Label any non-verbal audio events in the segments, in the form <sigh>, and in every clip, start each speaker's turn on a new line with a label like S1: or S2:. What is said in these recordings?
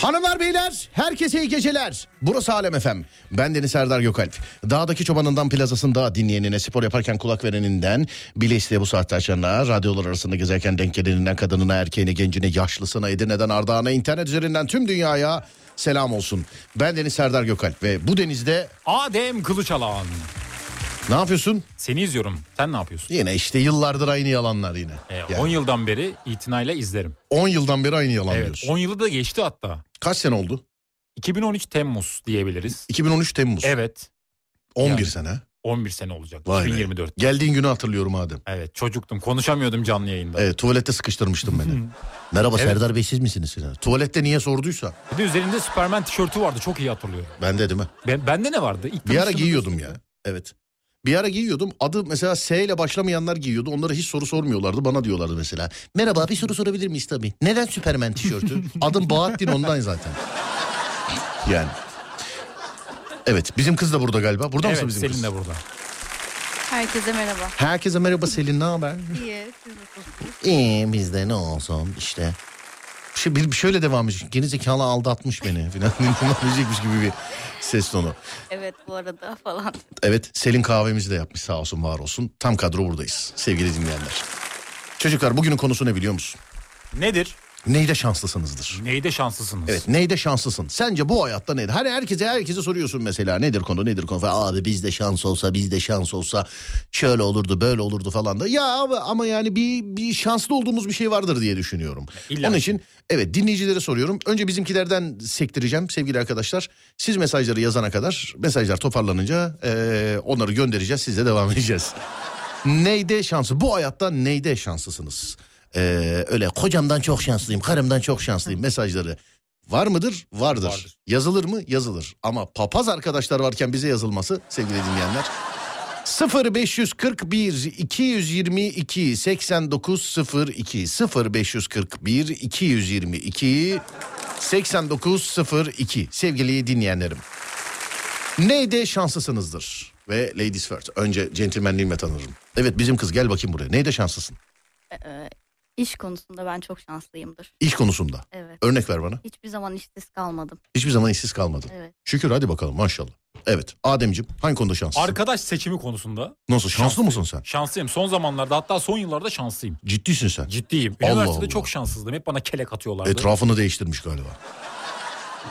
S1: Hanımlar beyler herkese iyi geceler. Burası Alem FM. Ben Deniz Serdar Gökalp. Dağdaki çobanından plazasında dinleyenine spor yaparken kulak vereninden bile isteye bu saatte açana radyolar arasında gezerken denk geleninden kadınına erkeğine gencine yaşlısına Edirne'den Ardağan'a internet üzerinden tüm dünyaya selam olsun. Ben Deniz Serdar Gökalp ve bu denizde
S2: Adem Kılıçalan.
S1: ne yapıyorsun?
S2: Seni izliyorum. Sen ne yapıyorsun?
S1: Yine işte yıllardır aynı yalanlar yine.
S2: Ee, 10
S1: Yani
S2: yıldan beri itinayla izlerim.
S1: 10 yıldan beri aynı yalan
S2: Evet.
S1: diyorsun.
S2: 10 yılı da geçti hatta.
S1: Kaç sene oldu?
S2: 2013 Temmuz diyebiliriz.
S1: 2013 Temmuz.
S2: Evet.
S1: 11
S2: yani.
S1: sene.
S2: 11 sene olacak.
S1: Vay be.
S2: 2024.
S1: Geldiğin günü hatırlıyorum Adem.
S2: Evet çocuktum. Konuşamıyordum canlı yayında.
S1: Evet E, tuvalette sıkıştırmıştım
S2: <laughs>
S1: beni. Merhaba
S2: Evet.
S1: Serdar Bey siz misiniz? Ya? Tuvalette niye sorduysa.
S2: Bir de üzerinde Superman tişörtü vardı. Çok iyi hatırlıyorum.
S1: Ben de değil mi?
S2: Ben, bende ne vardı? İlk
S1: Bir ara
S2: tanıştığımda-
S1: giyiyordum ya. Evet. Bir ara giyiyordum. Adı mesela S ile başlamayanlar giyiyordu. Onlara hiç soru sormuyorlardı. Bana diyorlardı mesela. Merhaba bir soru sorabilir miyiz tabii. Neden Süpermen
S2: <laughs>
S1: tişörtü? Adım Bahattin ondan zaten. Yani. Evet bizim kız da burada galiba. Burada mısın
S2: Evet
S1: bizim
S2: Selin
S1: kız?
S2: de burada.
S3: Herkese merhaba.
S1: Herkese merhaba Selin ne haber?
S3: İyi, siz nasılsınız?
S1: İyi Ee, bizde ne olsun işte. Şey, bir, şöyle devam edecek. Geri zekalı aldatmış beni <laughs> falan. diyecekmiş gibi bir ses tonu.
S3: Evet bu arada falan.
S1: Evet Selin kahvemizi de yapmış sağ olsun var olsun. Tam kadro buradayız sevgili dinleyenler. Çocuklar bugünün konusu ne biliyor musun?
S2: Nedir?
S1: Neyde şanslısınızdır?
S2: Neyde şanslısınız?
S1: Evet neyde şanslısın? Sence bu hayatta nedir? Hani herkese herkese soruyorsun mesela nedir konu nedir konu falan. Abi bizde şans olsa bizde şans olsa şöyle olurdu böyle olurdu falan da. Ya abi, ama yani bir, bir şanslı olduğumuz bir şey vardır diye düşünüyorum.
S2: İlla
S1: Onun
S2: ki.
S1: için evet dinleyicilere soruyorum. Önce bizimkilerden sektireceğim sevgili arkadaşlar. Siz mesajları yazana kadar mesajlar toparlanınca eee, onları göndereceğiz sizle devam edeceğiz. Neyde şansı? Bu hayatta neyde şanslısınız? Ee, öyle kocamdan çok şanslıyım, karımdan çok şanslıyım mesajları. Var mıdır? Vardır.
S2: Vardır.
S1: Yazılır mı? Yazılır. Ama papaz arkadaşlar varken bize yazılması sevgili dinleyenler. 0541 222 8902 0541 222 8902 sevgili dinleyenlerim. Neyde şanslısınızdır ve Ladies First. Önce centilmenliğimle tanırım. Evet bizim kız gel bakayım buraya. Neyde şanslısın?
S3: Ee, iş konusunda ben çok şanslıyımdır.
S1: İş konusunda.
S3: Evet.
S1: Örnek ver bana.
S3: Hiçbir zaman işsiz kalmadım.
S1: Hiçbir zaman işsiz kalmadın.
S3: Evet.
S1: Şükür hadi bakalım maşallah. Evet Ademciğim hangi konuda şanslısın?
S2: Arkadaş seçimi konusunda
S1: Nasıl şanslı
S2: Şanslıyım.
S1: mısın sen?
S2: şanslıyım. Son zamanlarda hatta son yıllarda şanslıyım.
S1: Ciddisin sen.
S2: Ciddiyim.
S1: Allah
S2: Üniversitede
S1: Allah.
S2: çok şanssızdım. Hep bana kelek atıyorlardı.
S1: Etrafını değiştirmiş galiba.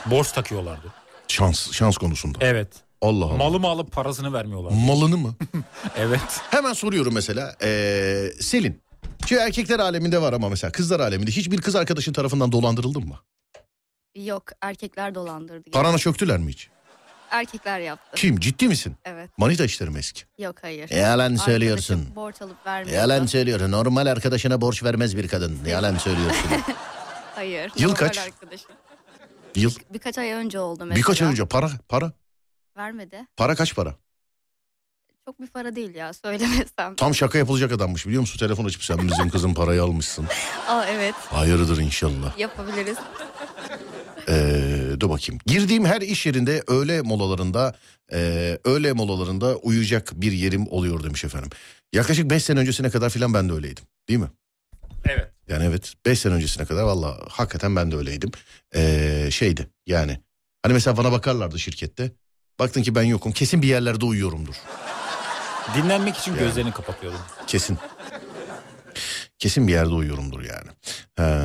S2: Borç takıyorlardı.
S1: Şans şans konusunda.
S2: Evet.
S1: Allah Allah.
S2: Malımı alıp parasını vermiyorlar.
S1: Malını mı? <laughs>
S2: evet.
S1: Hemen soruyorum mesela. ee, Selin. Ki erkekler aleminde var ama mesela kızlar aleminde hiçbir kız arkadaşın tarafından dolandırıldın mı?
S3: Yok erkekler dolandırdı.
S1: Parana çöktüler mi hiç?
S3: Erkekler yaptı.
S1: Kim ciddi misin?
S3: Evet.
S1: Manita işleri mi eski?
S3: Yok hayır.
S1: Yalan
S3: Arkadaşım
S1: söylüyorsun.
S3: borç alıp vermiyordu.
S1: Yalan söylüyorsun. Normal arkadaşına borç vermez bir kadın. Yalan
S3: <laughs>
S1: söylüyorsun.
S3: Hayır.
S1: Yıl
S3: normal
S1: kaç?
S3: Arkadaşım.
S1: Yıl
S3: Birkaç ay önce oldu mesela.
S1: birkaç ay önce para para
S3: Vermedi.
S1: para kaç para?
S3: Çok bir para değil ya söylemesem.
S1: Tam şaka yapılacak adammış biliyor musun? Telefon açıp sen bizim kızın parayı almışsın.
S3: Aa evet
S1: Hayırdır inşallah.
S3: yapabiliriz.
S1: Ee, dur bakayım. Girdiğim her iş yerinde öğle molalarında e, öğle molalarında uyuyacak bir yerim oluyor demiş efendim. Yaklaşık 5 sene öncesine kadar filan ben de öyleydim. Değil mi?
S2: Evet.
S1: Yani evet 5 sene öncesine kadar valla hakikaten ben de öyleydim. Ee, şeydi yani hani mesela bana bakarlardı şirkette. Baktın ki ben yokum kesin bir yerlerde uyuyorumdur.
S2: Dinlenmek için gözlerini kapatıyordum.
S1: Kesin. Kesin bir yerde uyuyorumdur yani. Ee,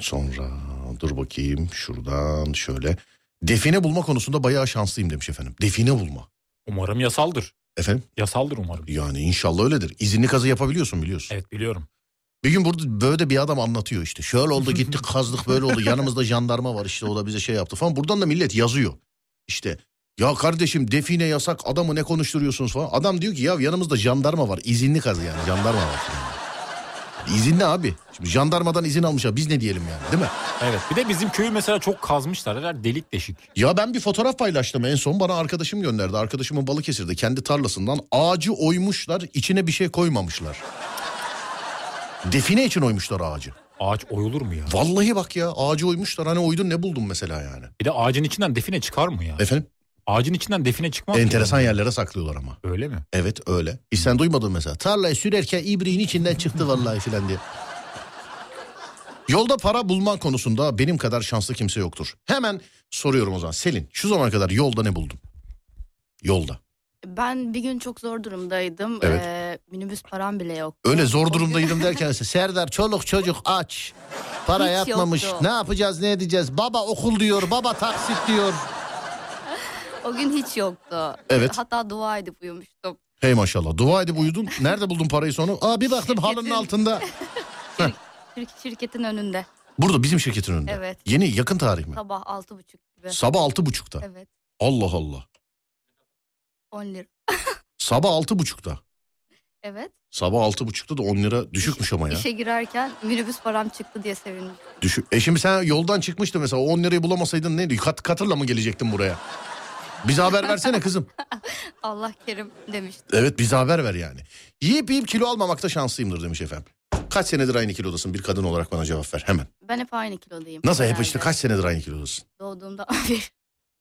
S1: sonra dur bakayım şuradan şöyle. Define bulma konusunda bayağı şanslıyım demiş efendim. Define bulma.
S2: Umarım yasaldır.
S1: Efendim
S2: Yasaldır umarım.
S1: yani inşallah öyledir. İzinli kazı yapabiliyorsun biliyorsun.
S2: Evet biliyorum.
S1: Bir gün burada böyle de bir adam anlatıyor işte. Şöyle oldu gittik kazdık böyle oldu. Yanımızda jandarma var işte o da bize şey yaptı falan. Buradan da millet yazıyor. İşte ya kardeşim define yasak adamı ne konuşturuyorsunuz falan. Adam diyor ki ya yanımızda jandarma var. İzinli kazı yani jandarma var. Falan. İzinli abi. Şimdi jandarmadan izin almışlar biz ne diyelim yani değil mi?
S2: Evet. Bir de bizim köyü mesela çok kazmışlar. Her yer delik deşik.
S1: Ya ben bir fotoğraf paylaştım en son bana arkadaşım gönderdi. Arkadaşımın Balıkesir'de kendi tarlasından ağacı oymuşlar içine bir şey koymamışlar. Define için oymuşlar ağacı.
S2: Ağaç oyulur mu ya?
S1: Vallahi bak ya ağacı oymuşlar hani oydun ne buldun mesela yani.
S2: Bir de ağacın içinden define çıkar mı ya?
S1: Efendim
S2: Ağacın içinden define çıkmaz mı?
S1: enteresan yerlere saklıyorlar ama.
S2: Öyle mi?
S1: Evet öyle. Hiç sen duymadın mesela. Tarlayı sürerken ibriğin içinden çıktı vallahi filan diye. Yolda para bulman konusunda benim kadar şanslı kimse yoktur. Hemen soruyorum o zaman. Selin şu zamana kadar yolda ne buldun? Yolda.
S3: Ben bir gün çok zor durumdaydım.
S1: Evet.
S3: Ee, minibüs param bile yok.
S1: Öyle zor durumdaydım derken ise, Serdar çoluk çocuk aç. Para
S3: Hiç
S1: yatmamış.
S3: yoktu.
S1: Ne yapacağız ne edeceğiz? Baba okul diyor. Baba taksit diyor.
S3: O gün hiç yoktu.
S1: Evet.
S3: Hatta dua edip uyumuştum.
S1: Hey maşallah. Dua edip uyudun. Nerede buldun parayı sonra? Aa bir baktım halının
S3: Şirketin-
S1: altında.
S3: Şir- şirketin önünde.
S1: Burada bizim şirketin önünde.
S3: Evet.
S1: Yeni yakın tarih mi?
S3: Sabah altı buçuk gibi.
S1: Sabah altı buçukta.
S3: Evet.
S1: Allah Allah.
S3: 10 lira.
S1: Sabah altı buçukta.
S3: Evet.
S1: Sabah altı buçukta da 10 lira düşükmüş ama ya.
S3: İşe girerken minibüs param çıktı diye sevindim.
S1: Düşük. E şimdi sen yoldan çıkmıştın mesela 10 lirayı bulamasaydın neydi? Kat, katırla mı gelecektin buraya? Bize haber versene kızım.
S3: Allah kerim demiştim.
S1: Evet bize haber ver yani. Yiyip yiyip kilo almamakta şanslıyımdır demiş efendim. Kaç senedir aynı kilodasın bir kadın olarak bana cevap ver hemen.
S3: Ben hep aynı kilodayım.
S1: Nasıl hep
S3: herhalde.
S1: işte kaç senedir aynı kilodasın?
S3: Doğduğumda <laughs> bir.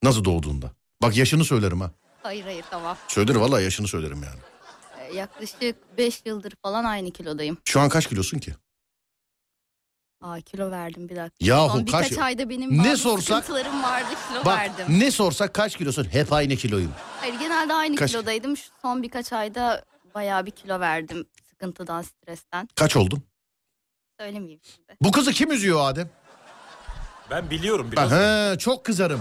S1: Nasıl doğduğunda? Bak yaşını söylerim ha.
S3: Hayır hayır tamam.
S1: Söylerim vallahi yaşını söylerim yani.
S3: Ee, Yaklaşık 5 yıldır falan aynı kilodayım.
S1: Şu an kaç kilosun ki?
S3: Aa kilo verdim bir dakika.
S1: Yahu
S3: Son birkaç
S1: kaç-
S3: ayda benim
S1: Ne
S3: bazı
S1: sorsak-
S3: sıkıntılarım vardı kilo
S1: Bak
S3: verdim.
S1: ne sorsak kaç kilosun? Hep aynı kiloyum.
S3: Hayır genelde aynı
S1: Kaç-
S3: kilodaydım. Şu son birkaç ayda bayağı bir kilo verdim. Sıkıntıdan, stresten.
S1: Kaç oldun?
S3: Söylemeyeyim şimdi.
S1: Bu kızı kim üzüyor Adem?
S2: Ben biliyorum
S1: Ben
S2: biraz.
S1: he, çok kızarım.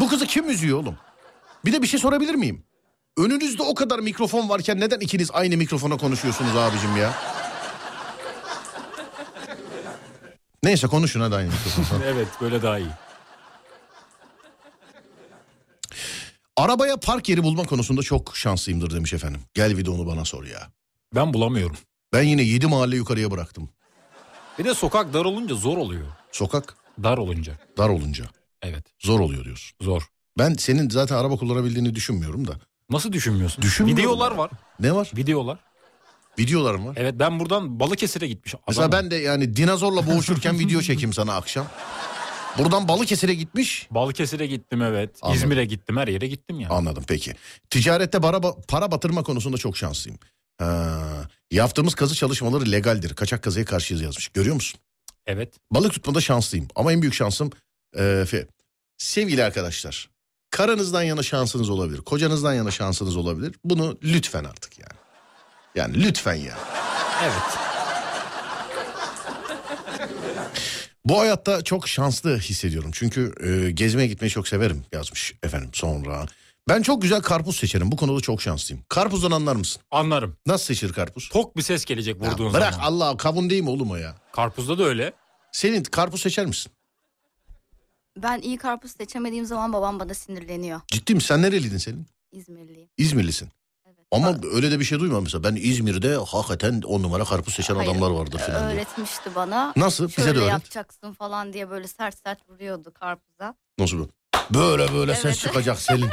S1: Bu kızı kim üzüyor oğlum? Bir de bir şey sorabilir miyim? Önünüzde o kadar mikrofon varken neden ikiniz aynı mikrofona konuşuyorsunuz abicim ya? Neyse konuşun hadi aynı mikrofona.
S2: Evet böyle daha iyi.
S1: Arabaya park yeri bulma konusunda çok şanslıyımdır demiş efendim. Gel bir de onu bana sor ya.
S2: Ben bulamıyorum.
S1: Ben yine 7 mahalle yukarıya bıraktım.
S2: Bir de sokak dar olunca zor oluyor.
S1: Sokak
S2: Dar olunca.
S1: dar olunca
S2: Evet
S1: zor oluyor diyorsun.
S2: zor.
S1: Ben senin zaten araba kullanabildiğini düşünmüyorum da.
S2: Nasıl düşünmüyorsun?
S1: Düşünmüyorum
S2: Videolar
S1: ya.
S2: var.
S1: Ne var?
S2: Videolar.
S1: Videolarım var.
S2: Evet ben buradan Balıkesir'e gitmişim.
S1: Mesela ben de yani dinozorla boğuşurken video çekeyim sana akşam. Buradan Balıkesir'e gitmiş.
S2: Balıkesir'e gittim evet.
S1: Anladım.
S2: İzmir'e gittim her yere gittim ya.
S1: Anladım peki. Ticarette para, ba- para batırma konusunda çok şanslıyım. Ha, yaptığımız kazı çalışmaları legaldir. Kaçak kazıya karşıyız yazmış. Görüyor musun?
S2: Evet.
S1: Balık tutmada şanslıyım. Ama en büyük şansım... e, fe- sevgili arkadaşlar. Karınızdan yana şansınız olabilir. Kocanızdan yana şansınız olabilir. Bunu lütfen artık yani. Yani lütfen ya.
S2: Evet.
S1: Bu hayatta çok şanslı hissediyorum. Çünkü e, gezmeye gitmeyi çok severim yazmış efendim sonra. Ben çok güzel karpuz seçerim. Bu konuda çok şanslıyım. Karpuzdan anlar mısın?
S2: Anlarım.
S1: Nasıl seçilir karpuz?
S2: Tok bir ses gelecek
S1: Ya
S2: vurduğun
S1: bırak
S2: zaman.
S1: Allah kavun değil mi oğlum o ya?
S2: Karpuzda da öyle.
S1: Senin karpuz seçer misin?
S3: Ben iyi karpuz seçemediğim zaman babam bana sinirleniyor.
S1: Ciddi misin? Sen nereliydin senin?
S3: İzmirliyim.
S1: İzmirlisin.
S3: Evet.
S1: Ama
S3: Ba-
S1: öyle de bir şey duymadım mesela. Ben İzmir'de hakikaten on numara karpuz seçen
S3: Hayır,
S1: adamlar vardır falan diye.
S3: öğretmişti bana.
S1: Nasıl? Bize de
S3: Şöyle
S1: öğret.
S3: yapacaksın falan diye böyle sert sert vuruyordu karpuza. <laughs>
S1: Nasıl böyle? Böyle böyle ses
S3: Evet.
S1: çıkacak
S3: <laughs>
S1: Selin.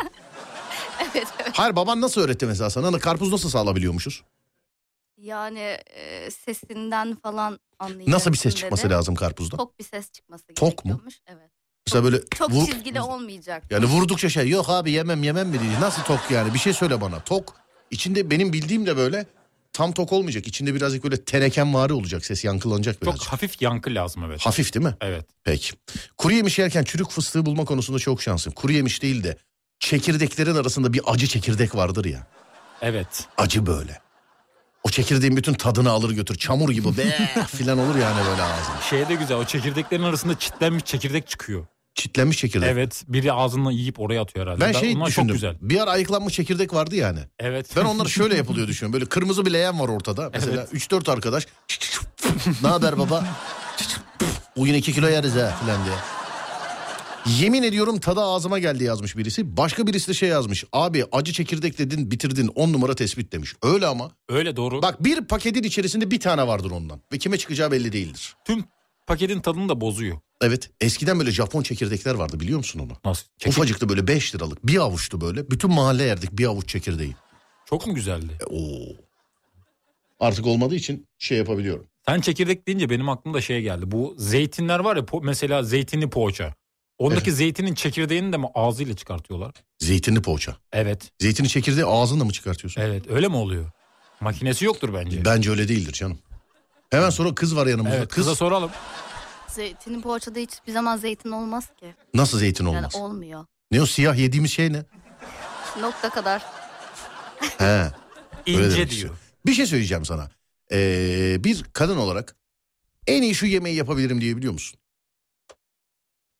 S3: evet evet.
S1: Hayır baban nasıl öğretti mesela sana? Ana, Karpuz nasıl sağlayabiliyormuşuz?
S3: Yani e, sesinden falan anlayacaksın
S1: Nasıl bir ses çıkması
S3: dedi.
S1: lazım karpuzda?
S3: Tok bir ses çıkması
S1: Tok mu?
S3: gerekiyormuş. Evet.
S1: Mesela böyle
S3: Çok
S1: vur-
S3: çizgili olmayacak.
S1: Yani vurdukça şey yok abi yemem yemem mi diyeceğiz. Nasıl tok yani bir şey söyle bana tok. içinde benim bildiğim de böyle tam tok olmayacak. İçinde birazcık böyle tenekemvari olacak ses yankılanacak
S2: Çok
S1: birazcık.
S2: hafif yankı lazım evet.
S1: Hafif değil mi?
S2: Evet.
S1: Peki. Kuru yemiş yerken çürük fıstığı bulma konusunda çok şanslıyım. Kuru yemiş değil de çekirdeklerin arasında bir acı çekirdek vardır ya.
S2: Evet.
S1: Acı böyle. O çekirdeğin bütün tadını alır götür. Çamur gibi be filan olur yani böyle ağzına.
S2: Şey de güzel o çekirdeklerin arasında çitlenmiş çekirdek çıkıyor.
S1: Çitlenmiş çekirdek.
S2: Evet. Biri ağzından yiyip oraya atıyor herhalde.
S1: Ben şey
S2: onlar
S1: düşündüm.
S2: çok güzel.
S1: Bir ara ayıklanmış çekirdek vardı hani. yani.
S2: Evet.
S1: Ben onları şöyle yapılıyor düşünüyorum. Böyle kırmızı bir leğen var ortada. Mesela 3-4 arkadaş. ne haber baba? Bugün 2 kilo yeriz ha filan diye. Yemin ediyorum tadı ağzıma geldi yazmış birisi. Başka birisi de şey yazmış. Abi acı çekirdek dedin bitirdin 10 numara tespit demiş. Öyle ama.
S2: <laughs> Öyle doğru.
S1: Bak bir paketin içerisinde bir tane vardır ondan. Ve kime çıkacağı belli değildir.
S2: Tüm paketin tadını da bozuyor.
S1: Evet eskiden böyle Japon çekirdekler vardı biliyor musun onu?
S2: Nasıl? Çekir-
S1: Ufacıktı böyle 5 liralık bir avuçtu böyle. Bütün mahalle yerdik bir avuç çekirdeği.
S2: Çok mu güzeldi?
S1: E, Oo. Artık olmadığı için şey yapabiliyorum.
S2: Sen çekirdek deyince benim aklıma da şey geldi. Bu zeytinler var ya po- mesela zeytinli poğaça. Ondaki zeytinin çekirdeğini de mi ağzıyla çıkartıyorlar?
S1: Zeytinli poğaça.
S2: Evet.
S1: Zeytini çekirdeği ağzınla mı çıkartıyorsun?
S2: Evet öyle mi oluyor? Makinesi yoktur bence.
S1: Bence öyle değildir canım. Hemen sonra kız var yanımızda.
S2: evet
S1: kız
S2: kıza soralım.
S3: Zeytinin poğaçada hiçbir zaman zeytin olmaz ki.
S1: Nasıl zeytin
S3: Yani
S1: olmaz?
S3: olmuyor.
S1: Ne o siyah yediğimiz şey ne?
S3: Nokta kadar.
S1: He. Öyle
S2: İnce
S1: demek
S2: diyor.
S1: istiyor. Bir şey söyleyeceğim sana. Ee, bir kadın olarak en iyi şu yemeği yapabilirim diye biliyor musun?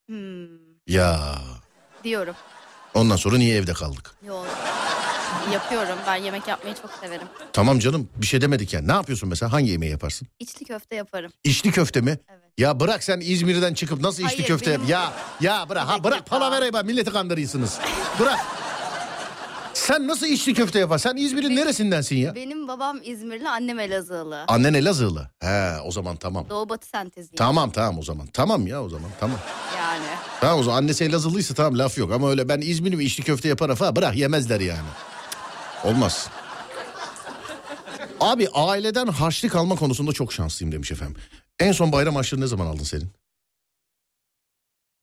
S3: Hmm,
S1: Ya
S3: diyorum.
S1: ondan sonra niye evde kaldık?
S3: Yok. Yapıyorum. Ben yemek yapmayı çok severim.
S1: Tamam canım bir şey demedik yani. Ne yapıyorsun mesela? Hangi yemeği yaparsın?
S3: İçli köfte yaparım.
S1: İçli köfte mi?
S3: Evet.
S1: Ya bırak sen İzmir'den çıkıp nasıl içli
S3: Hayır,
S1: köfte yap?
S3: benim-
S1: Ya ya bırak ha
S3: dakika.
S1: bırak palavera bak milleti kandırıyorsunuz. bırak. Sen nasıl içli köfte yaparsın? Sen İzmir'in neresindensin ya?
S3: Benim babam İzmirli, annem Elazığlı.
S1: Annen Elazığlı. He o zaman tamam.
S3: Doğu Batı senteziyim
S1: Tamam tamam o zaman. Tamam ya o zaman tamam.
S3: yani.
S1: Tamam o zaman annesi Elazığlıysa tamam laf yok ama öyle ben İzmir'im içli köfte yaparım falan bırak yemezler yani. Cık, Olmaz. Abi aileden harçlık alma konusunda çok şanslıyım demiş efendim. En son bayram harçlığı ne zaman aldın senin?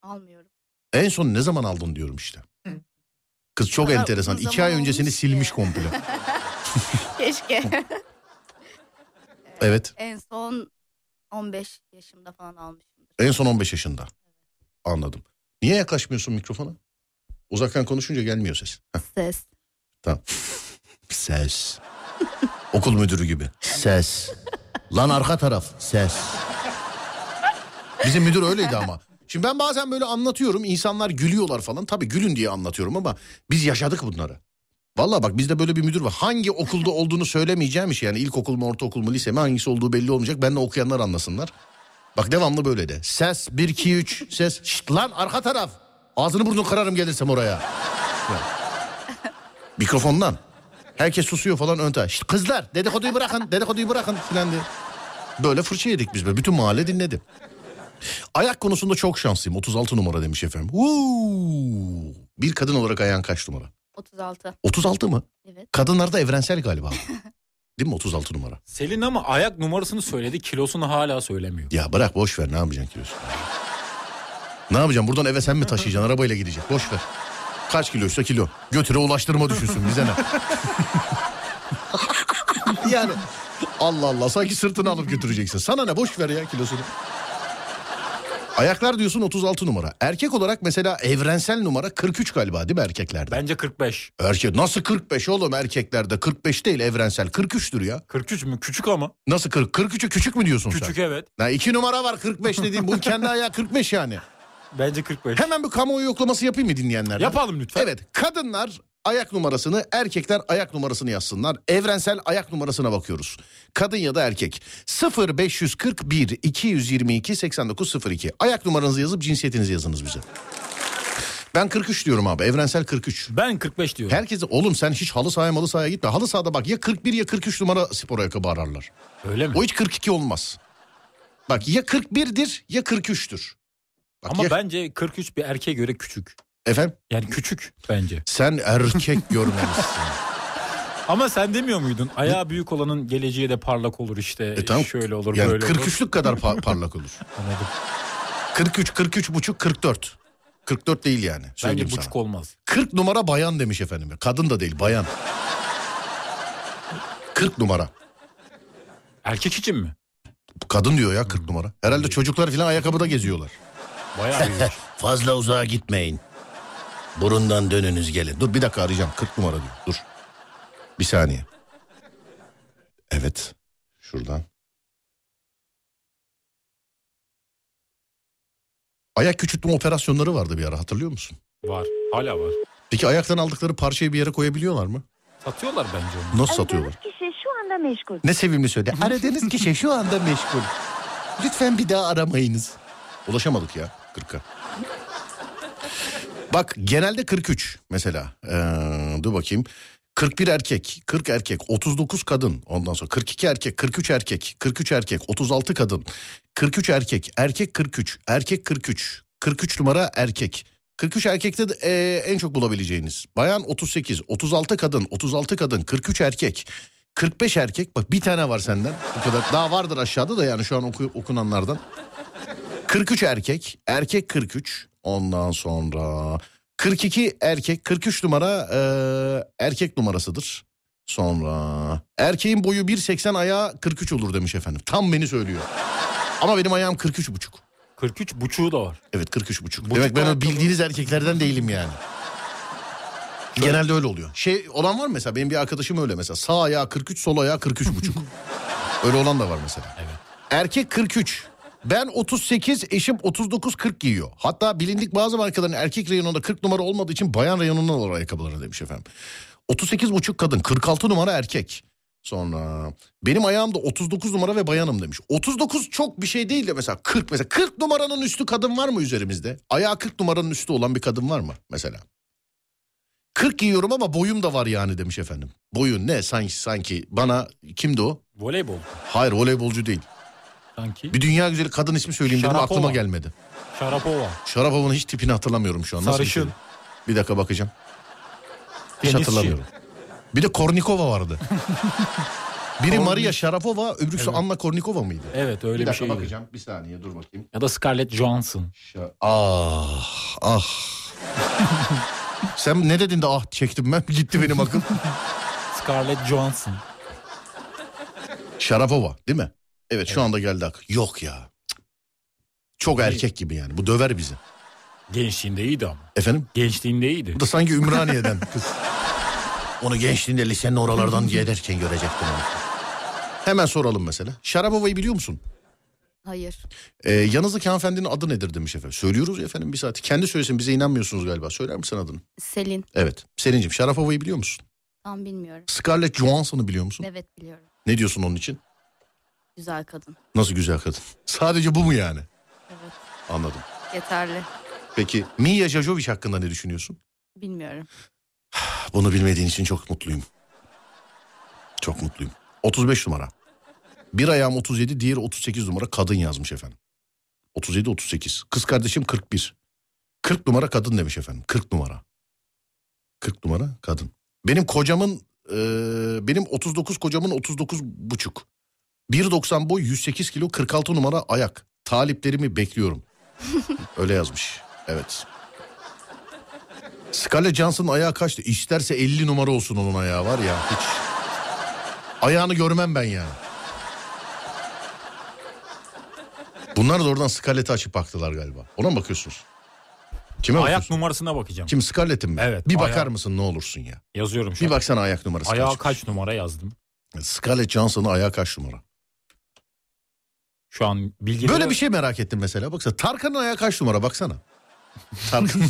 S3: Almıyorum.
S1: En son ne zaman aldın diyorum işte. Kız çok
S3: Aa,
S1: enteresan.
S3: uzun
S1: İki
S3: zaman
S1: ay öncesini
S3: olmuş ki.
S1: silmiş komple.
S3: <laughs>
S1: <laughs>
S3: Keşke.
S1: Evet.
S3: en son 15 yaşımda falan almışımdır.
S1: En son 15 yaşında. Anladım. Niye yaklaşmıyorsun mikrofona? Uzaktan konuşunca gelmiyor ses. Heh,
S3: Ses.
S1: tamam. Ses. Okul müdürü gibi. Ses. Lan arka taraf. Ses. Bizim müdür öyleydi ama. Şimdi ben bazen böyle anlatıyorum. insanlar gülüyorlar falan. Tabii gülün diye anlatıyorum ama biz yaşadık bunları. Valla bak bizde böyle bir müdür var. Hangi okulda olduğunu söylemeyeceğim iş yani. ilkokul mu ortaokul mu lise mi hangisi olduğu belli olmayacak. Ben de okuyanlar anlasınlar. Bak devamlı böyle de. Ses 1 2 3 ses. Şşt lan arka taraf. Ağzını burnunu kırarım gelirsem oraya. Ya. Mikrofondan. Herkes susuyor falan ön taraf. Şşt kızlar dedikoduyu bırakın dedikoduyu bırakın filan diye. Böyle fırça yedik biz be. Bütün mahalle dinledi. Ayak konusunda çok şanslıyım. 36 numara demiş efendim. Uuu. Bir kadın olarak ayağın kaç numara?
S3: 36.
S1: 36 mı?
S3: Evet.
S1: Kadınlarda evrensel galiba. Değil mi 36 numara?
S2: Selin ama ayak numarasını söyledi kilosunu hala söylemiyor.
S1: Ya bırak boş ver ne yapacaksın kilosun? ne yapacağım buradan eve sen mi taşıyacaksın arabayla gidecek boş ver. Kaç kiloysa kilo. Götüre ulaştırma düşünsün bize ne? <laughs> yani Allah Allah sanki sırtını alıp götüreceksin. Sana ne boş ver ya kilosunu. Ayaklar diyorsun 36 numara. Erkek olarak mesela evrensel numara 43 galiba değil mi erkeklerde?
S2: Bence 45.
S1: Erkek nasıl 45 oğlum erkeklerde? 45 değil evrensel 43'tür ya.
S2: 43 mü? Küçük ama.
S1: Nasıl 40? 43'e küçük mü diyorsun sen?
S2: Küçük evet.
S1: Ya iki numara var 45 dediğim. Bunun kendi ayağı 45 yani.
S2: Bence 45.
S1: Hemen bir kamuoyu yoklaması yapayım mı dinleyenler?
S2: Yapalım lütfen.
S1: Evet kadınlar ayak numarasını erkekler ayak numarasını yazsınlar. Evrensel ayak numarasına bakıyoruz. Kadın ya da erkek. 0541 222 8902. Ayak numaranızı yazıp cinsiyetinizi yazınız bize. Ben 43 diyorum abi. Evrensel 43.
S2: Ben 45 diyorum.
S1: Herkes oğlum sen hiç halı sahaya malı sahaya gitme. Halı sahada bak ya 41 ya 43 numara spor ayakkabı ararlar.
S2: Öyle mi?
S1: O hiç 42 olmaz. Bak ya 41'dir ya 43'tür. Bak
S2: Ama
S1: ya-
S2: bence 43 bir erkeğe göre küçük.
S1: Efendim
S2: Yani küçük bence.
S1: sen
S2: <laughs>
S1: erkek görmemişsin.
S2: Ama sen demiyor muydun? Ayağı büyük olanın geleceği de parlak olur işte.
S1: E tamam.
S2: Şöyle olur
S1: Yani
S2: böyle 43... olur.
S1: 43'lük kadar pa- parlak olur.
S2: Anladım.
S1: 43, 43 buçuk, 44. 44 değil yani.
S2: Bence
S1: Söyleyeyim sana.
S2: buçuk olmaz.
S1: 40 numara bayan demiş efendim. Kadın da değil bayan. 40 numara.
S2: Erkek için mi?
S1: Kadın diyor ya 40 numara. Herhalde çocuklar falan ayakkabıda geziyorlar. <laughs>
S2: Bayağı büyük.
S1: Fazla uzağa gitmeyin. Burundan dönünüz gelin. Dur bir dakika arayacağım. 40 numara diyor. Dur. Bir saniye. Evet. Şuradan. Ayak küçültme operasyonları vardı bir ara hatırlıyor musun?
S2: var. Hala var.
S1: Peki ayaktan aldıkları parçayı bir yere koyabiliyorlar mı?
S2: Satıyorlar bence onu.
S1: Nasıl satıyorlar?
S4: kişi şu anda meşgul.
S1: Ne sevimli söyledi. Aradığınız kişi şey, şu anda meşgul. Lütfen bir daha aramayınız. Ulaşamadık ya 40'a. Bak genelde 43 mesela. Ee, dur bakayım. 41 erkek, 40 erkek, 39 kadın. Ondan sonra 42 erkek, 43 erkek, 43 erkek, 36 kadın. 43 erkek, erkek 43, erkek 43, 43 numara erkek. 43 erkekte de, ee, en çok bulabileceğiniz. Bayan 38, 36 kadın, 36 kadın, 43 erkek. 45 erkek bak bir tane var senden bu kadar daha vardır aşağıda da yani şu an oku- okunanlardan 43 erkek erkek 43 ondan sonra 42 erkek 43 numara eee, erkek numarasıdır sonra erkeğin boyu 1.80 ayağı 43 olur demiş efendim tam beni söylüyor ama benim ayağım 43 buçuk
S2: 43 buçuğu da var.
S1: Evet 43 buçuk.
S2: Buçuk
S1: Demek ben o
S2: ayakkabı.
S1: bildiğiniz erkeklerden değilim yani. Genelde öyle oluyor. Şey olan var mı mesela benim bir arkadaşım öyle mesela. Sağ ayağı 43 sol ayağı 43 <laughs> buçuk. öyle olan da var mesela.
S2: Evet.
S1: Erkek 43. Ben 38 eşim 39 40 giyiyor. Hatta bilindik bazı markaların erkek reyonunda 40 numara olmadığı için bayan reyonundan olur ayakkabılarını demiş efendim. 38 buçuk kadın 46 numara erkek. Sonra benim ayağımda 39 numara ve bayanım demiş. 39 çok bir şey değil de mesela 40 mesela 40 numaranın üstü kadın var mı üzerimizde? Ayağı 40 numaranın üstü olan bir kadın var mı mesela? 40 giyiyorum ama boyum da var yani demiş efendim. Boyun ne sanki sanki bana kimdi o?
S2: Voleybol
S1: Hayır voleybolcu değil.
S2: sanki.
S1: Bir dünya güzeli kadın ismi söyleyeyim dedim
S2: Şarapova.
S1: aklıma gelmedi.
S2: Şarapova.
S1: Şarapova'nın hiç tipini hatırlamıyorum şu an. Nasıl bir
S2: Sarışın.
S1: şey? Bir dakika bakacağım. Hiç
S2: Tenisçi.
S1: hatırlamıyorum. Bir de Kornikova vardı.
S2: <laughs>
S1: Biri Maria Sharapova, öbürküsü Anna Kornikova mıydı?
S2: Evet öyle bir,
S1: dakika
S2: şey.
S1: bakacağım. Bir saniye dur bakayım.
S2: Ya da Scarlett Johansson.
S1: Şa- ah, ah. <laughs> Sen ne dedin de ah çektim ben. <laughs> Gitti benim akıl.
S2: Scarlett Johansson.
S1: Şarapova değil mi? Evet şu anda geldi akıl. Yok ya. Cık. Çok erkek gibi yani. Bu döver bizi.
S2: Gençliğinde iyiydi ama.
S1: Efendim?
S2: Gençliğinde iyiydi.
S1: Bu da sanki Ümraniye'den kız.
S2: <laughs>
S1: Onu gençliğinde lisenin oralardan gelirken görecektim. onu. Hemen soralım mesela. Şarapova'yı biliyor musun?
S3: Hayır.
S1: Ee, yanınızdaki hanımefendinin adı nedir demiş efendim. Söylüyoruz ya efendim bir saat. Kendi söylesin bize inanmıyorsunuz galiba. Söyler misin adını?
S3: Selin.
S1: Evet. Selin'cim Şarapova'yı biliyor musun?
S3: Tam bilmiyorum.
S1: Scarlett Johansson'ı biliyor musun?
S3: Evet biliyorum.
S1: Ne diyorsun onun için?
S3: Güzel kadın.
S1: Nasıl güzel kadın. <laughs> Sadece bu mu yani?
S3: Evet.
S1: Anladım.
S3: Yeterli.
S1: Peki Mia Jojovic hakkında ne düşünüyorsun?
S3: Bilmiyorum.
S1: Bunu bilmediğin için çok mutluyum. Çok mutluyum. 35 numara. Bir ayağım 37, diğeri 38 numara kadın yazmış efendim. 37 38. Kız kardeşim 41. 40 numara kadın demiş efendim. 40 numara. 40 numara kadın. Benim kocamın eee, benim 39 kocamın 39 buçuk. 1.90 boy 108 kilo 46 numara ayak. Taliplerimi bekliyorum. <laughs> Öyle yazmış. Evet. Scarlett Johansson'ın ayağı kaçtı? İsterse 50 numara olsun onun ayağı var ya. Hiç. Ayağını görmem ben yani. Bunlar da oradan Scarlett'i açıp baktılar galiba. Ona mı bakıyorsunuz? Kime bakıyorsunuz?
S2: Ayak numarasına bakacağım.
S1: Kim Scarlett'in mi?
S2: Evet,
S1: Bir bakar
S2: ayağı.
S1: mısın ne olursun ya.
S2: Yazıyorum şu
S1: Bir
S2: an.
S1: baksana ayak numarası
S2: Ayağa
S1: kaç.
S2: kaç numara yazdım.
S1: Scarlett Johansson'ın ayağı kaç numara?
S2: Şu an bilgi
S1: Böyle bir şey merak ettim mesela. Baksana Tarkan'ın ayağı kaç numara baksana. Tarkan.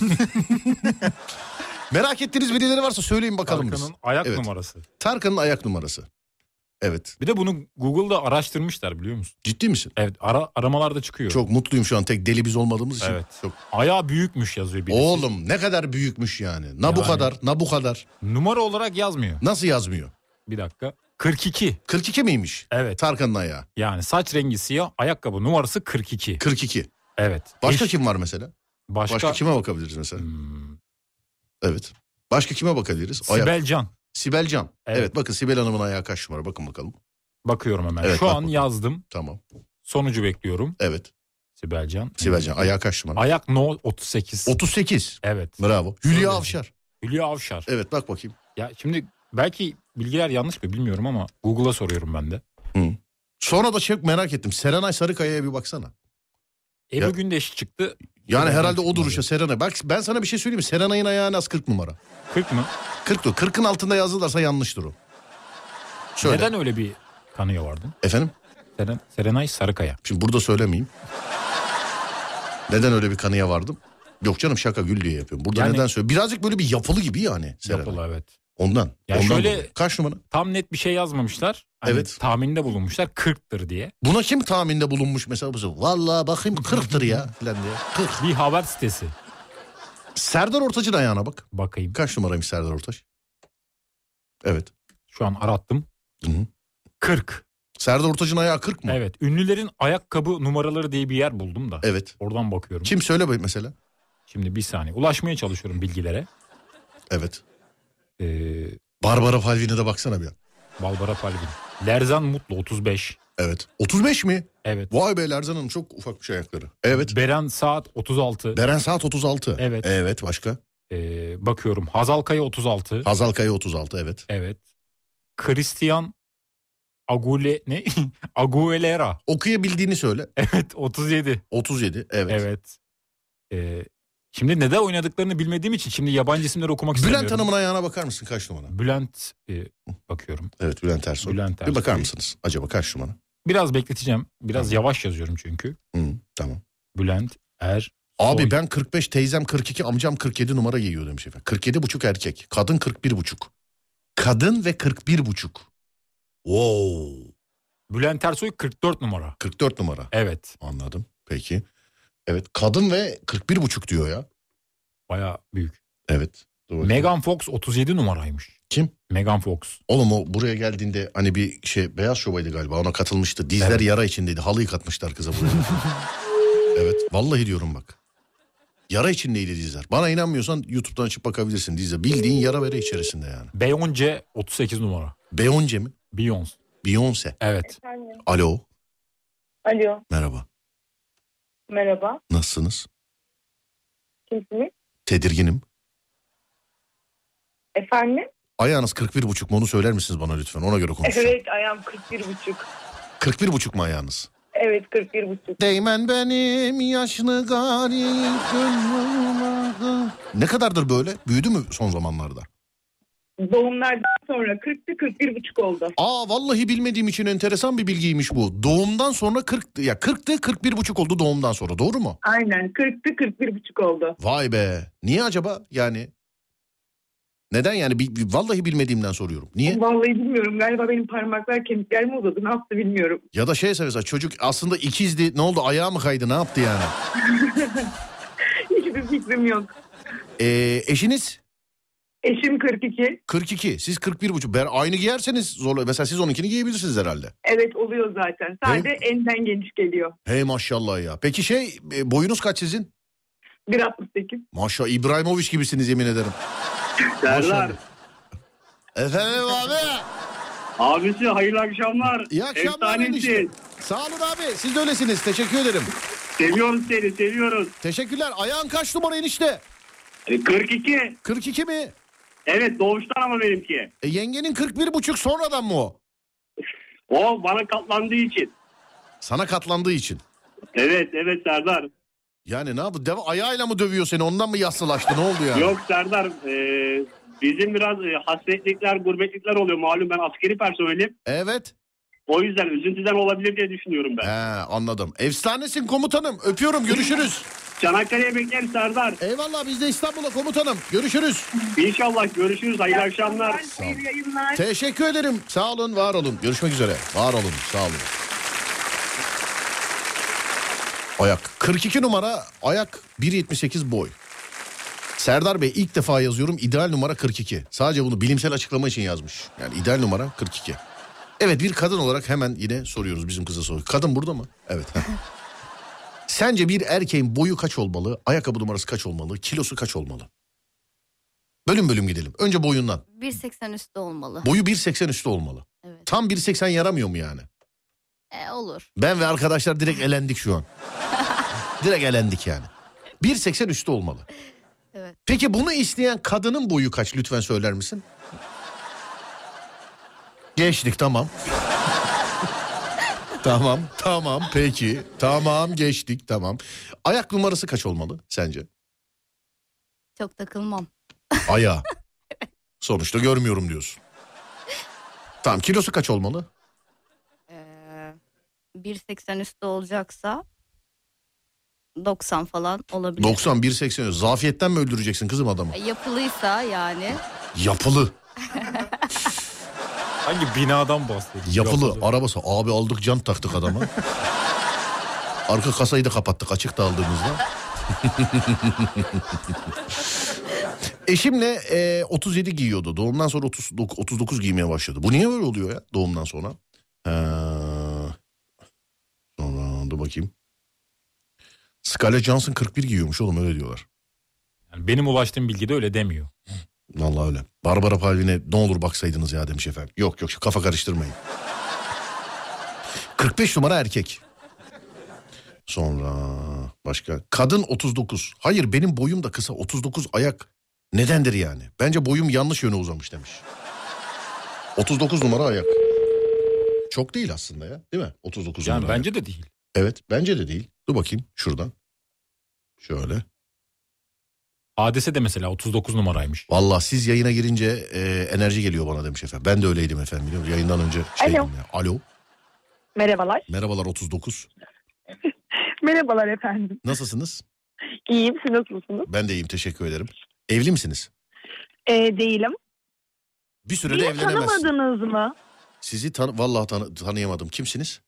S2: <laughs>
S1: merak ettiğiniz birileri varsa söyleyin bakalım biz.
S2: Tarkan'ın ayak
S1: Evet.
S2: numarası.
S1: Tarkan'ın ayak numarası. Evet.
S2: Bir de bunu Google'da araştırmışlar biliyor musun?
S1: Ciddi misin?
S2: Evet ara, aramalarda çıkıyor.
S1: Çok mutluyum şu an tek deli biz olmadığımız için.
S2: Evet.
S1: Çok.
S2: Ayağı büyükmüş yazıyor birisi.
S1: Oğlum ne kadar büyükmüş yani. Na bu
S2: Yani.
S1: kadar, na bu kadar.
S2: Numara olarak yazmıyor.
S1: Nasıl yazmıyor?
S2: Bir dakika. 42.
S1: 42 miymiş?
S2: Evet.
S1: Tarkan'ın ayağı.
S2: Yani saç rengi siyah, ayakkabı numarası 42.
S1: 42.
S2: Evet.
S1: Başka
S2: Eş-
S1: kim var mesela?
S2: Başka,
S1: Başka, kime bakabiliriz mesela?
S2: Hmm,
S1: Evet. Başka kime bakabiliriz? Ayak.
S2: Sibel Can.
S1: Sibel Can. Evet.
S2: Evet.
S1: bakın Sibel Hanım'ın ayağı kaç numara? Bakın bakalım.
S2: Bakıyorum hemen.
S1: Evet,
S2: Şu
S1: bak
S2: an
S1: bakalım.
S2: yazdım.
S1: Tamam.
S2: Sonucu bekliyorum.
S1: Evet.
S2: Sibel Can.
S1: Sibel Can ayağı kaç numara?
S2: Ayak no 38.
S1: 38.
S2: evet.
S1: Bravo. Hülya
S2: Öyle.
S1: Avşar.
S2: Hülya Avşar.
S1: Evet bak bakayım.
S2: Ya şimdi belki bilgiler yanlış mı bilmiyorum ama Google'a soruyorum ben de.
S1: Sonra da çok merak ettim. Serenay Sarıkaya'ya bir baksana.
S2: Ebru
S1: Ya-
S2: Gündeş çıktı.
S1: Yani
S2: Evet,
S1: herhalde o
S2: evet.
S1: duruşa Serenay. Bak ben sana bir şey söyleyeyim mi? Serenay'ın ayağı en az 40 numara.
S2: 40 mı?
S1: 40 dur. 40'ın altında yazılırsa yanlıştır o. Söyle.
S2: Neden öyle bir kanıya vardın?
S1: Efendim?
S2: Seren, Serenay Sarıkaya.
S1: Şimdi burada söylemeyeyim. neden öyle bir kanıya vardım? Yok canım şaka gül diye yapıyorum. Burada
S2: Yani-
S1: neden söyle? Birazcık böyle bir yapılı gibi yani Serenay.
S2: Yapılı evet.
S1: Ondan.
S2: Ya
S1: ondan
S2: şöyle-
S1: dolayı. Kaç numara?
S2: Tam net bir şey yazmamışlar.
S1: Evet.
S2: Tahminde bulunmuşlar 40'tır diye.
S1: Buna kim tahminde bulunmuş mesela? Bu- Vallahi bakayım 40'tır ya falan diye. 40.
S2: Bir haber sitesi.
S1: Serdar Ortaç'ın ayağına bak.
S2: Bakayım.
S1: Kaç numaraymış Serdar Ortaç? Evet.
S2: Şu an arattım.
S1: Hı hı.
S2: 40.
S1: Serdar Ortaç'ın ayağı 40 mı?
S2: Evet. Ünlülerin ayakkabı numaraları diye bir yer buldum da.
S1: Evet.
S2: Oradan bakıyorum.
S1: Kim söyle bak mesela?
S2: Şimdi bir saniye. Ulaşmaya çalışıyorum bilgilere.
S1: Evet.
S2: Ee,
S1: Barbara Palvin'e de baksana bir an.
S2: Balbara Palvin. Lerzan Mutlu 35.
S1: Evet. 35 mi?
S2: Evet.
S1: Vay be Lerzan Hanım çok ufakmış ayakları. Evet.
S2: Beren Saat 36.
S1: Beren Saat 36.
S2: Evet.
S1: Evet başka?
S2: Ee, bakıyorum. Hazal Kaya 36.
S1: Hazal Kaya 36 evet.
S2: Evet. Christian Agule ne? <laughs> Aguilera.
S1: Okuyabildiğini söyle.
S2: Evet 37.
S1: 37 evet.
S2: Evet. Ee, şimdi neden oynadıklarını bilmediğim için şimdi yabancı isimleri okumak istemiyorum.
S1: Bülent Hanım'ın ayağına bakar mısın kaç numara?
S2: Bülent e, bakıyorum.
S1: Evet Bülent Ersoy.
S2: Bülent
S1: Bir bakar
S2: Ersoy.
S1: mısınız acaba kaç numara?
S2: Biraz bekleteceğim. Biraz yavaş yazıyorum çünkü.
S1: Hı, tamam.
S2: Bülent Er.
S1: Abi
S2: Soy.
S1: ben 45 teyzem 42 amcam 47 numara giyiyor demiş efendim. 47 buçuk erkek kadın 41 buçuk. Kadın ve 41 buçuk. Wow.
S2: Bülent Ersoy 44 numara.
S1: 44 numara
S2: Evet.
S1: anladım peki. Evet kadın ve 41 buçuk diyor ya.
S2: Baya büyük.
S1: Evet. Dur bakayım.
S2: Megan Fox 37 numaraymış.
S1: Kim?
S2: Megan Fox.
S1: Oğlum o buraya geldiğinde hani bir şey beyaz şovaydı galiba ona katılmıştı. Dizler
S2: Evet.
S1: yara içindeydi. Halı yıkatmışlar kıza buraya. evet vallahi diyorum bak. Yara içindeydi dizler. Bana inanmıyorsan YouTube'dan açıp bakabilirsin dizler. Bildiğin yara vere içerisinde yani.
S2: Beyoncé 38 numara.
S1: Beyoncé mi?
S2: Beyoncé.
S1: Beyoncé.
S2: Evet.
S4: Efendim.
S1: Alo.
S4: Alo,
S1: Merhaba.
S4: merhaba.
S1: Nasılsınız?
S4: Kimsiniz?
S1: Tedirginim.
S4: Efendim?
S1: Ayağınız 41 buçuk mu onu söyler misiniz bana lütfen? Ona göre konuşacağım.
S4: Evet, ayağım 41 buçuk.
S1: 41 buçuk mu ayağınız?
S4: Evet, 41 buçuk.
S1: Değmen benim yaşlı garip gönlüme. Ne kadardır böyle? Büyüdü mü son zamanlarda?
S4: Doğumlardan sonra 40'tı 41 buçuk oldu.
S1: Aa vallahi bilmediğim için enteresan bir bilgiymiş bu. Doğumdan sonra 40 ya 40'tı 41 buçuk oldu doğumdan sonra doğru mu?
S4: Aynen, 40'tı 41 buçuk oldu.
S1: Vay be. Niye acaba? Yani neden yani Bi- bi- vallahi bilmediğimden soruyorum. Niye?
S4: Vallahi bilmiyorum. Galiba benim parmaklar kemikler mi uzadı? Ne yaptı bilmiyorum. <laughs>
S1: Ya da şey mesela çocuk aslında ikizdi. Ne oldu? Ayağı mı kaydı? Ne yaptı yani?
S4: Hiçbir fikrim yok.
S1: Ee, eşiniz
S4: Eşim 42.
S1: 42. Siz 41 buçuk. Ber aynı giyerseniz zorla. Mesela siz onunkini giyebilirsiniz herhalde.
S4: Evet oluyor zaten. Sadece enden geniş geliyor.
S1: Hey maşallah ya. Peki şey e, boyunuz kaç sizin?
S4: 1.68.
S1: Maşallah İbrahimovic gibisiniz yemin ederim.
S5: Serdar,
S1: Maşallah. Efendim abi.
S5: abisi hayırlı akşamlar.
S1: İyi akşamlar. enişte.
S5: Efsanesin.
S1: Sağ olun abi. Siz de öylesiniz. Teşekkür ederim.
S5: Seviyoruz seni, seviyoruz.
S1: Teşekkürler. Ayağın kaç numara enişte?
S5: E, 42.
S1: 42 mi?
S5: Evet doğuştan ama benimki.
S1: E, yengenin 41 buçuk sonradan mı o?
S5: O bana katlandığı için.
S1: Sana katlandığı için.
S5: Evet, evet Serdar.
S1: Yani ne yaptı? Deva ayağıyla mı dövüyor seni? Ondan mı yassılaştı? Ne oldu yani?
S5: Yok Serdar, e, bizim biraz e, hasretlikler, gurbetlikler oluyor. Malum ben askeri personelim.
S1: Evet.
S5: O yüzden üzüntüden olabilir diye düşünüyorum ben.
S1: He anladım. Efsanesin komutanım. Öpüyorum. Görüşürüz.
S5: Çanakkale'ye beklerim Serdar.
S1: Eyvallah biz de İstanbul'a komutanım. Görüşürüz.
S5: İnşallah görüşürüz. Hayırlı akşamlar.
S4: Hayırlı yayınlar.
S1: Teşekkür ederim. Sağ olun, var olun. Görüşmek üzere. Var olun, sağ olun. Ayak. 42 numara ayak 1.78 boy. Serdar Bey ilk defa yazıyorum ideal numara 42. Sadece bunu bilimsel açıklama için yazmış. Yani ideal numara 42. Evet bir kadın olarak hemen yine soruyoruz bizim kıza soruyor. Kadın burada mı? Evet. <laughs> Sence bir erkeğin boyu kaç olmalı? Ayakkabı numarası kaç olmalı? Kilosu kaç olmalı? Bölüm bölüm gidelim. Önce boyundan.
S3: 1.80 üstü olmalı.
S1: Boyu 1.80 üstü olmalı.
S3: Evet.
S1: Tam 1.80 yaramıyor mu yani?
S3: E, olur.
S1: Ben ve arkadaşlar direkt elendik şu
S3: <laughs>
S1: an. direkt elendik yani. 1.80 üstü olmalı.
S3: Evet.
S1: Peki bunu isteyen kadının boyu kaç lütfen söyler misin? Geçtik
S3: <laughs>
S1: tamam. tamam tamam peki. Tamam geçtik tamam. Ayak numarası kaç olmalı sence?
S3: Çok takılmam. <laughs>
S1: Ayağı. Sonuçta görmüyorum diyorsun. Tamam kilosu kaç olmalı?
S3: Ee, 1.80 üstü olacaksa 90 falan olabilir.
S1: 90 1.80 zafiyetten mi öldüreceksin kızım adamı?
S3: E, Yapılıysa yani.
S1: Yapılı.
S2: Hangi binadan bahsediyorsun?
S1: Yapılı arabası. Abi aldık can taktık adama. Arka kasayı da kapattık açıkta aldığımızda. <laughs> Eşimle e, 37 giyiyordu. Doğumdan sonra 39, 39 giymeye başladı. Bu niye böyle oluyor ya doğumdan sonra? Ee, sonra dur bakayım. Scarlett Johansson 41 giyiyormuş oğlum öyle diyorlar.
S2: Yani benim ulaştığım bilgide öyle demiyor.
S1: Vallahi öyle. Barbara Palvin'e ne olur baksaydınız ya demiş efendim. Yok yok şu kafa karıştırmayın. 45 numara erkek. Sonra başka. Kadın 39. Hayır benim boyum da kısa 39 ayak. Nedendir yani? Bence boyum yanlış yöne uzamış demiş. 39 numara ayak. Çok değil aslında ya değil mi? 39
S2: Yani
S1: numara.
S2: bence de değil.
S1: Evet bence de değil. Dur bakayım şuradan. Şöyle.
S2: Hadise de mesela 39 numaraymış.
S1: Vallahi siz yayına girince e, enerji geliyor bana demiş efendim. Ben de öyleydim efendim biliyor musun? Yayından önce şeydim
S4: Alo.
S1: ya. Alo.
S4: Merhabalar.
S1: Merhabalar 39.
S4: Merhabalar efendim.
S1: Nasılsınız?
S4: İyiyim. Siz nasılsınız?
S1: Ben de iyiyim teşekkür ederim. Evli misiniz?
S4: Ee, değilim.
S1: Bir süre de
S4: Niye
S1: evlenemezsin.
S4: tanımadınız mı?
S1: Sizi tan vallahi tanı- tanıyamadım. Kimsiniz?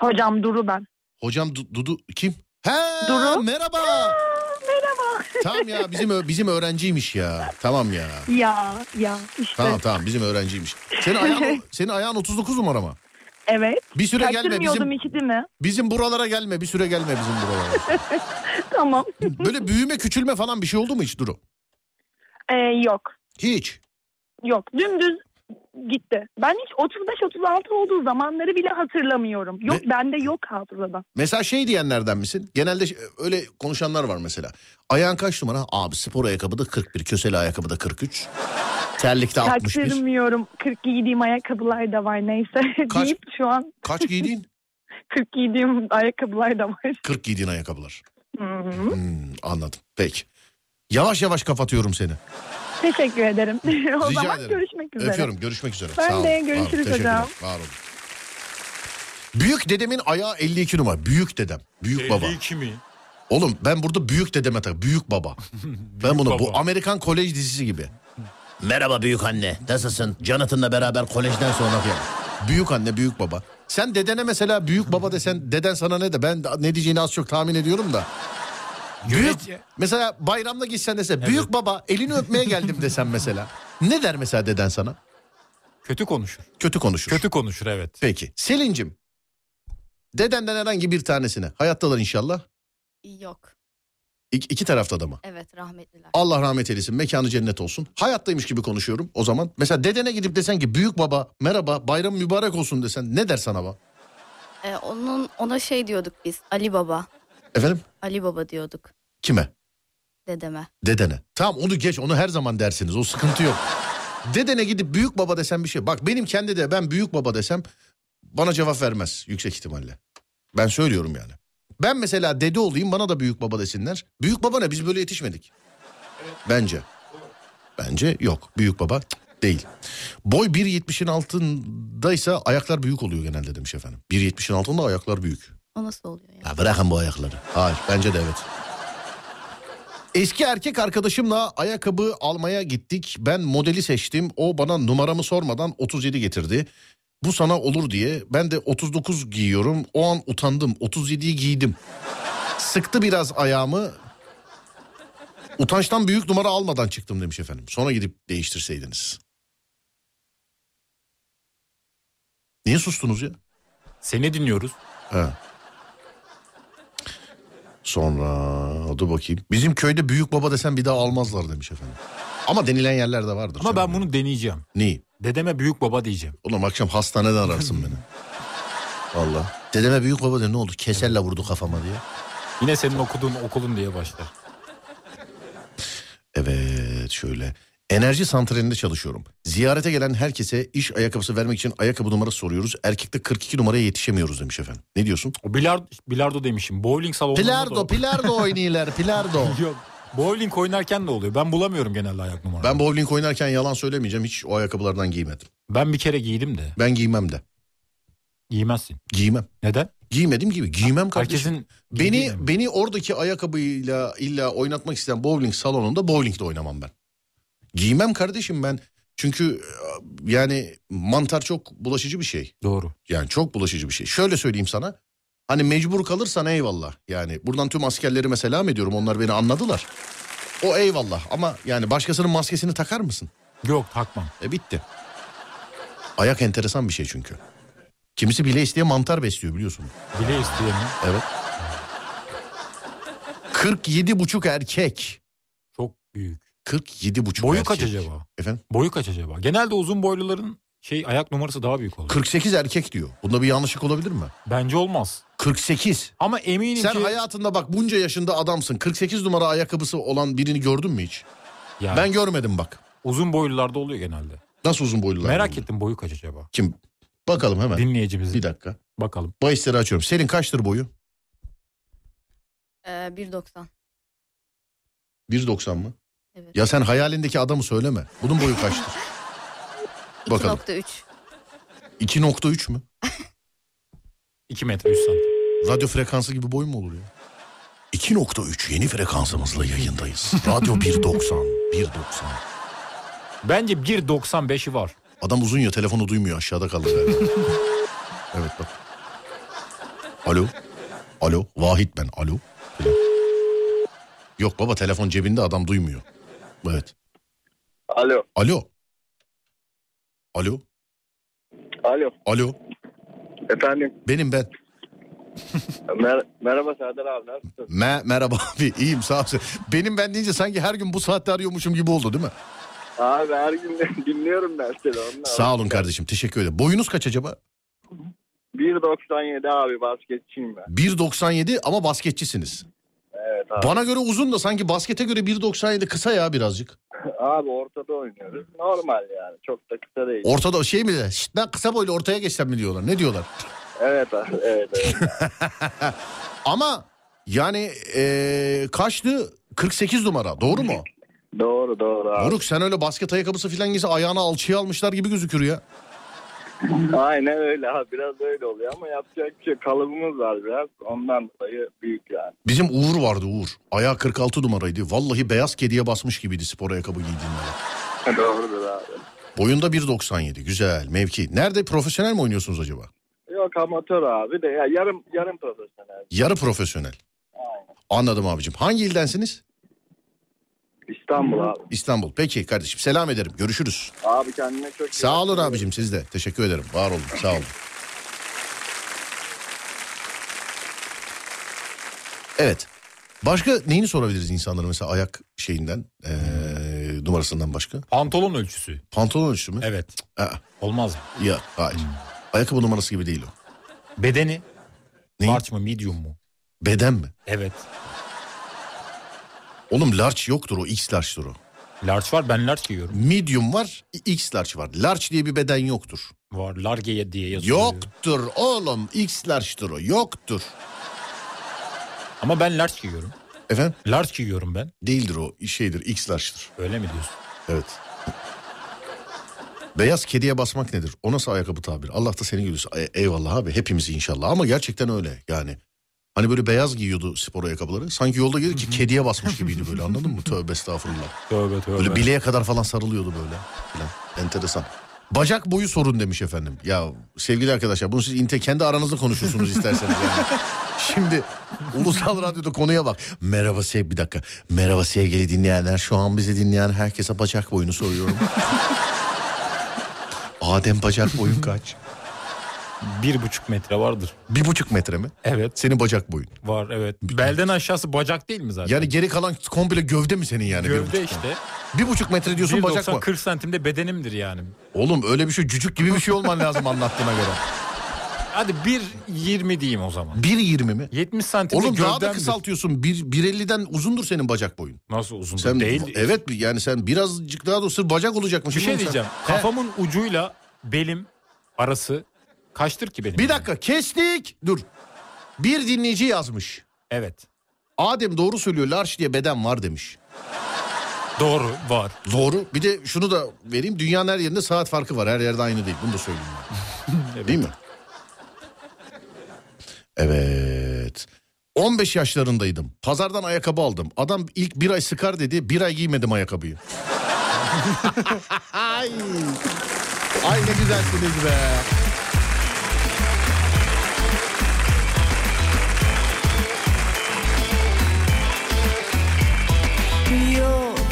S4: Hocam Duru ben.
S1: Hocam Du- Dudu kim? He,
S4: Duru.
S1: merhaba.
S4: Merhaba.
S1: tamam ya bizim ö- bizim öğrenciymiş ya. Tamam ya.
S4: Ya ya işte.
S1: Tamam tamam bizim öğrenciymiş. Senin ayağın senin ayağın 39 numara mı?
S4: Evet.
S1: Bir süre gelme
S4: Kaçırmıyordum
S1: bizim
S4: hiç değil mi?
S1: bizim buralara gelme. Bir süre gelme bizim buralara.
S4: Tamam.
S1: Böyle büyüme, küçülme falan bir şey oldu mu hiç Duru?
S4: Ee, yok.
S1: Hiç.
S4: Yok. Dümdüz gitti. Ben hiç 35-36 olduğu zamanları bile hatırlamıyorum. Yok bende yok hafızada.
S1: Mesela şey diyenlerden misin? Genelde ş- öyle konuşanlar var mesela. Ayağın kaç numara? Abi spor ayakkabıda 41, köseli ayakkabıda 43. Terlikte 61.
S4: Kaçırmıyorum. 40 giydiğim ayakkabılar da var neyse
S1: Kaç-
S4: deyip şu an
S1: Kaç
S4: <laughs>
S1: giydiğin?
S4: 40 giydiğim ayakkabılar da var.
S1: 40 giydiğin ayakkabılar.
S4: Hı hı.
S1: Hmm, anladım. Peki. Yavaş yavaş kapatıyorum seni.
S4: Teşekkür ederim. <laughs> o
S1: Rica
S4: zaman
S1: ederim.
S4: görüşmek üzere.
S1: Öpüyorum. Görüşmek üzere.
S4: Ben
S1: olun,
S4: de,
S1: var olun,
S4: görüşürüz
S1: teşekkürler,
S4: hocam.
S1: Var olun. Büyük dedemin ayağı 52 numara. Büyük dedem. Büyük baba.
S2: 52 mi?
S1: Oğlum ben burada büyük dedeme tak. Büyük
S2: <laughs>
S1: baba. ben bunu bu
S2: baba.
S1: Amerikan kolej dizisi gibi. Merhaba büyük anne. Nasılsın? Jonathan'la beraber kolejden sonra falan. Büyük anne, büyük baba. Sen dedene mesela büyük baba desen deden sana ne de ben ne diyeceğini az çok tahmin ediyorum da. Büyük,
S2: Yönetici-
S1: mesela bayramda gitsen dese büyük baba elini öpmeye geldim desen mesela. Ne der mesela deden sana?
S2: Kötü konuşur.
S1: Kötü konuşur.
S2: Kötü konuşur evet.
S1: Peki. Selin'cim. Dedenden herhangi bir tanesine. Hayattalar inşallah.
S3: Yok.
S1: İki, iki tarafta da mı?
S3: Evet rahmetliler.
S1: Allah rahmet eylesin. Mekanı cennet olsun. Hayattaymış gibi konuşuyorum o zaman. Mesela dedene gidip desen ki büyük baba merhaba bayram mübarek olsun desen ne der sana bak?
S3: Ee, onun ona şey diyorduk biz. Ali Baba.
S1: Efendim?
S3: Ali Baba diyorduk
S1: Kime?
S3: dedeme.
S1: Dedene. Tamam onu geç onu her zaman dersiniz o sıkıntı yok. Dedene gidip büyük baba desen bir şey. Bak benim kendi de ben büyük baba desem bana cevap vermez yüksek ihtimalle. Ben söylüyorum yani. Ben mesela dede olayım bana da büyük baba desinler. Büyük baba ne biz böyle yetişmedik. Bence. Bence yok. Büyük baba cık, değil. Boy 1.70'in altındaysa ayaklar büyük oluyor genelde demiş efendim. 1.70'in altında ayaklar büyük.
S3: O nasıl oluyor ya?
S1: Ya bırakın bu ayakları. Hayır bence de evet. Eski erkek arkadaşımla ayakkabı almaya gittik. Ben modeli seçtim. O bana numaramı sormadan 37 getirdi. Bu sana olur diye. Ben de 39 giyiyorum. O an utandım. 37'yi giydim. Sıktı biraz ayağımı. Utançtan büyük numara almadan çıktım demiş efendim. Sonra gidip değiştirseydiniz. Niye sustunuz ya?
S2: Seni dinliyoruz.
S1: Ha. Sonra dur bakayım. Bizim köyde büyük baba desen bir daha almazlar demiş efendim. Ama denilen yerler de vardır.
S2: Ama ben
S1: canım.
S2: bunu deneyeceğim.
S1: Neyi?
S2: Dedeme büyük baba diyeceğim.
S1: Oğlum akşam hastaneden ararsın beni. Valla. Dedeme büyük baba dedi ne oldu? Keserle vurdu kafama diye.
S2: Yine senin okuduğun okulun diye başlar.
S1: Evet şöyle. Enerji santralinde çalışıyorum. Ziyarete gelen herkese iş ayakkabısı vermek için ayakkabı numarası soruyoruz. Erkekte 42 numaraya yetişemiyoruz demiş efendim. Ne diyorsun?
S2: O bilardo, bilardo demişim. Bowling salonunda da...
S1: Pilardo, pilardo oynuyorlar, pilardo.
S2: Yok. Bowling oynarken de oluyor. Ben bulamıyorum genelde ayak numaramı.
S1: Ben
S2: Ben,
S1: bowling oynarken yalan söylemeyeceğim. Hiç o ayakkabılardan giymedim.
S2: bir kere giydim de.
S1: Ben giymem de.
S2: Giymezsin.
S1: Giymem.
S2: Neden?
S1: Giymedim gibi. Giymem kardeşim.
S2: Herkesin
S1: Beni
S2: giydiği mi?
S1: beni oradaki ayakkabıyla illa oynatmak isteyen bowling salonunda bowling de oynamam ben. Giymem kardeşim ben. Çünkü e, yani mantar çok bulaşıcı bir şey.
S2: Doğru.
S1: Yani çok bulaşıcı bir şey. Şöyle söyleyeyim sana. Hani mecbur kalırsan eyvallah. Yani buradan tüm askerlerime selam ediyorum. Onlar beni anladılar. O eyvallah ama yani başkasının maskesini takar mısın?
S2: Yok takmam.
S1: E bitti. Ayak enteresan bir şey çünkü. Kimisi bile isteye mantar besliyor biliyorsun.
S2: Bile isteyemem.
S1: Evet. 47 buçuk erkek.
S2: Çok büyük.
S1: 47 buçuk
S2: Boyu
S1: erkek.
S2: kaç acaba?
S1: Efendim?
S2: Boyu kaç acaba? Genelde uzun boyluların şey ayak numarası daha büyük oluyor.
S1: 48 erkek diyor. Bunda bir yanlışlık olabilir mi?
S2: Bence olmaz.
S1: 48.
S2: Ama eminim
S1: Sen
S2: ki...
S1: hayatında bak bunca yaşında adamsın. 48 numara ayakkabısı olan birini gördün mü hiç?
S2: Yani
S1: Ben görmedim bak.
S2: uzun boylularda oluyor genelde.
S1: Nasıl uzun boylular?
S2: Merak
S1: bunlar?
S2: ettim boyu kaç acaba?
S1: Kim? Bakalım hemen.
S2: Dinleyicimiz.
S1: Bir dakika.
S2: Bakalım.
S1: Bahisleri açıyorum. Senin kaçtır boyu?
S3: Ee, 1.90.
S1: 1.90 mı?
S3: Evet.
S1: Ya sen hayalindeki adamı söyleme. Bunun boyu kaçtır? bakalım.
S3: 2.3.
S1: 2.3 mü?
S2: 2 metre 3 santim.
S1: Radyo frekansı gibi boy mu olur ya? 2.3 yeni frekansımızla yayındayız. Radyo 1.90. 1.90.
S2: Bence 1.95'i var.
S1: Adam uzun ya telefonu duymuyor aşağıda kaldı galiba. evet bak. Alo. Alo. Vahit ben. Alo. Falan. Yok baba telefon cebinde adam duymuyor. Evet.
S6: Alo,
S1: Alo. Alo.
S6: alo.
S1: Alo.
S6: Efendim,
S1: Benim ben.
S6: mer- merhaba Serdar abi, nasılsın?
S1: Me- merhaba <laughs> abi iyiyim sağ ol. Benim ben deyince sanki her gün bu saatte arıyormuşum gibi oldu değil mi?
S6: Abi her gün <laughs> dinliyorum ben seni onunla.
S1: Sağ olun kardeşim teşekkür ederim. Boyunuz kaç acaba?
S6: 1.97 abi basketçiyim ben.
S1: 1.97 ama basketçisiniz.
S6: Evet abi.
S1: Bana göre uzun da sanki baskete göre 1.97 kısa ya birazcık.
S6: Abi ortada oynuyoruz. Normal yani, çok da kısa değil.
S1: Ortada şey mi? de, "Şşt lan kısa boylu ortaya geçsem mi diyorlar? Ne diyorlar?
S6: evet abi, evet,
S1: <laughs>
S6: evet.
S1: Ama yani eee, kaçtı? 48 numara doğru mu?
S6: doğru, doğru abi.
S1: Moruk sen öyle basket ayakkabısı filan giyse ayağına alçıya almışlar gibi gözükür ya.
S6: Aynen öyle abi, biraz öyle oluyor ama yapacak bir şey. Kalıbımız var biraz, ondan dolayı büyük yani. <laughs>
S1: Bizim Uğur vardı Uğur. Ayağı 46 numaraydı. Vallahi beyaz kediye basmış gibiydi spor ayakkabı giydiğinde.
S6: Doğrudur abi.
S1: Boyunda 1.97 güzel mevki. Nerede profesyonel mi oynuyorsunuz acaba?
S6: Yok amatör abi de ya yarım yarım profesyonel.
S1: Yarı profesyonel. Anladım abicim. Hangi ildensiniz?
S6: İstanbul abi.
S1: İstanbul. Peki kardeşim selam ederim. Görüşürüz.
S6: Abi kendine çok iyi
S1: Sağ
S6: bak.
S1: olun abicim siz de. Teşekkür ederim. Var olun. Sağ olun. Evet. Başka neyini sorabiliriz insanlara mesela ayak şeyinden eee, numarasından başka?
S2: Pantolon ölçüsü.
S1: Pantolon ölçüsü mü?
S2: Evet.
S1: Aa,
S2: Olmaz mı?
S1: ya hayır. Ayakkabı numarası gibi değil o.
S2: Bedeni.
S1: Neyi?
S2: Large mı medium mu?
S1: Beden mi?
S2: Evet.
S1: Oğlum large yoktur o X large'dır o.
S2: Large var ben large giyiyorum.
S1: Medium var X large var. Large diye bir beden yoktur.
S2: Var large diye yazıyor.
S1: Yoktur oğlum X large'dır o yoktur.
S2: Ama ben large giyiyorum.
S1: Efendim?
S2: Large giyiyorum ben.
S1: Değildir o şeydir X large'dır.
S2: Öyle mi diyorsun?
S1: Evet. Beyaz kediye basmak nedir? O nasıl ayakkabı tabiri? Allah da seni gülürsün. E- eyvallah abi hepimiz inşallah ama gerçekten öyle yani. Hani böyle beyaz giyiyordu spor ayakkabıları. Sanki yolda gelir ki kediye basmış gibiydi böyle anladın mı? Tövbe estağfurullah.
S2: Tövbe tövbe.
S1: Böyle bileğe kadar falan sarılıyordu böyle. Falan. Enteresan. Bacak boyu sorun demiş efendim. Ya sevgili arkadaşlar bunu siz inte kendi aranızda konuşursunuz isterseniz. yani. Şimdi Ulusal Radyo'da konuya bak. Merhaba sev bir dakika. Merhaba sevgili dinleyenler. Şu an bizi dinleyen herkese bacak boyunu soruyorum. Adem bacak boyun kaç?
S2: Bir buçuk metre vardır.
S1: Bir buçuk metre mi?
S2: Evet.
S1: Senin bacak boyun.
S2: Var evet. Belden aşağısı bacak değil mi zaten?
S1: Yani geri kalan komple gövde mi senin yani? bir
S2: Gövde
S1: buçuk-
S2: işte.
S1: Bir buçuk metre diyorsun bacak mı?
S2: 1.90-40 santimde bedenimdir yani.
S1: Oğlum öyle bir şey cücük gibi bir şey olman lazım anlattığına göre.
S2: Hadi 1.20 diyeyim o zaman.
S1: 1.20 mi?
S2: 70 santimde
S1: Oğlum daha da
S2: gövdemdir.
S1: kısaltıyorsun. Bir- 1.50'den uzundur senin bacak boyun.
S2: Nasıl uzun
S1: Sen
S2: değil.
S1: Evet yani sen birazcık daha da sır bacak olacakmış.
S2: Bir şey
S1: Oğlum sen-
S2: diyeceğim.
S1: He.
S2: Kafamın ucuyla belim arası kaçtır ki benim?
S1: Bir dakika kestik. Dur. Bir dinleyici yazmış.
S2: Evet.
S1: Adem doğru söylüyor. Large diye beden var demiş.
S2: Doğru var.
S1: Doğru. Bir de şunu da vereyim. Dünyanın her yerinde saat farkı var. Her yerde aynı değil. Bunu da söyleyeyim. ben.
S2: Evet.
S1: Değil mi? Evet. 15 yaşlarındaydım. Pazardan ayakkabı aldım. Adam ilk bir ay sıkar dedi. Bir ay giymedim ayakkabıyı. ay. ay ne güzelsiniz be.
S7: Yok,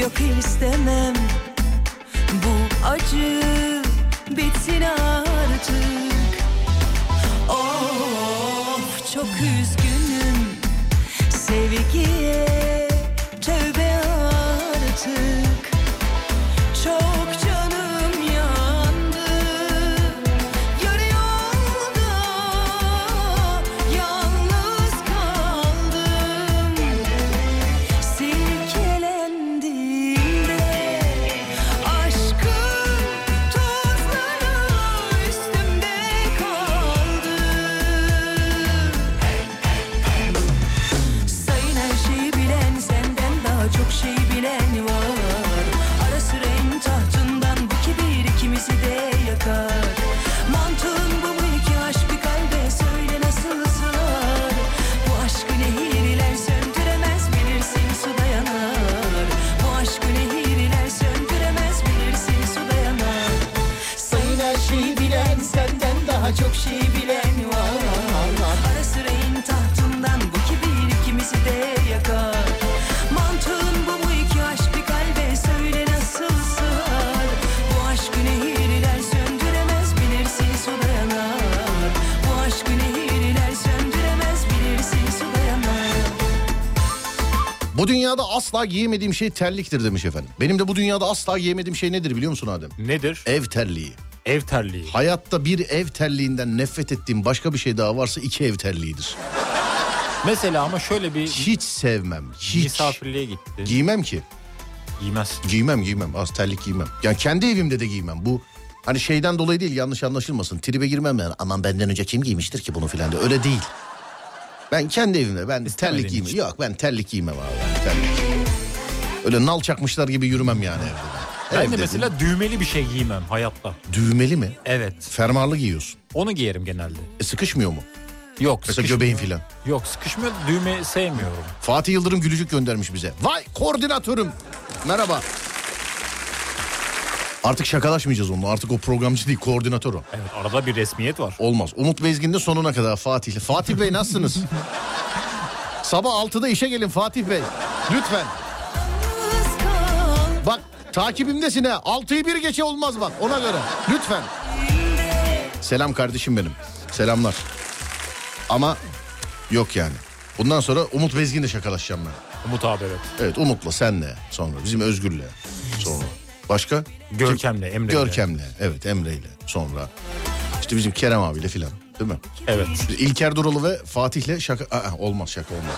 S7: yok istemem Bu acı bitsin artık Of çok üzgünüm Sevgiye tövbe artık Çok canım yandı Yarı yolda yalnız kaldım Silkelendiğimde aşkın tozları şey şey
S1: Bu dünyada asla giyemediğim şey terliktir demiş efendim. Benim de bu dünyada asla giyemediğim şey nedir biliyor musun Adem?
S2: Nedir?
S1: Ev terliği.
S2: Ev terliği.
S1: Hayatta bir ev terliğinden nefret ettiğim başka bir şey daha varsa iki ev terliğidir.
S2: Mesela ama şöyle bir
S1: Hiç sevmem. Hiç.
S2: misafirliğe gitti.
S1: Giymem ki.
S2: Giymezsin.
S1: Giymem giymem. Az terlik giymem. Yani kendi evimde de giymem. Bu hani şeyden dolayı değil yanlış anlaşılmasın. Tribe girmem yani. Aman benden önce kim giymiştir ki bunu filan de. Öyle değil. Ben kendi evimde ben
S2: İstemediğin
S1: terlik giymem.
S2: için.
S1: Yok ben terlik giymem abi. Terlik. Öyle nal çakmışlar gibi yürümem yani evde.
S2: Ben
S1: Evde
S2: de mesela düğmeli bir şey giymem hayatta.
S1: Düğmeli mi?
S2: Evet.
S1: Fermuarlı giyiyorsun.
S2: Onu giyerim genelde.
S1: E, sıkışmıyor mu?
S2: Yok
S1: Mesela
S2: sıkışmıyor.
S1: göbeğin filan.
S2: Yok sıkışmıyor düğme sevmiyorum.
S1: Fatih Yıldırım gülücük göndermiş bize. Vay koordinatörüm. Merhaba. Artık şakalaşmayacağız onunla. Artık o programcı değil koordinatör o.
S2: Evet arada bir resmiyet var.
S1: Olmaz. Umut Bezgin'de sonuna kadar Fatih'le. Fatih Bey nasılsınız? Sabah 6'da işe gelin Fatih Bey. Lütfen.
S7: yalnız kal
S1: Bak takibimdesin ha. 6'yı bir geçe olmaz bak ona göre. Lütfen. Selam kardeşim benim. Selamlar. Ama yok yani. Bundan sonra Umut Bezgin'le şakalaşacağım ben.
S2: Umut abi evet.
S1: Evet Umut'la senle sonra bizim Özgür'le sonra. Başka?
S2: Görkem'le Emre'yle.
S1: Görkem'le evet Emre'yle sonra. İşte bizim Kerem abiyle filan değil mi?
S2: Evet.
S1: Biz İlker Duralı ve Fatih'le şaka... Aa, olmaz şaka olmaz.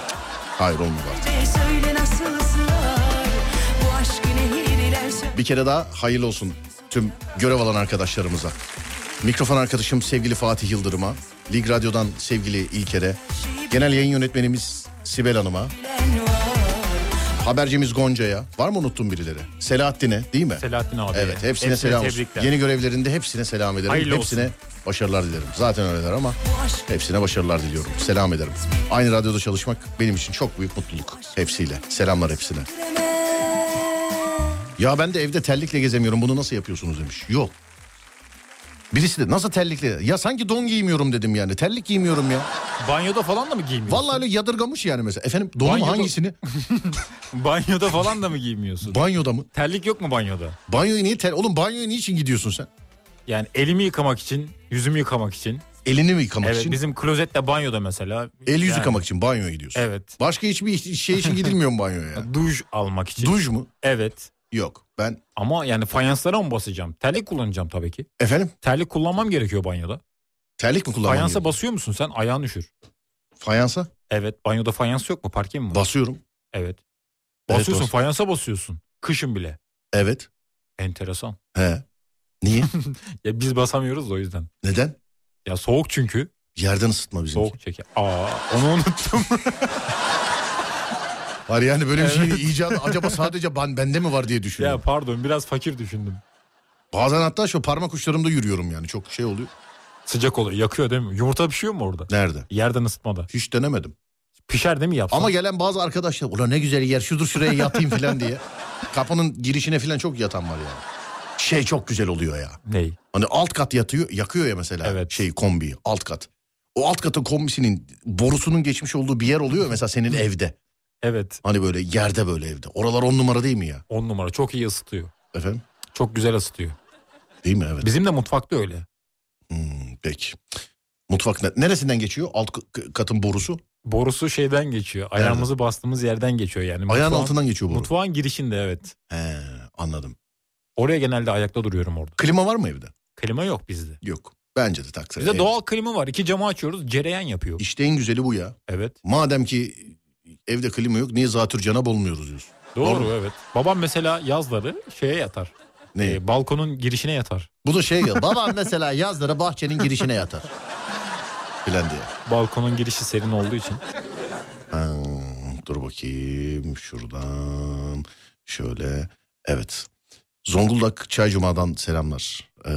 S1: Hayır olmaz artık.
S7: ve söyle nasıl ısrar Bu aşkı nehirler sö-
S1: Bir kere daha hayırlı olsun tüm görev alan arkadaşlarımıza. Mikrofon arkadaşım sevgili Fatih Yıldırım'a, Lig Radyo'dan sevgili İlker'e, genel yayın yönetmenimiz Sibel Hanım'a, habercimiz Gonca'ya, var mı unuttum birileri? Selahattin'e değil mi?
S2: Selahattin abi.
S1: Evet hepsine, selam olsun.
S2: tebrikler.
S1: Yeni görevlerinde hepsine selam ederim.
S2: Hayırlı
S1: hepsine başarılar dilerim. Zaten öyleler ama hepsine başarılar diliyorum. Selam ederim. Aynı radyoda çalışmak benim için çok büyük mutluluk. Hepsiyle. Selamlar hepsine. Ya ben de evde terlikle gezemiyorum. Bunu nasıl yapıyorsunuz demiş. Yok. Birisi de nasıl terlikle? Ya sanki don giymiyorum dedim yani. Terlik giymiyorum ya.
S2: Banyoda falan da mı giymiyorsun?
S1: Vallahi öyle yadırgamış yani mesela. Efendim donum
S2: Banyoda-
S1: hangisini?
S2: Banyoda falan da mı giymiyorsun?
S1: Banyoda mı?
S2: Terlik yok mu banyoda?
S1: Banyoya niye ter... Oğlum banyoya niçin gidiyorsun sen?
S2: Yani elimi yıkamak için, yüzümü yıkamak için.
S1: Elini mi yıkamak
S2: Evet
S1: için?
S2: bizim klozette banyoda mesela.
S1: El yüz
S2: Yani
S1: yıkamak için banyoya gidiyorsun.
S2: Evet.
S1: Başka hiçbir iş- şey için gidilmiyor mu banyoya? ya?
S2: <laughs> Duş almak için.
S1: Duş mu?
S2: Evet.
S1: Yok. Ben
S2: Ama yani fayanslara mı basacağım? Terlik kullanacağım tabii ki.
S1: efendim
S2: Terlik kullanmam gerekiyor banyoda.
S1: terlik mi kullanmam?
S2: Fayansa
S1: gerekiyor?
S2: basıyor musun sen? Ayağın üşür.
S1: Fayansa
S2: Evet. Banyoda fayans yok mu? Parke mi var?
S1: basıyorum.
S2: evet.
S1: Evet,
S2: Basıyorsun.
S1: bas-
S2: fayansa basıyorsun. Kışın bile.
S1: Evet.
S2: Enteresan.
S1: He.
S2: <laughs>
S1: Niye?
S2: Ya biz basamıyoruz da o yüzden.
S1: Neden?
S2: Ya soğuk çünkü.
S1: Yerden ısıtma bizim.
S2: Soğuk çeker. Aa onu unuttum.
S1: Var yani böyle bir şeyin
S2: Evet.
S1: icadı
S2: <laughs>
S1: acaba sadece ben, bende mi var diye
S2: ya
S1: düşünüyorum.
S2: pardon biraz fakir düşündüm.
S1: Bazen hatta şu parmak uçlarımda yürüyorum yani çok şey oluyor.
S2: Sıcak olur yakıyor değil mi? Yumurta pişiyor mu orada?
S1: Nerede?
S2: Yerden ısıtmada.
S1: Hiç denemedim.
S2: Pişer değil mi yapsan?
S1: Ama gelen bazı arkadaşlar ulan ne güzel yer şudur şuraya yatayım falan
S2: <laughs>
S1: diye. Kapının girişine falan çok yatan var yani. Şey çok güzel oluyor ya.
S2: Ney?
S1: Hani alt kat yatıyor, yakıyor ya mesela
S2: Evet.
S1: şey kombi alt kat. O alt katın kombisinin borusunun geçmiş olduğu bir yer oluyor ya mesela senin evde.
S2: Evet.
S1: Hani böyle yerde böyle evde. Oralar on numara değil mi ya?
S2: On numara. Çok iyi ısıtıyor.
S1: Efendim?
S2: Çok güzel ısıtıyor.
S1: Değil mi? Evet.
S2: Bizim de mutfakta öyle.
S1: Hmm, peki. Mutfak ne- neresinden geçiyor? Alt k- katın borusu.
S2: Borusu şeyden geçiyor. Ayağımızı bastığımız yerden geçiyor yani.
S1: Ayağın
S2: Mutfağın-
S1: altından geçiyor boru.
S2: Mutfağın girişinde evet.
S1: He, anladım.
S2: Oraya genelde ayakta duruyorum orada.
S1: Klima var mı evde?
S2: Klima yok bizde.
S1: Yok. Bence de taksir.
S2: Bizde
S1: Ev-
S2: doğal klima var. İki camı açıyoruz. Cereyan yapıyor.
S1: İşte en güzeli bu ya.
S2: Evet.
S1: Madem ki evde klima yok niye zatürcana bolmuyoruz diyorsun.
S2: Doğru,
S1: Doğru.
S2: evet. Babam mesela yazları şeye yatar.
S1: Ne?
S2: Ee, balkonun girişine yatar.
S1: Bu da şey ya. Babam mesela yazları bahçenin girişine yatar. Filan diye.
S2: Balkonun girişi serin olduğu için.
S1: Ha, dur bakayım şuradan şöyle evet Zonguldak Çaycuma'dan selamlar. Ee,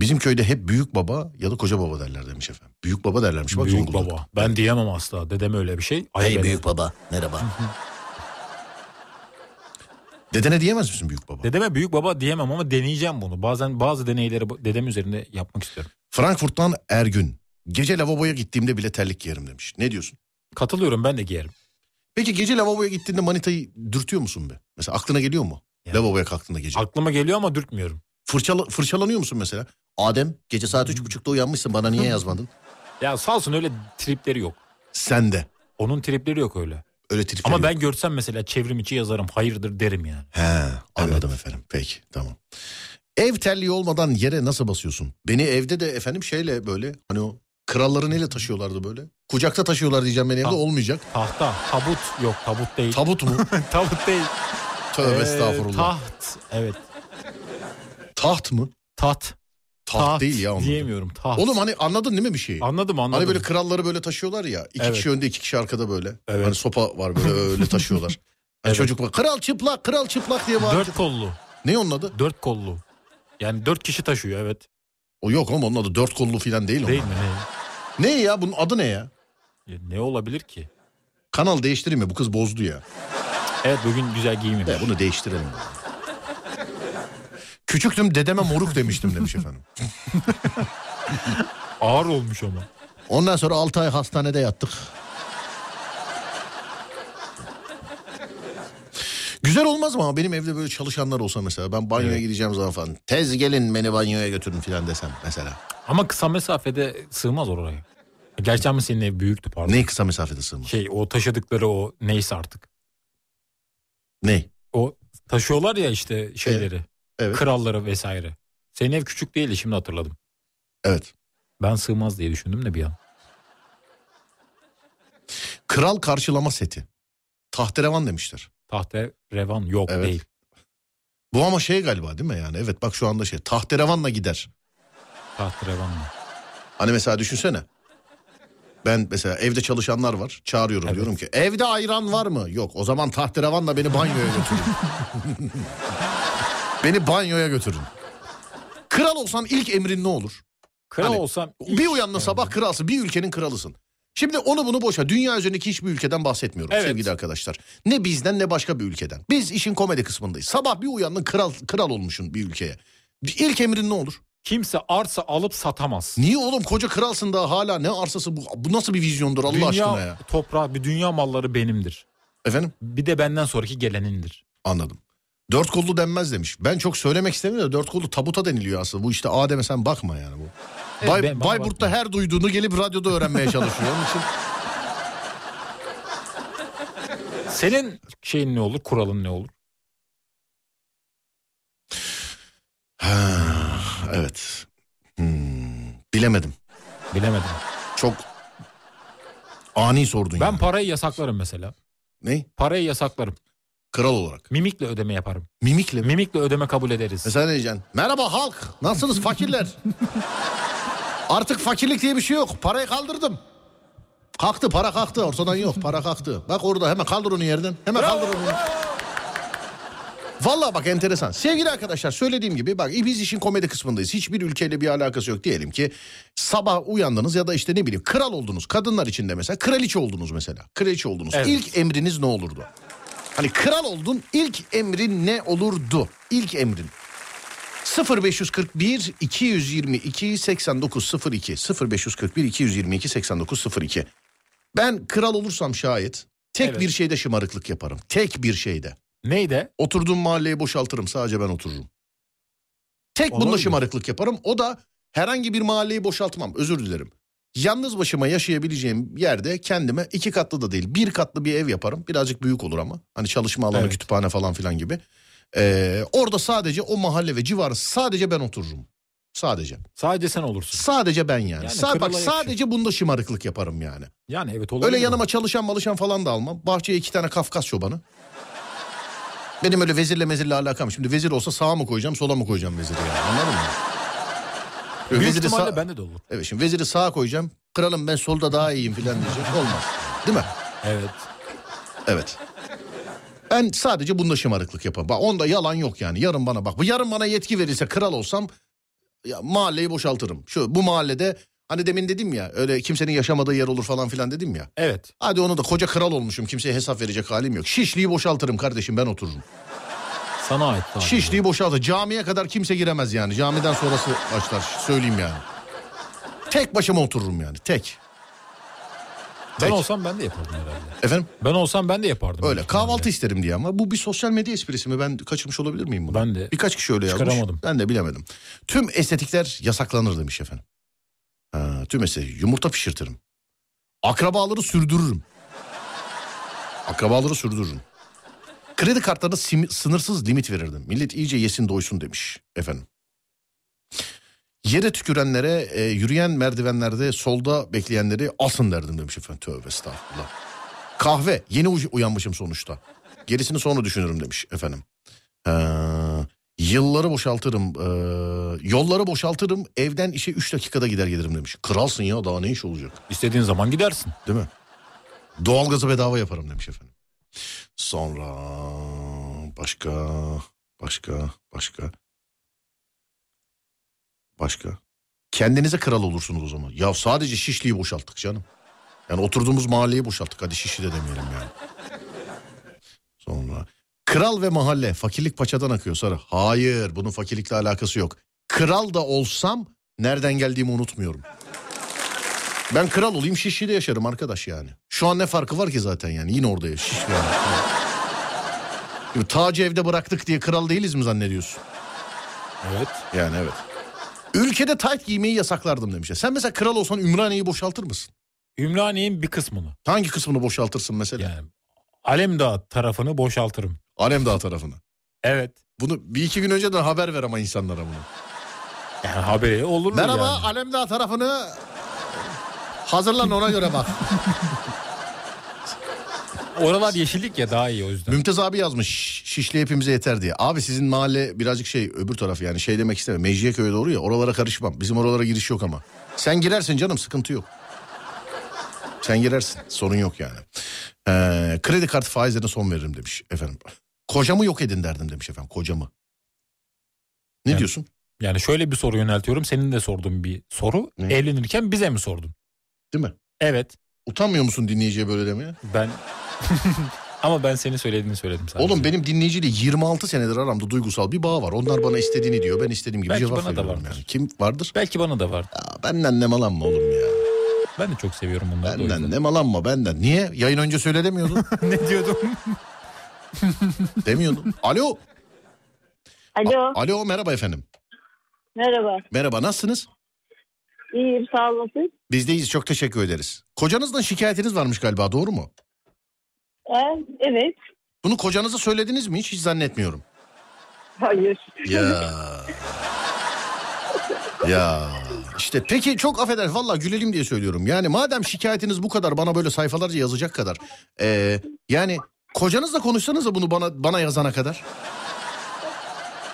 S1: bizim köyde hep büyük baba ya da koca baba derler demiş efendim. Büyük baba derlermiş bak
S2: büyük
S1: Zonguldak.
S2: baba. Ben diyemem asla. Dedem öyle bir şey. Ay
S1: Hey
S2: ben-
S1: büyük baba merhaba. Dedene diyemez misin büyük baba?
S2: Dedeme büyük baba diyemem ama deneyeceğim bunu. Bazen bazı deneyleri bu- dedem üzerinde yapmak istiyorum.
S1: Frankfurt'tan Ergün. Gece lavaboya gittiğimde bile terlik giyerim demiş. Ne diyorsun?
S2: Katılıyorum ben de giyerim.
S1: Peki gece lavaboya gittiğinde manitayı dürtüyor musun be? Mesela aklına geliyor mu?
S2: Yani.
S1: Lavaboya kalktığında gece.
S2: Aklıma geliyor ama dürtmüyorum.
S1: Fırçala, fırçalanıyor musun mesela? Adem gece saat
S2: Hmm.
S1: üç buçukta uyanmışsın bana niye yazmadın?
S2: Ya sağ olsun öyle tripleri yok.
S1: Sen de.
S2: Onun tripleri yok öyle.
S8: Öyle tripler
S2: Ama
S8: yok.
S2: ben görsem mesela çevrim içi yazarım hayırdır derim yani.
S8: He, evet.
S1: Anladım efendim. Peki tamam. Ev terliği olmadan yere nasıl basıyorsun? Beni evde de efendim şeyle böyle hani o kralları neyle taşıyorlardı böyle? Kucakta taşıyorlar diyeceğim benim evde
S2: Ha.
S1: olmayacak.
S2: Tahta, tabut yok tabut değil.
S1: Tabut mu?
S2: <laughs> tabut değil.
S1: Tövbe
S2: Ee,
S1: estağfurullah.
S2: Taht evet.
S1: Taht mı?
S2: Taht.
S1: Taht, değil ya onun. adı.
S2: Diyemiyorum taht.
S1: Oğlum hani anladın değil mi bir şeyi?
S2: Anladım anladım.
S1: Hani böyle kralları böyle taşıyorlar ya. İki
S2: Evet.
S1: kişi önde iki kişi arkada böyle.
S2: Evet.
S1: Hani sopa var
S2: <laughs>
S1: böyle öyle taşıyorlar. Hani
S2: Evet.
S1: çocuk bak kral çıplak kral çıplak diye bağırıyor.
S2: Dört kollu.
S1: Ne onun adı?
S2: Dört kollu. Yani dört kişi taşıyor evet.
S1: O yok oğlum onun adı dört kollu falan değil,
S2: Değil
S1: onun.
S2: mi?
S1: Ne ya bunun adı ne ya?
S2: Ne, ne olabilir ki?
S1: Kanal değiştireyim mi? Bu kız bozdu ya.
S2: Evet bugün güzel giyinmemiş.
S1: Ya bunu
S2: <laughs>
S1: değiştirelim. Küçüktüm dedeme moruk demiştim demiş efendim.
S2: Ağır olmuş ama.
S1: Ondan sonra 6 ay hastanede yattık. Güzel olmaz mı ama benim evde böyle çalışanlar olsa mesela ben banyoya
S2: Evet.
S1: gideceğim zaman falan tez gelin beni banyoya götürün falan desem mesela.
S2: Ama kısa mesafede sığmaz oraya. Gerçi ama senin ev büyüktü pardon.
S1: Ne kısa mesafede sığmaz?
S2: Şey o taşıdıkları o neyse artık.
S1: Ne?
S2: O taşıyorlar ya işte şeyleri.
S1: Evet.
S2: Kralları vesaire. Senin ev küçük değildi şimdi hatırladım.
S1: Evet.
S2: Ben sığmaz diye düşündüm de bir an.
S1: Kral karşılama seti. Tahterevan demişler.
S2: Tahta revan yok
S1: Evet.
S2: değil.
S1: Bu ama şey galiba değil mi yani? Evet bak şu anda şey tahterevanla gider.
S2: Tahta revan mı?
S1: Hani mesela düşünsene. Ben mesela evde çalışanlar var. Çağırıyorum
S2: Evet.
S1: diyorum ki evde ayran var mı? Yok o zaman tahterevanla beni banyoya götürün.
S2: <laughs>
S1: beni banyoya götürün. Kral olsan ilk emrin ne olur?
S2: Kral
S1: Hani-
S2: olsam
S1: Bir uyanla sabah kralsın bir ülkenin kralısın. Şimdi onu bunu boşa dünya üzerindeki hiçbir ülkeden bahsetmiyorum
S2: Evet.
S1: sevgili arkadaşlar. Ne bizden ne başka bir ülkeden. Biz işin komedi kısmındayız. Sabah bir uyandın kral kral olmuşsun bir ülkeye. İlk emrin ne olur?
S2: kimse arsa alıp satamaz.
S1: Niye oğlum koca kralsın daha hala ne arsası bu? Bu nasıl bir vizyondur Allah
S2: dünya
S1: aşkına ya?
S2: toprağı, bir dünya malları benimdir.
S1: Efendim
S2: Bir de benden sonraki gelenindir.
S1: anladım. Dört kollu denmez demiş. Ben çok söylemek istemiyorum da dört kollu tabuta deniliyor aslında. Bu işte Adem'e sen bakma yani bu.
S2: Evet,
S1: Bay,
S2: ben- bana
S1: Bayburt'ta
S2: bakma.
S1: her duyduğunu gelip radyoda öğrenmeye çalışıyor. Onun
S2: <laughs>
S1: için
S2: Senin şeyin ne olur, kuralın ne olur?
S1: Ha, evet. Hmm, bilemedim.
S2: Bilemedim.
S1: Çok ani sordun
S2: Ben
S1: yani.
S2: parayı yasaklarım mesela.
S1: Ne?
S2: Parayı yasaklarım.
S1: Kral olarak.
S2: Mimikle ödeme yaparım.
S1: Mimikle mi?
S2: Mimikle ödeme kabul ederiz.
S1: Mesela E ne diyeceksin? Merhaba halk. Nasılsınız fakirler? Artık fakirlik diye bir şey yok. Parayı kaldırdım. Kalktı para kalktı. Ortadan yok para kalktı. Bak orada hemen kaldır onu yerden. Hemen kaldır onu. Valla bak enteresan. Sevgili arkadaşlar söylediğim gibi bak biz işin komedi kısmındayız. Hiçbir ülkeyle bir alakası yok. Diyelim ki sabah uyandınız ya da işte ne bileyim kral oldunuz. Kadınlar için de mesela kraliçe oldunuz mesela. Kraliçe oldunuz.
S2: Evet.
S1: İlk emriniz ne olurdu? Hani kral oldun ilk emrin ne olurdu? İlk emrin. 0541 222 8902 0541 222 8902 Ben kral olursam şayet tek
S2: Evet.
S1: bir şeyde şımarıklık yaparım. Tek bir şeyde.
S2: Neydi?
S1: Oturduğum mahalleyi boşaltırım. Sadece ben otururum. Tek bunda
S2: Olabilir.
S1: şımarıklık yaparım. O da herhangi bir mahalleyi boşaltmam. Özür dilerim. Yalnız başıma yaşayabileceğim yerde kendime iki katlı da değil bir katlı bir ev yaparım. Birazcık büyük olur ama. Hani çalışma alanı,
S2: Evet.
S1: kütüphane falan filan gibi. Ee, orada sadece o mahalle ve civarı sadece ben otururum. Sadece.
S2: Sadece sen olursun.
S1: Sadece ben yani.
S2: Yani şey.
S1: Sa- bak
S2: krala yakışır.
S1: sadece bunda şımarıklık yaparım yani.
S2: Yani evet olabilir.
S1: Öyle
S2: mi?
S1: yanıma çalışan malışan falan da almam. Bahçeye iki tane Kafkas çobanı. Benim öyle vezirle mezirle alakam. Şimdi vezir olsa sağa mı koyacağım sola mı koyacağım veziri yani anladın mı? Böyle
S2: Büyük
S1: veziri
S2: ihtimalle
S1: sağ-
S2: bende de olur.
S1: Evet şimdi veziri sağa koyacağım. Kralım ben solda daha iyiyim falan diyecek. Olmaz. Değil mi?
S2: Evet.
S1: Evet. Ben sadece bunda şımarıklık yaparım. Bak onda yalan yok yani. Yarın bana bak. Bu yarın bana yetki verirse kral olsam ya, mahalleyi boşaltırım. Şu bu mahallede hani demin dedim ya öyle kimsenin yaşamadığı yer olur falan filan dedim ya.
S2: Evet.
S1: Hadi onu da koca kral olmuşum kimseye hesap verecek halim yok. Şişliği boşaltırım kardeşim ben otururum.
S2: Sana ait. sadece.
S1: Şişliği boşaltır. Camiye kadar kimse giremez yani. Camiden sonrası başlar söyleyeyim yani. Tek başıma otururum yani tek.
S2: Ben
S1: Tek.
S2: olsam ben de yapardım herhalde.
S1: Efendim
S2: Ben olsam ben de yapardım.
S1: öyle
S2: Büyük ihtimalle.
S1: kahvaltı isterim diye ama bu bir sosyal medya esprisi mi ben kaçırmış olabilir miyim bunu?
S2: Ben de.
S1: Birkaç kişi öyle yazmış.
S2: Çıkaramadım.
S1: Ben de bilemedim. Tüm estetikler yasaklanır demiş efendim. Ha, tüm estetik yumurta pişirtirim. Akrabaları sürdürürüm. Akrabaları sürdürürüm. Kredi kartlarına simi- sınırsız limit verirdim. Millet iyice yesin doysun demiş efendim. Yere tükürenlere, e, yürüyen merdivenlerde solda bekleyenleri asın derdim demiş efendim. Tövbe estağfurullah. Kahve, yeni uy- uyanmışım sonuçta. Gerisini sonra düşünürüm demiş efendim. Ee, yılları boşaltırım, ee, yolları boşaltırım, evden işe 3 dakikada gider gelirim demiş. Kralsın ya daha ne iş olacak?
S2: İstediğin zaman gidersin.
S1: Değil mi? Doğalgazı bedava yaparım demiş efendim. Sonra başka başka başka başka. Kendinize kral olursunuz o zaman. Ya sadece Şişli'yi boşalttık canım. Yani oturduğumuz mahalleyi boşalttık. Hadi Şişli de demeyelim yani. Sonra kral ve mahalle fakirlik paçadan akıyor Sarı. Hayır bunun fakirlikle alakası yok. Kral da olsam nereden geldiğimi unutmuyorum. Ben kral olayım Şişli'de yaşarım arkadaş yani. Şu an ne farkı var ki zaten yani yine orada yaş- Şişli yani. Şimdi Tacı evde bıraktık diye kral değiliz mi zannediyorsun?
S2: Evet.
S1: Yani evet. Ülkede tayt giymeyi yasaklardım demişler. Sen mesela kral olsan Ümraniye'yi boşaltır mısın?
S2: Ümraniye'nin bir kısmını.
S1: Hangi kısmını boşaltırsın mesela?
S2: Yani Alemdağ tarafını boşaltırım.
S1: Alemdağ tarafını.
S2: Evet.
S1: Bunu bir iki gün önceden haber ver ama insanlara bunu.
S2: Yani haberi olur mu
S1: Merhaba
S2: yani?
S1: Alemdağ tarafını hazırlan ona göre bak.
S2: Oralar yeşillik ya daha iyi o yüzden.
S1: Mümtaz abi yazmış "Şş, Şişli hepimize yeter diye. Abi sizin mahalle birazcık şey öbür taraf yani şey demek istemem. Mecidiyeköy'e doğru ya oralara karışmam. Bizim oralara giriş yok ama. Sen girersin canım sıkıntı yok. Sen girersin sorun yok yani. Ee, kredi kartı faizlerine son veririm demiş efendim. Kocamı yok edin derdim demiş efendim kocamı. Ne
S2: Yani-
S1: diyorsun?
S2: Yani şöyle bir soru yöneltiyorum. Senin de sorduğun bir soru.
S1: Ne?
S2: Evlenirken bize mi sordun?
S1: Değil mi?
S2: Evet.
S1: Utanmıyor musun dinleyiciye böyle demeye?
S2: Ben <laughs> ama ben senin söylediğini söyledim sadece.
S1: Oğlum benim dinleyiciyle 26 senedir aramda duygusal bir bağ var. Onlar bana istediğini diyor. Ben istediğim gibi
S2: Belki
S1: cevap
S2: bana da
S1: veriyorum
S2: vardır.
S1: yani. Kim vardır?
S2: Belki bana da var.
S1: Aa, benden ne malan mı oğlum ya?
S2: Ben de çok seviyorum bunları. da o
S1: Benden
S2: yüzden.
S1: ne malanma benden. Niye? Yayın önce söyle <laughs> demiyordun.
S2: <laughs> ne diyordum?
S1: demiyordun. Alo.
S8: Alo,
S1: Alo merhaba efendim.
S8: merhaba.
S1: Merhaba nasılsınız?
S8: İyiyim, sağ olasın.
S1: Bizdeyiz çok teşekkür ederiz. Kocanızdan şikayetiniz varmış galiba doğru mu?
S8: Ee, evet.
S1: Bunu kocanıza söylediniz mi hiç? Hiç zannetmiyorum.
S8: Hayır.
S1: Ya. ya. İşte peki çok affeder valla gülelim diye söylüyorum. Yani madem şikayetiniz bu kadar bana böyle sayfalarca yazacak kadar. ee, yani kocanızla konuşsanız da bunu bana bana yazana kadar.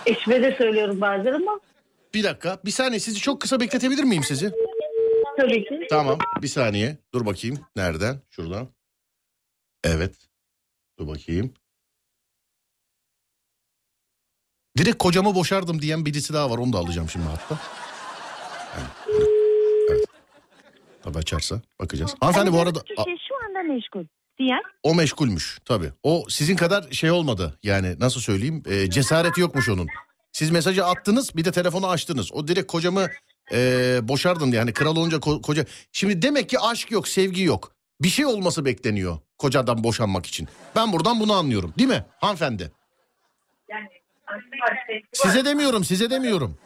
S8: Eşime de söylüyorum bazen ama
S1: Bir dakika bir saniye sizi çok kısa bekletebilir miyim sizi?
S8: tabii ki.
S1: Tamam bir saniye dur bakayım nereden şuradan. Evet dur bakayım. Direkt kocamı boşardım diyen birisi daha var onu da alacağım şimdi hatta. Yani, hani, evet. Tabii açarsa bakacağız. Hanımefendi bu arada
S4: şey
S1: a,
S8: şu anda meşgul. Diğer?
S1: o meşgulmüş tabii. O sizin kadar şey olmadı yani nasıl söyleyeyim e, cesareti yokmuş onun. Siz mesajı attınız bir de telefonu açtınız. O direkt kocamı e, boşardım diye hani kral olunca ko- koca. Şimdi demek ki aşk yok sevgi yok. Bir şey olması bekleniyor kocadan boşanmak için. Ben buradan bunu anlıyorum değil mi hanımefendi? Size demiyorum size demiyorum.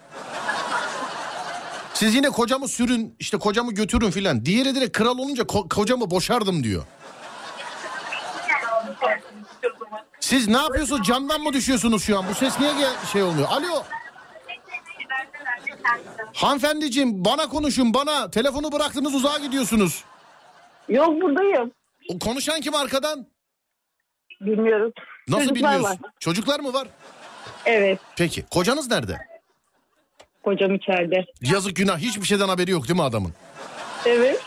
S1: Siz yine kocamı sürün işte kocamı götürün filan. Diğeri direkt kral olunca ko- kocamı boşardım diyor. Siz ne yapıyorsunuz? Camdan mı düşüyorsunuz şu an? Bu ses niye gel- şey olmuyor? Alo. Hanımefendiciğim bana konuşun bana. Telefonu bıraktınız uzağa gidiyorsunuz.
S8: Yok buradayım.
S1: O konuşan kim arkadan?
S8: Bilmiyorum.
S1: Nasıl
S8: Çocuklar
S1: bilmiyorsun?
S8: var.
S1: Çocuklar mı var?
S8: Evet,
S1: Peki. Kocanız nerede?
S8: kocam içeride.
S1: Yazık günah. Hiçbir şeyden haberi yok değil mi adamın?
S8: Evet.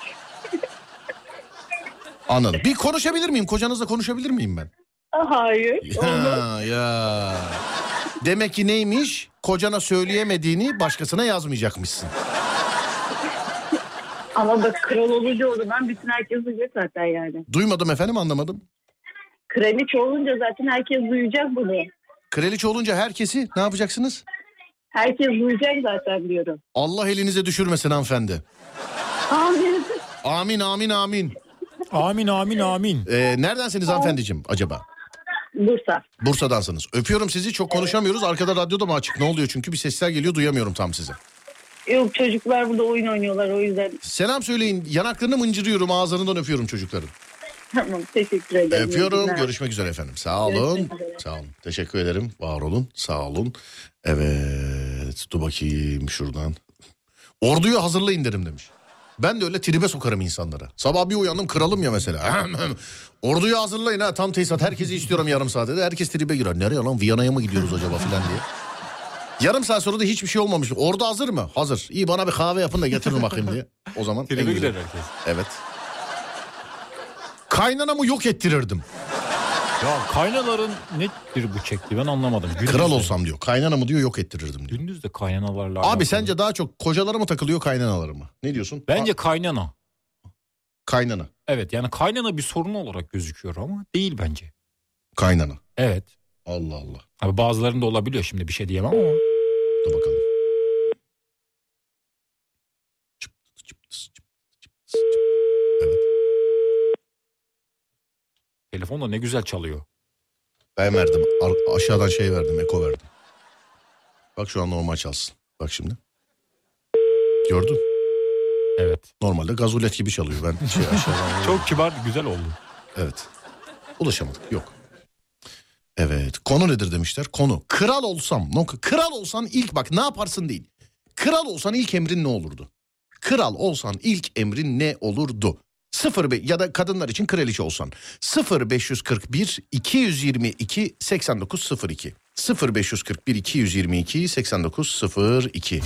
S1: Anladım. Bir konuşabilir miyim? Kocanızla konuşabilir miyim ben?
S8: Hayır.
S1: <laughs> Ya, ya. Demek ki neymiş? Kocana söyleyemediğini başkasına yazmayacakmışsın.
S8: Ama bak kral olunca o zaman bütün herkes duyacak zaten yani.
S1: Duymadım efendim anlamadım.
S8: Kraliçe olunca zaten herkes duyacak bunu.
S1: Kraliçe olunca herkesi ne yapacaksınız?
S8: Herkes duyacak zaten diyorum.
S1: Allah elinize düşürmesin hanımefendi.
S8: Amin.
S1: Amin amin amin.
S2: Amin amin amin.
S1: Ee, neredensiniz hanımefendiciğim acaba?
S8: Bursa.
S1: Bursa'dansınız. Öpüyorum sizi çok konuşamıyoruz. Arkada radyoda mı açık ne oluyor çünkü bir sesler geliyor duyamıyorum tam sizi.
S8: Yok çocuklar burada oyun oynuyorlar o yüzden. <laughs>
S1: Selam söyleyin yanaklarını mıncırıyorum ağızlarından öpüyorum çocukların.
S8: Tamam teşekkür ederim. İyi
S1: Öpüyorum.
S8: günler.
S1: Görüşmek üzere efendim. Sağ olun.
S8: Görüşmek üzere.
S1: Sağ olun. Teşekkür ederim. Var olun. Sağ olun. Evet. Dur bakayım şuradan. Orduyu hazırlayın derim demiş. Ben de öyle tribe sokarım insanlara. Sabah bir uyandım kralım ya mesela. <laughs> Orduyu hazırlayın ha tam tesisat. Herkesi istiyorum yarım saate de. Herkes tribe girer. Nereye lan Viyana'ya mı gidiyoruz acaba filan diye. Yarım saat sonra da hiçbir şey olmamış. Ordu hazır mı? Hazır. İyi bana bir kahve yapın da getirin bakayım diye. O zaman en
S2: Tribe
S1: güzel.
S2: gider herkes.
S1: Evet. Kaynanamı yok ettirirdim.
S2: Ya kaynaların nedir bu çekti ben anlamadım. Gündüz
S1: Kral
S2: de-
S1: olsam diyor. Kaynanamı diyor yok ettirirdim diyor.
S2: Gündüz de kaynanalarla. alakalı.
S1: Abi sence daha çok kocalara mı takılıyor kaynanalara mı? Ne diyorsun?
S2: Bence
S1: A-
S2: kaynana.
S1: kaynana.
S2: Evet yani kaynana bir sorun olarak gözüküyor ama değil bence.
S1: Kaynana.
S2: Evet.
S1: Allah Allah.
S2: Abi bazılarında olabiliyor şimdi bir şey diyemem ama.
S1: Dur bakalım. Çıptıs, çıptıs, çıptıs, çıptıs. Evet.
S2: Telefon da ne güzel çalıyor.
S1: Ben verdim. Ar- aşağıdan şey verdim. Eko verdim. Bak şu an normal çalsın. Bak şimdi. Gördün.
S2: Evet.
S1: Normalde gazulet gibi çalıyor. Ben şey aşağıdan.
S2: Çok kibar güzel oldu.
S1: Evet. Ulaşamadık. Yok. Evet. Konu nedir demişler? Konu. Kral olsam. nokta. Kral olsan ilk bak ne yaparsın değil. Kral olsan ilk emrin ne olurdu? Kral olsan ilk emrin ne olurdu? 0 ya da kadınlar için kraliçe olsan 0541 222 8902 0541 222 8902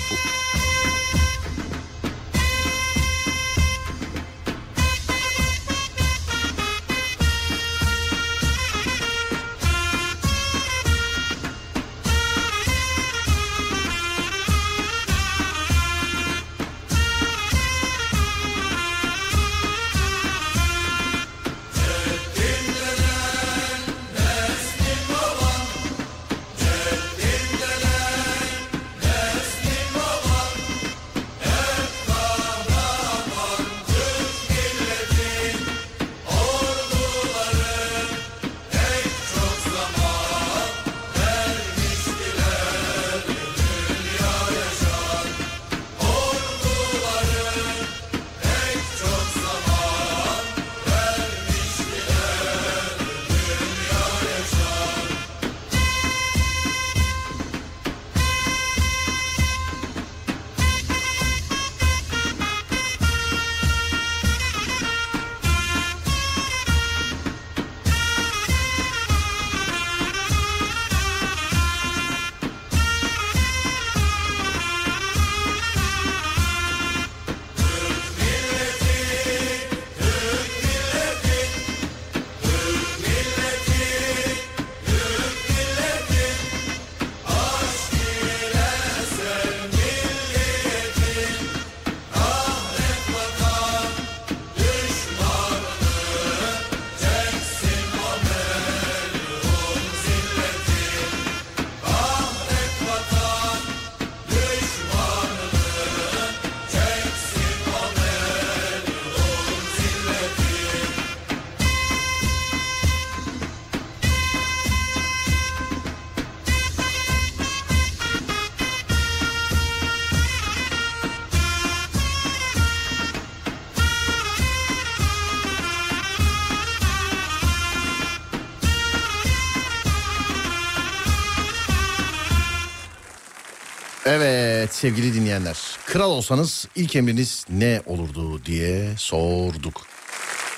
S1: Evet sevgili dinleyenler. Kral olsanız ilk emriniz ne olurdu diye sorduk.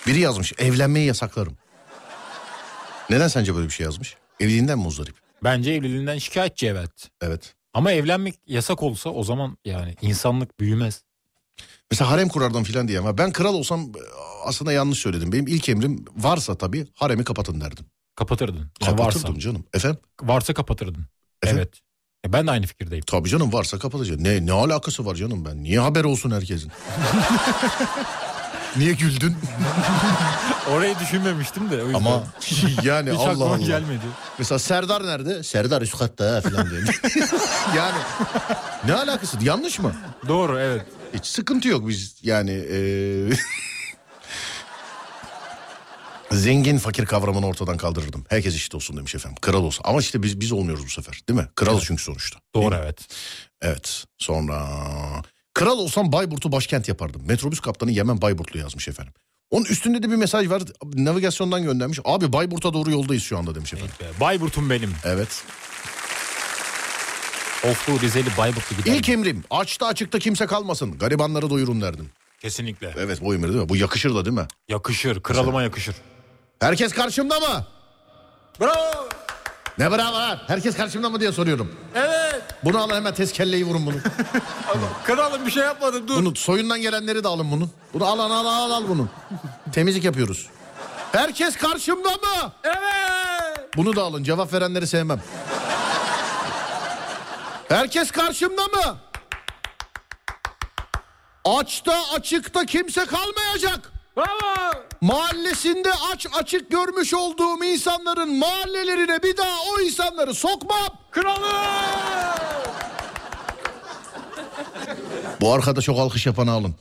S1: Biri yazmış evlenmeyi yasaklarım. Neden sence böyle bir şey yazmış? Evliliğinden mi muzdarip?
S2: Bence evliliğinden şikayetçi evet.
S1: Evet.
S2: Ama evlenmek yasak olsa o zaman yani insanlık büyümez.
S1: Mesela harem kurardım filan diye ama ben kral olsam e, aslında yanlış söyledim. Benim ilk emrim varsa tabii haremi kapatın derdim.
S2: Kapatırdın. Yani varsa,
S1: Kapatırdım canım. Efendim?
S2: varsa kapatırdın.
S1: Efendim?
S2: Evet. E Ben de aynı fikirdeyim.
S1: Tabii canım varsa kapatacak. Ne ne alakası var canım ben? Niye haber olsun
S2: <laughs>
S1: herkesin? Niye güldün?
S2: Orayı düşünmemiştim de. o yüzden.
S1: Ama şey yani
S2: hiç
S1: Allah
S2: aklıma
S1: Allah.
S2: gelmedi.
S1: Mesela Serdar nerede? Serdar üst katta ha falan diye. <laughs> yani ne alakası? Yanlış mı?
S2: Doğru evet.
S1: Hiç sıkıntı yok biz yani. e, eee, <laughs> Zengin fakir kavramını ortadan kaldırırdım. Herkes eşit olsun demiş efendim. Kral olsun. Ama işte biz biz olmuyoruz bu sefer değil mi? Kral çünkü sonuçta.
S2: Doğru evet.
S1: Evet. Sonra kral olsam Bayburt'u başkent yapardım. Metrobüs kaptanı Yemen Bayburtlu yazmış efendim. Onun üstünde de bir mesaj var. Navigasyondan göndermiş. Abi Bayburt'a doğru yoldayız şu anda demiş efendim.
S2: Be, Bayburt'um benim.
S1: Evet.
S2: Oflu Rizeli Bayburt'u gider.
S1: İlk emrim açta açıkta kimse kalmasın. Garibanları doyurun derdim.
S2: Kesinlikle.
S1: Evet bu emir değil mi? Bu yakışır da değil mi?
S2: Yakışır. Kralıma yakışır.
S1: Herkes karşımda mı?
S2: Bravo.
S1: Ne bravo lan? Herkes karşımda mı diye soruyorum.
S2: Evet.
S1: Bunu alın hemen tez kelleyi vurun bunu.
S2: Kralım bir şey yapmadım. Dur.
S1: bunu soyundan gelenleri de alın bunu. Bunu al al al al al bunu. Temizlik yapıyoruz. Herkes karşımda mı?
S2: Evet.
S1: Bunu da alın. Cevap verenleri sevmem. Herkes karşımda mı? Açta açıkta kimse kalmayacak.
S2: Bravo.
S1: Mahallesinde aç açık görmüş olduğum insanların mahallelerine bir daha o insanları sokmam.
S2: Kralım.
S1: Bu arkada çok alkış yapanı alın.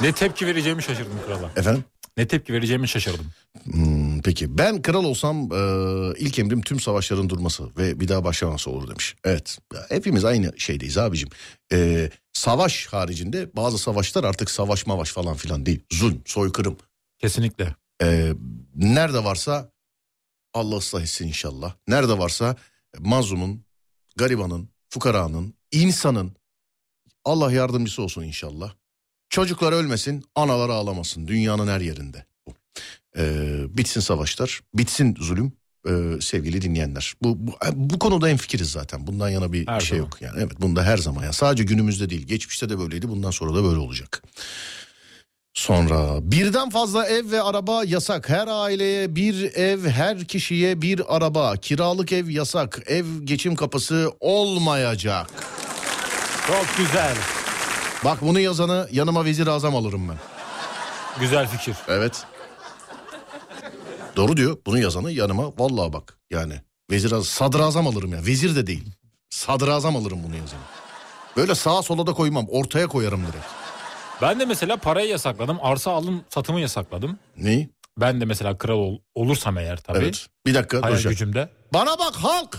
S2: Ne tepki vereceğimi şaşırdım krala.
S1: Efendim?
S2: Ne tepki vereceğimi şaşırdım.
S1: Hmm, Peki ben kral olsam e, ilk emrim tüm savaşların durması ve bir daha başlaması olur demiş. Evet ya hepimiz aynı şeydeyiz abicim. E, savaş haricinde bazı savaşlar artık savaş mavaş falan filan değil. Zulm, soykırım.
S2: Kesinlikle.
S1: E, nerede varsa Allah ıslah etsin inşallah. Nerede varsa mazlumun, garibanın, fukaranın, insanın Allah yardımcısı olsun inşallah. Çocuklar ölmesin, analar ağlamasın dünyanın her yerinde. bu. Ee, bitsin savaşlar, bitsin zulüm ee, sevgili dinleyenler. Bu, bu, bu konuda en fikiriz zaten. Bundan yana bir
S2: Her
S1: şey
S2: zaman.
S1: yok. Yani evet bunda her zaman ya. Sadece günümüzde değil, geçmişte de böyleydi. Bundan sonra da böyle olacak. Sonra birden fazla ev ve araba yasak. Her aileye bir ev, her kişiye bir araba. Kiralık ev yasak. Ev geçim kapısı olmayacak.
S2: Çok güzel.
S1: Bak bunu yazanı yanıma vezir azam alırım ben.
S2: Güzel fikir.
S1: Evet. Doğru diyor. Bunu yazanı yanıma vallahi bak yani vezir az sadrazam alırım ya. Vezir de değil. Sadrazam alırım bunu yazanı. Böyle sağa sola da koymam. Ortaya koyarım direkt.
S2: Ben de mesela parayı yasakladım. Arsa alım satımı yasakladım.
S1: Neyi?
S2: Ben de mesela kral ol- olursam eğer tabii.
S1: Evet. Bir dakika
S2: Hayal
S1: duracak.
S2: gücümde.
S1: Bana bak halk.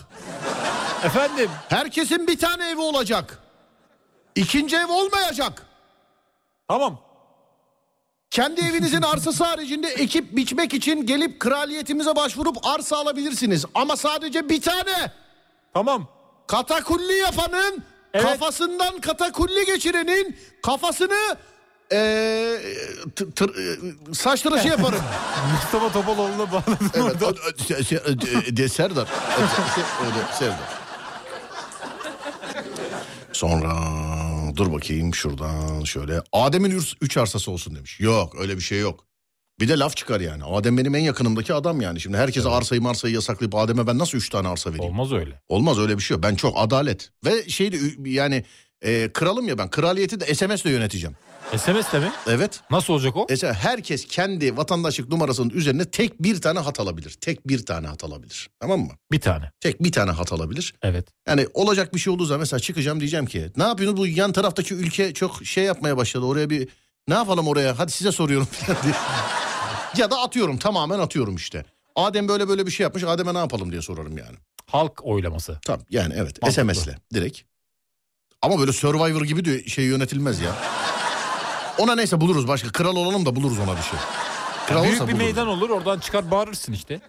S2: Efendim
S1: Herkesin bir tane evi olacak. İkinci ev olmayacak.
S2: tamam.
S1: Kendi evinizin arsası haricinde ekip biçmek için gelip kraliyetimize başvurup arsa alabilirsiniz. Ama sadece bir tane.
S2: Tamam.
S1: Katakulli yapanın
S2: Evet.
S1: kafasından katakulli geçirenin kafasını eee, t- tır- eee, saç tıraşı yaparım.
S2: Mustafa Topaloğlu'na bağladım.
S1: evet. o- o- se- se- ö- de- Serdar. E, şey, Ö- se- öyle, Serdar. Sonra dur bakayım şuradan şöyle. Adem'in ürs- üç arsası olsun demiş. Yok öyle bir şey yok. Bir de laf çıkar yani. Adem benim en yakınımdaki adam yani. Şimdi herkese arsayı marsayı yasaklayıp Adem'e ben nasıl üç tane arsa vereyim?
S2: Olmaz öyle.
S1: Olmaz öyle bir şey yok. Ben çok adalet. Ve şey de ü- yani e, kralım ya ben. Kraliyeti de SMS'le yöneteceğim.
S2: SMS de mi?
S1: Evet.
S2: Nasıl olacak o?
S1: Mesela herkes kendi vatandaşlık numarasının üzerine tek bir tane hat alabilir. Tek bir tane hat alabilir. Tamam mı?
S2: Bir tane.
S1: Tek bir tane hat alabilir.
S2: Evet.
S1: Yani olacak bir şey olduğu zaman mesela çıkacağım diyeceğim ki ne yapıyorsunuz bu yan taraftaki ülke çok şey yapmaya başladı oraya bir ne yapalım oraya hadi size soruyorum <laughs> falan diye. ya da atıyorum tamamen atıyorum işte. Adem böyle böyle bir şey yapmış Adem'e ne yapalım diye sorarım yani.
S2: Halk oylaması.
S1: Tamam yani evet
S2: Mantıklı.
S1: SMS'le direkt. Ama böyle Survivor gibi diyor şey yönetilmez ya. Ona neyse buluruz başka kral olalım da buluruz ona bir şey. Kral
S2: Ya büyük
S1: olsa
S2: bir
S1: buluruz.
S2: meydan olur oradan çıkar bağırırsın işte.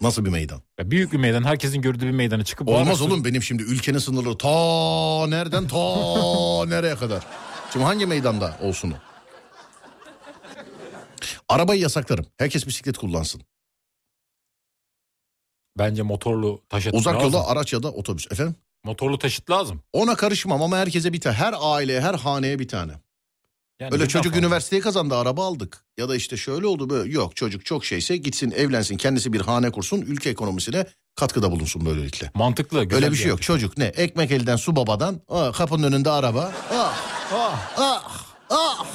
S1: Nasıl bir meydan?
S2: Ya büyük bir meydan herkesin gördüğü bir meydana çıkıp
S1: Olmaz
S2: bağırırsın.
S1: oğlum benim şimdi ülkenin sınırları ta nereden ta
S2: <laughs>
S1: nereye kadar. Şimdi hangi meydanda olsun o? Arabayı yasaklarım. Herkes bisiklet kullansın.
S2: Bence motorlu taşıt
S1: Uzak
S2: lazım.
S1: yolda araç ya da otobüs. Efendim?
S2: Motorlu taşıt lazım.
S1: Ona karışmam ama herkese bir tane. Her aileye, her haneye bir tane.
S2: Yani
S1: Öyle
S2: birden
S1: çocuk
S2: fazla.
S1: üniversiteyi kazandı araba aldık. Ya da işte şöyle oldu böyle. Yok çocuk çok şeyse gitsin evlensin kendisi bir hane kursun ülke ekonomisine katkıda bulunsun böylelikle.
S2: Mantıklı. güzel
S1: Öyle bir şey yok
S2: yaklaşım.
S1: çocuk ne ekmek elden su babadan ah, kapının önünde araba ah ah ah ah.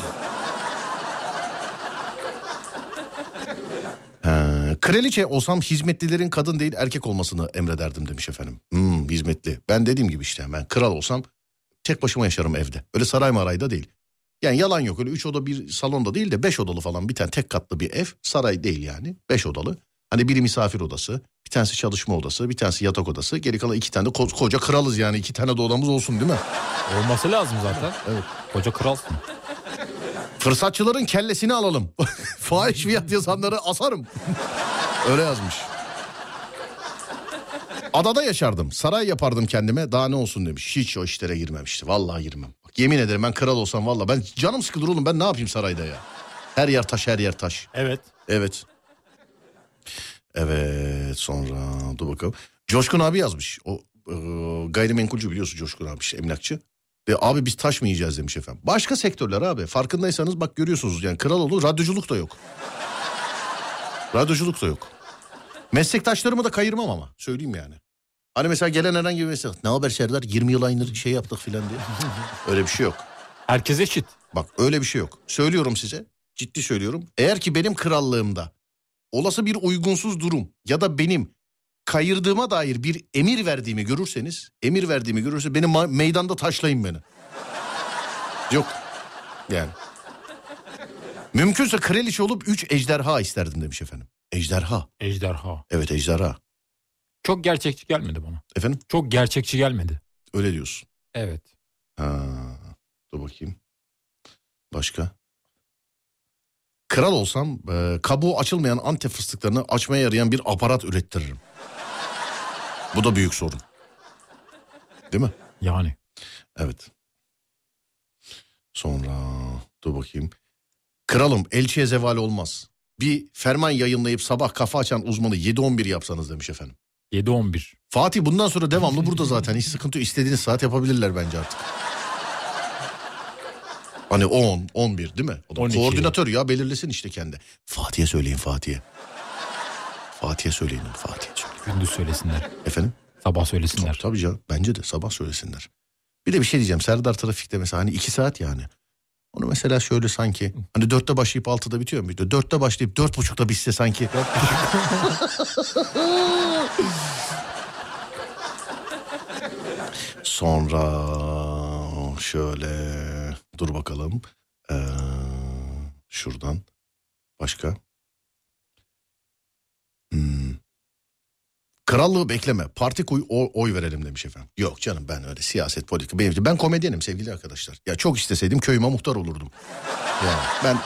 S1: Ee, kraliçe olsam hizmetlilerin kadın değil erkek olmasını emrederdim demiş efendim. Hmm, hizmetli. Ben dediğim gibi işte ben kral olsam tek başıma yaşarım evde. Öyle saray marayda değil. Yani yalan yok öyle 3 oda bir salonda değil de 5 odalı falan bir tane tek katlı bir ev. Saray değil yani 5 odalı. Hani biri misafir odası, bir tanesi çalışma odası, bir tanesi yatak odası. Geri kalan iki tane de ko- koca kralız yani iki tane de odamız olsun değil mi?
S2: Olması lazım zaten. Evet. Koca kralsın.
S1: Fırsatçıların kellesini alalım. <laughs> Fahiş fiyat yazanları asarım. <laughs> Öyle yazmış. Adada yaşardım. Saray yapardım kendime. Daha ne olsun demiş. Hiç o işlere girmemişti. Vallahi girmem. Bak, yemin ederim ben kral olsam vallahi ben canım sıkılır oğlum. Ben ne yapayım sarayda ya? Her yer taş, her yer taş.
S2: Evet.
S1: Evet. Evet sonra dur bakalım. Coşkun abi yazmış. O e, gayrimenkulcü biliyorsun Coşkun abi işte emlakçı. Ve abi biz taş mı yiyeceğiz demiş efendim. Başka sektörler abi farkındaysanız bak görüyorsunuz yani kral oldu radyoculuk da yok. radyoculuk da yok. Meslektaşlarımı da kayırmam ama söyleyeyim yani. Hani mesela gelen herhangi bir meslek ne haber Serdar 20 yıl aynı şey yaptık filan diye. <laughs> Öyle bir şey yok.
S2: Herkes eşit.
S1: Bak öyle bir şey yok. Söylüyorum size. Ciddi söylüyorum. Eğer ki benim krallığımda olası bir uygunsuz durum ya da benim kayırdığıma dair bir emir verdiğimi görürseniz, emir verdiğimi görürse beni ma- meydanda taşlayın beni. Yok. Yani. Mümkünse kraliçe olup 3 ejderha isterdim demiş efendim. Ejderha.
S2: Ejderha.
S1: Evet ejderha.
S2: Çok gerçekçi gelmedi bana.
S1: Efendim
S2: Çok gerçekçi gelmedi.
S1: öyle diyorsun.
S2: Evet.
S1: Ha, dur bakayım. Başka? Kral olsam e, kabuğu açılmayan Antep fıstıklarını açmaya yarayan bir aparat ürettiririm. Bu da büyük sorun. Değil mi?
S2: Yani.
S1: Evet. Sonra dur bakayım. Kralım elçiye zeval olmaz. Bir ferman yayınlayıp sabah kafa açan uzmanı 7-11 yapsanız demiş efendim.
S2: 7-11.
S1: Fatih bundan sonra devamlı burada zaten. Hiç sıkıntı yok. İstediğiniz saat yapabilirler bence artık. Hani 10, 11 değil mi? O da
S2: 12.
S1: koordinatör ya belirlesin işte kendi. Fatih'e söyleyin Fatih'e. Fatih'e söyleyin Fatih'e söyleyin.
S2: Gündüz söylesinler.
S1: Efendim?
S2: Sabah
S1: Tabii,
S2: söylesinler.
S1: tabii canım. Bence de sabah söylesinler. Bir de bir şey diyeceğim. Serdar trafikte mesela hani 2 saat yani. Onu mesela şöyle sanki hani dörtte başlayıp altıda bitiyor mu? Dörtte başlayıp dört buçukta bitse sanki. Sonra şöyle dur bakalım. Ee, şuradan başka. Hmm. Krallığı bekleme. Parti koy, o- oy verelim demiş efendim. Yok canım ben öyle siyaset politika. Benim, ben komedyenim sevgili arkadaşlar. Ya çok isteseydim köyüme muhtar olurdum. Yani ben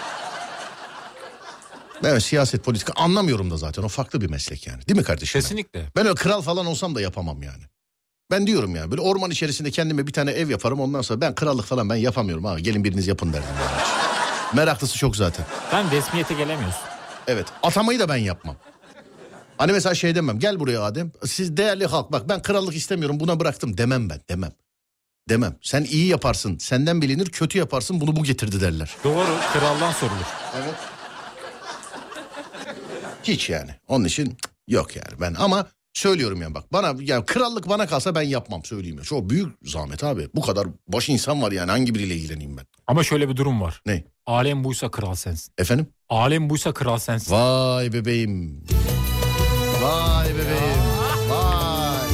S1: ben öyle siyaset politika anlamıyorum da zaten. O farklı bir meslek yani. Değil mi kardeşim?
S2: Kesinlikle.
S1: Ben öyle kral falan olsam da yapamam yani. Ben diyorum yani böyle orman içerisinde kendime bir tane ev yaparım ondan sonra ben krallık falan ben yapamıyorum abi gelin biriniz yapın derdim. yani. Meraklısı çok zaten.
S2: Sen resmiyete gelemiyorsun.
S1: Evet. Atamayı da ben yapmam. Hani mesela şey demem. Gel buraya Adem. Siz değerli halk. Bak ben krallık istemiyorum. Buna bıraktım. Demem ben. Demem. Demem. Sen iyi yaparsın. Senden bilinir. Kötü yaparsın. Bunu bu getirdi derler.
S2: Doğru. Kraldan sorulur.
S1: Evet. Hiç yani. Onun için cık, yok yani ben ama söylüyorum yani bak bana yani krallık bana kalsa ben yapmam söyleyeyim ya. Çok büyük zahmet abi. Bu kadar boş insan var yani hangi biriyle ilgileneyim ben?
S2: Ama şöyle bir durum var.
S1: Ne?
S2: Alem buysa kral sensin.
S1: Efendim?
S2: Alem buysa kral sensin.
S1: Vay bebeğim. Vay bebeğim. Vay.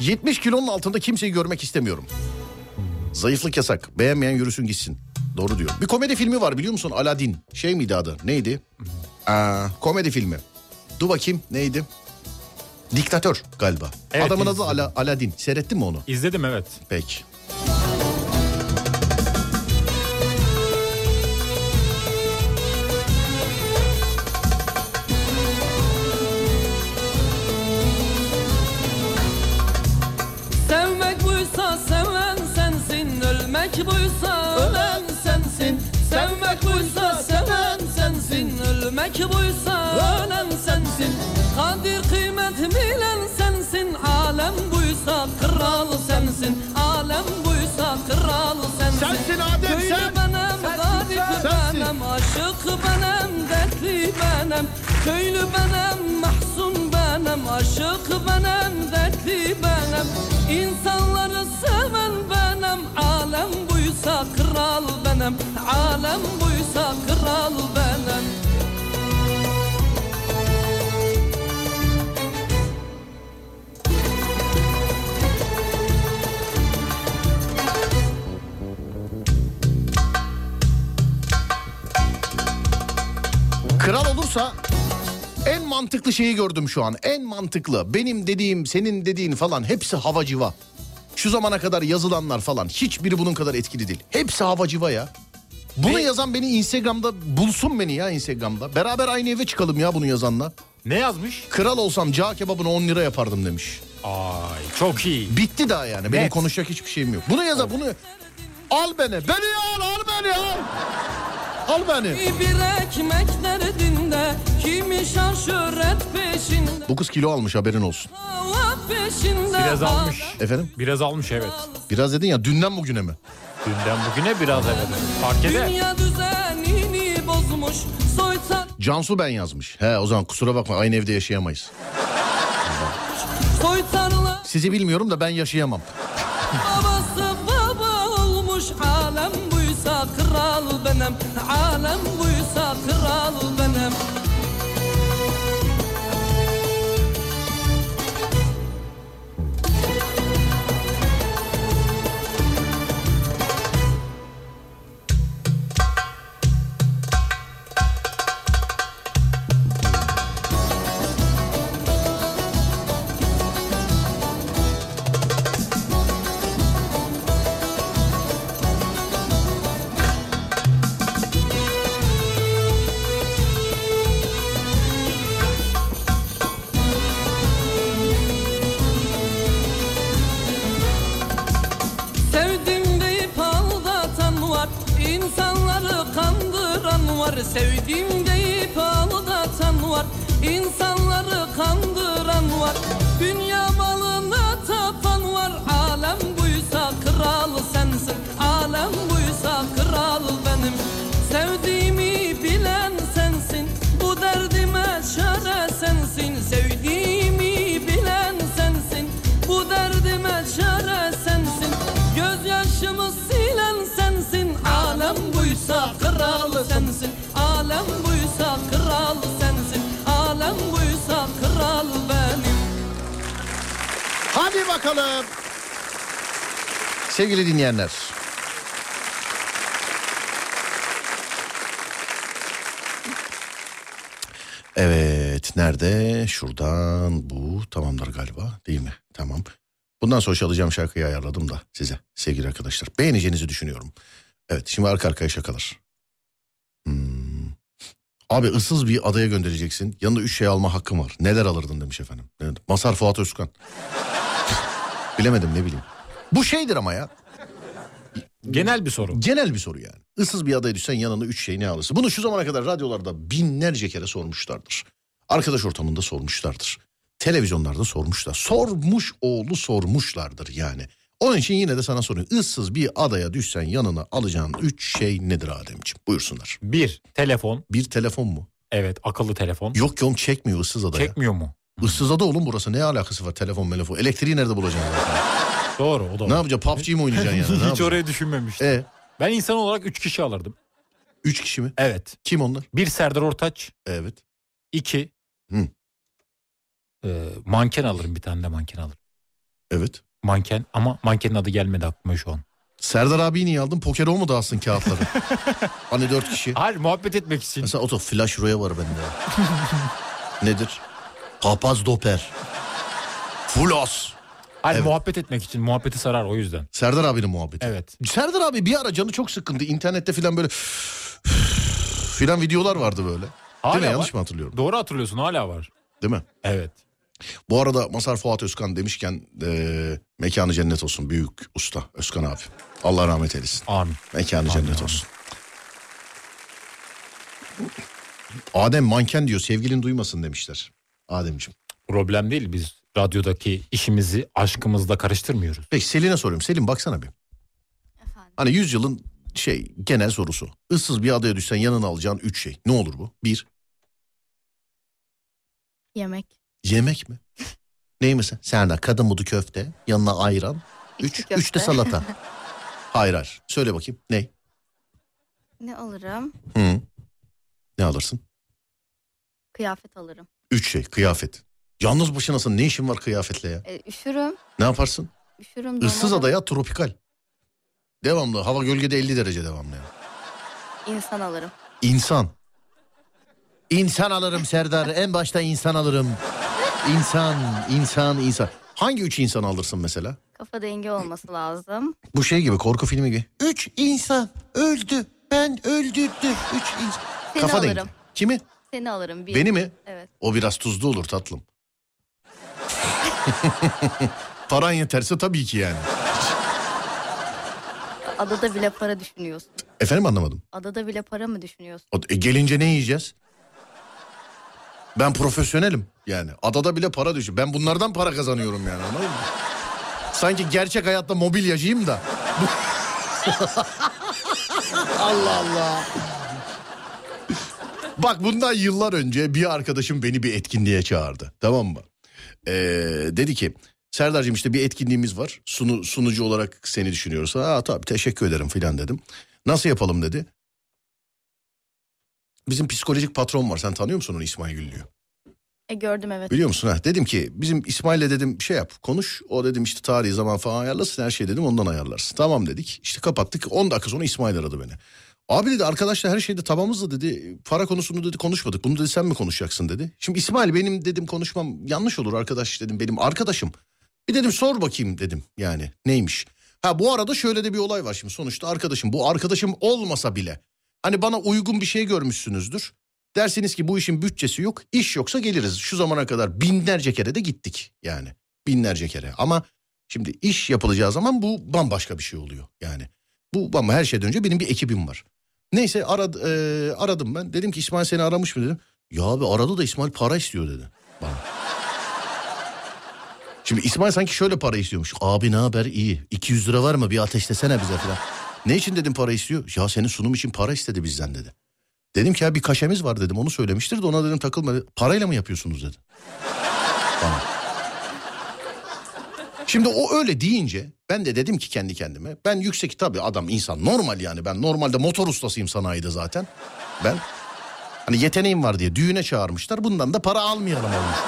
S1: 70 kilonun altında kimseyi görmek istemiyorum. Zayıflık yasak. Beğenmeyen yürüsün gitsin. Doğru diyor. Bir komedi filmi var biliyor musun? Aladdin. Şey miydi adı? Neydi? Aa, komedi filmi. Dur bakayım neydi? Diktatör galiba.
S2: Evet,
S1: Adamın adı
S2: izledim.
S1: Ala- Aladdin. Seyrettin mi onu?
S2: İzledim evet.
S1: Peki.
S7: Sevmek buysa seven sensin Ölmek buysa ölen sensin Sevmek buysa seven sensin Ölmek buysa ölen sensin Kadir kıymet bilen sensin Alem buysa kral sensin Alem buysa kral sensin
S1: Sensin Adem,
S7: Köylü
S1: sen.
S7: benem, garip
S1: sensin.
S7: benem Aşık benem, dertli benem Köylü benem, mahzun benem Aşık benem, dertli benem İnsanları seven benem Alem buysa kral benem Alem buysa kral benem
S1: Kral olursa en mantıklı şeyi gördüm şu an. En mantıklı. Benim dediğim, senin dediğin falan hepsi hava civa. Şu zamana kadar yazılanlar falan hiçbiri bunun kadar etkili değil. Hepsi hava civa ya. Bunu
S2: Ne?
S1: yazan beni Instagram'da bulsun beni ya Instagram'da. Beraber aynı eve çıkalım ya bunu yazanla.
S2: Ne yazmış?
S1: Kral olsam cağ kebabını 10 lira yapardım demiş.
S2: Ay çok iyi.
S1: Bitti daha yani. Benim
S2: Net.
S1: konuşacak hiçbir şeyim yok. Bunu yazan bunu al beni. Beni al al beni al. Al beni.
S7: Bir ekmek derdinde Kimi şan şöhret peşinde
S1: 9 kilo almış haberin olsun.
S7: Allah peşinde
S2: Biraz almış.
S1: Efendim
S2: Biraz almış evet.
S1: biraz dedin ya dünden bugüne mi?
S2: Dünden bugüne biraz evet. Fark eder.
S7: Dünya düzenini bozmuş Soytar
S1: Cansu ben yazmış. He o zaman kusura bakma aynı evde yaşayamayız.
S7: Soytarlar
S1: Sizi bilmiyorum da ben yaşayamam.
S7: babası baba olmuş Alem buysa kral benim Alem buysa kral benim Sevdim deyip aldatan var insanları kandıran var Sevdim deyip aldatan var insanları kandıran var Dünya malına tapan var Alem buysa kral sensin Alem buysa kral benim Sevdiğimi bilen sensin Bu derdime çare sensin Sevdiğimi bilen sensin Bu derdime çare sensin Gözyaşımı silen sensin Alem buysa kral sensin Alem buysa kral sensin Alem buysa kral benim
S1: Hadi bakalım. Sevgili dinleyenler. Evet nerede? Şuradan bu tamamdır galiba değil mi? Tamam. Bundan sonra çalacağım şarkıyı ayarladım da size sevgili arkadaşlar. Beğeneceğinizi düşünüyorum. Evet şimdi arka arkaya şakalar. Hmm. Abi ıssız bir adaya göndereceksin. Yanında üç şey alma hakkım var. Neler alırdın demiş efendim. Evet, Masar Fuat Özkan. Bilemedim ne bileyim. Bu şeydir ama ya.
S2: Genel bir soru.
S1: Genel bir soru yani. Issız bir adaya düşsen yanına üç şey ne alırsın? Bunu şu zamana kadar radyolarda binlerce kere sormuşlardır. Arkadaş ortamında sormuşlardır. Televizyonlarda sormuşlar. Sormuş oğlu sormuşlardır yani. Onun için yine de sana soruyorum. Issız bir adaya düşsen yanına alacağın üç şey nedir Ademciğim? Buyursunlar.
S2: Bir telefon.
S1: Bir telefon mu?
S2: Evet akıllı telefon.
S1: Yok yok çekmiyor ıssız adaya.
S2: Çekmiyor mu?
S1: Issız ada oğlum burası ne alakası var telefon melefon? Elektriği nerede bulacaksın? zaten?
S2: Doğru o da.
S1: ne
S2: var.
S1: yapacaksın PUBG mi oynayacaksın yani? Ne
S2: <laughs> Hiç
S1: yapacaksın?
S2: oraya düşünmemiştim.
S1: E,
S2: Ben insan olarak 3 kişi alırdım.
S1: üç kişi mi?
S2: Evet.
S1: Kim onlar?
S2: Bir Serdar Ortaç.
S1: Evet.
S2: iki
S1: Hı.
S2: e, manken alırım bir tane de manken alırım.
S1: Evet.
S2: Manken ama mankenin adı gelmedi aklıma şu an.
S1: Serdar abiyi niye aldın? Poker o mu dağıtsın
S2: <laughs>
S1: kağıtları? hani dört kişi.
S2: Hayır muhabbet etmek için.
S1: Mesela oto flash roya var bende. Nedir? Papaz doper. Fulos.
S2: Hayır
S1: Evet.
S2: muhabbet etmek için. Muhabbeti sarar o yüzden.
S1: Serdar abinin muhabbeti.
S2: Evet.
S1: Serdar abi bir ara canı çok sıkkındı. İnternette filan böyle filan videolar vardı böyle. Değil
S2: Hala
S1: mi?
S2: var.
S1: Yanlış mı hatırlıyorum?
S2: Doğru hatırlıyorsun hala var.
S1: Değil mi?
S2: Evet.
S1: Bu arada Masar Fuat Özkan demişken eee, mekanı cennet olsun büyük usta Özkan abi. Allah rahmet eylesin.
S2: Amin.
S1: Mekanı
S2: Amin,
S1: cennet
S2: amin.
S1: olsun. Adem manken diyor sevgilin duymasın demişler. Ademciğim.
S2: Problem değil biz radyodaki işimizi aşkımızla karıştırmıyoruz.
S1: Peki Selin'e soruyorum. Selin baksana bir.
S3: Efendim.
S1: Hani yüzyılın şey genel sorusu. Issız bir adaya düşsen yanına alacağın üç şey. Ne olur bu? Bir,
S3: Yemek.
S1: yemek
S3: <laughs>
S1: mi? Ney mesela? Serdar kadın budu köfte, yanına ayran. Üç,
S3: İçli
S1: üç de
S3: köfte.
S1: salata. hayır hayır. Söyle bakayım. Ne?
S3: Ne alırım?
S1: Hı. Ne alırsın?
S3: Kıyafet alırım.
S1: Üç şey. Kıyafet. Yalnız başınasın. Ne işin var kıyafetle ya?
S3: E, üşürüm.
S1: Ne yaparsın?
S3: Üşürüm.
S1: Issız
S3: donarım.
S1: adaya tropikal. Devamlı. Hava gölgede 50 derece devamlı ya.
S3: İnsan alırım.
S1: İnsan. İnsan alırım Serdar. En başta insan alırım. İnsan, insan, insan. Hangi üç insan alırsın mesela?
S3: Kafa dengi olması lazım.
S1: Bu şey gibi korku filmi gibi. Üç insan öldü. Ben öldürdüm. Üç insan.
S3: Seni
S1: Kafa dengi.
S3: alırım.
S1: Kimi?
S3: Seni alırım. Bir.
S1: Beni mi?
S3: Evet.
S1: O biraz tuzlu olur tatlım. <laughs> Paran yeterse tabii ki yani.
S3: Adada bile para düşünüyorsun.
S1: Efendim anlamadım.
S3: Adada bile para mı düşünüyorsun?
S1: O- e, gelince ne yiyeceğiz? Ben profesyonelim yani. Adada bile para düşüyor. Ben bunlardan para kazanıyorum yani anladın mı? Sanki gerçek hayatta mobilyacıyım da. <laughs> Allah Allah. Bak bundan yıllar önce bir arkadaşım beni bir etkinliğe çağırdı. Tamam mı? Ee, dedi ki Serdar'cığım işte bir etkinliğimiz var. Sunu, sunucu olarak seni düşünüyoruz. Aa tabii teşekkür ederim filan dedim. Nasıl yapalım dedi. Bizim psikolojik patron var. Sen tanıyor musun onu İsmail Güllü'yü?
S3: E gördüm evet.
S1: Biliyor musun? Ha, dedim ki bizim İsmail'le dedim şey yap konuş. O dedim işte tarihi zaman falan ayarlasın her şey dedim ondan ayarlarsın. Tamam dedik. İşte kapattık. 10 dakika sonra İsmail aradı beni. Abi dedi arkadaşlar her şeyde tamamız da dedi para konusunu dedi konuşmadık. Bunu dedi sen mi konuşacaksın dedi. Şimdi İsmail benim dedim konuşmam yanlış olur arkadaş dedim benim arkadaşım. Bir dedim sor bakayım dedim yani neymiş. Ha bu arada şöyle de bir olay var şimdi sonuçta arkadaşım bu arkadaşım olmasa bile. Hani bana uygun bir şey görmüşsünüzdür. Dersiniz ki bu işin bütçesi yok, iş yoksa geliriz. Şu zamana kadar binlerce kere de gittik yani. Binlerce kere ama şimdi iş yapılacağı zaman bu bambaşka bir şey oluyor yani. Bu ama her şeyden önce benim bir ekibim var. Neyse arad, e, aradım ben. Dedim ki İsmail seni aramış mı dedim. Ya abi aradı da İsmail para istiyor dedi. Bana. Şimdi İsmail sanki şöyle para istiyormuş. Abi ne haber iyi. 200 lira var mı bir ateşlesene bize falan. Ne için dedim para istiyor? Ya senin sunum için para istedi bizden dedi. Dedim ki ya bir kaşemiz var dedim onu söylemiştir de ona dedim takılma. dedi. Parayla mı yapıyorsunuz dedi. Bana. Şimdi o öyle deyince ben de dedim ki kendi kendime ben yüksek tabii adam insan normal yani ben normalde motor ustasıyım sanayide zaten. Ben hani yeteneğim var diye düğüne çağırmışlar bundan da para almayalım olmuş.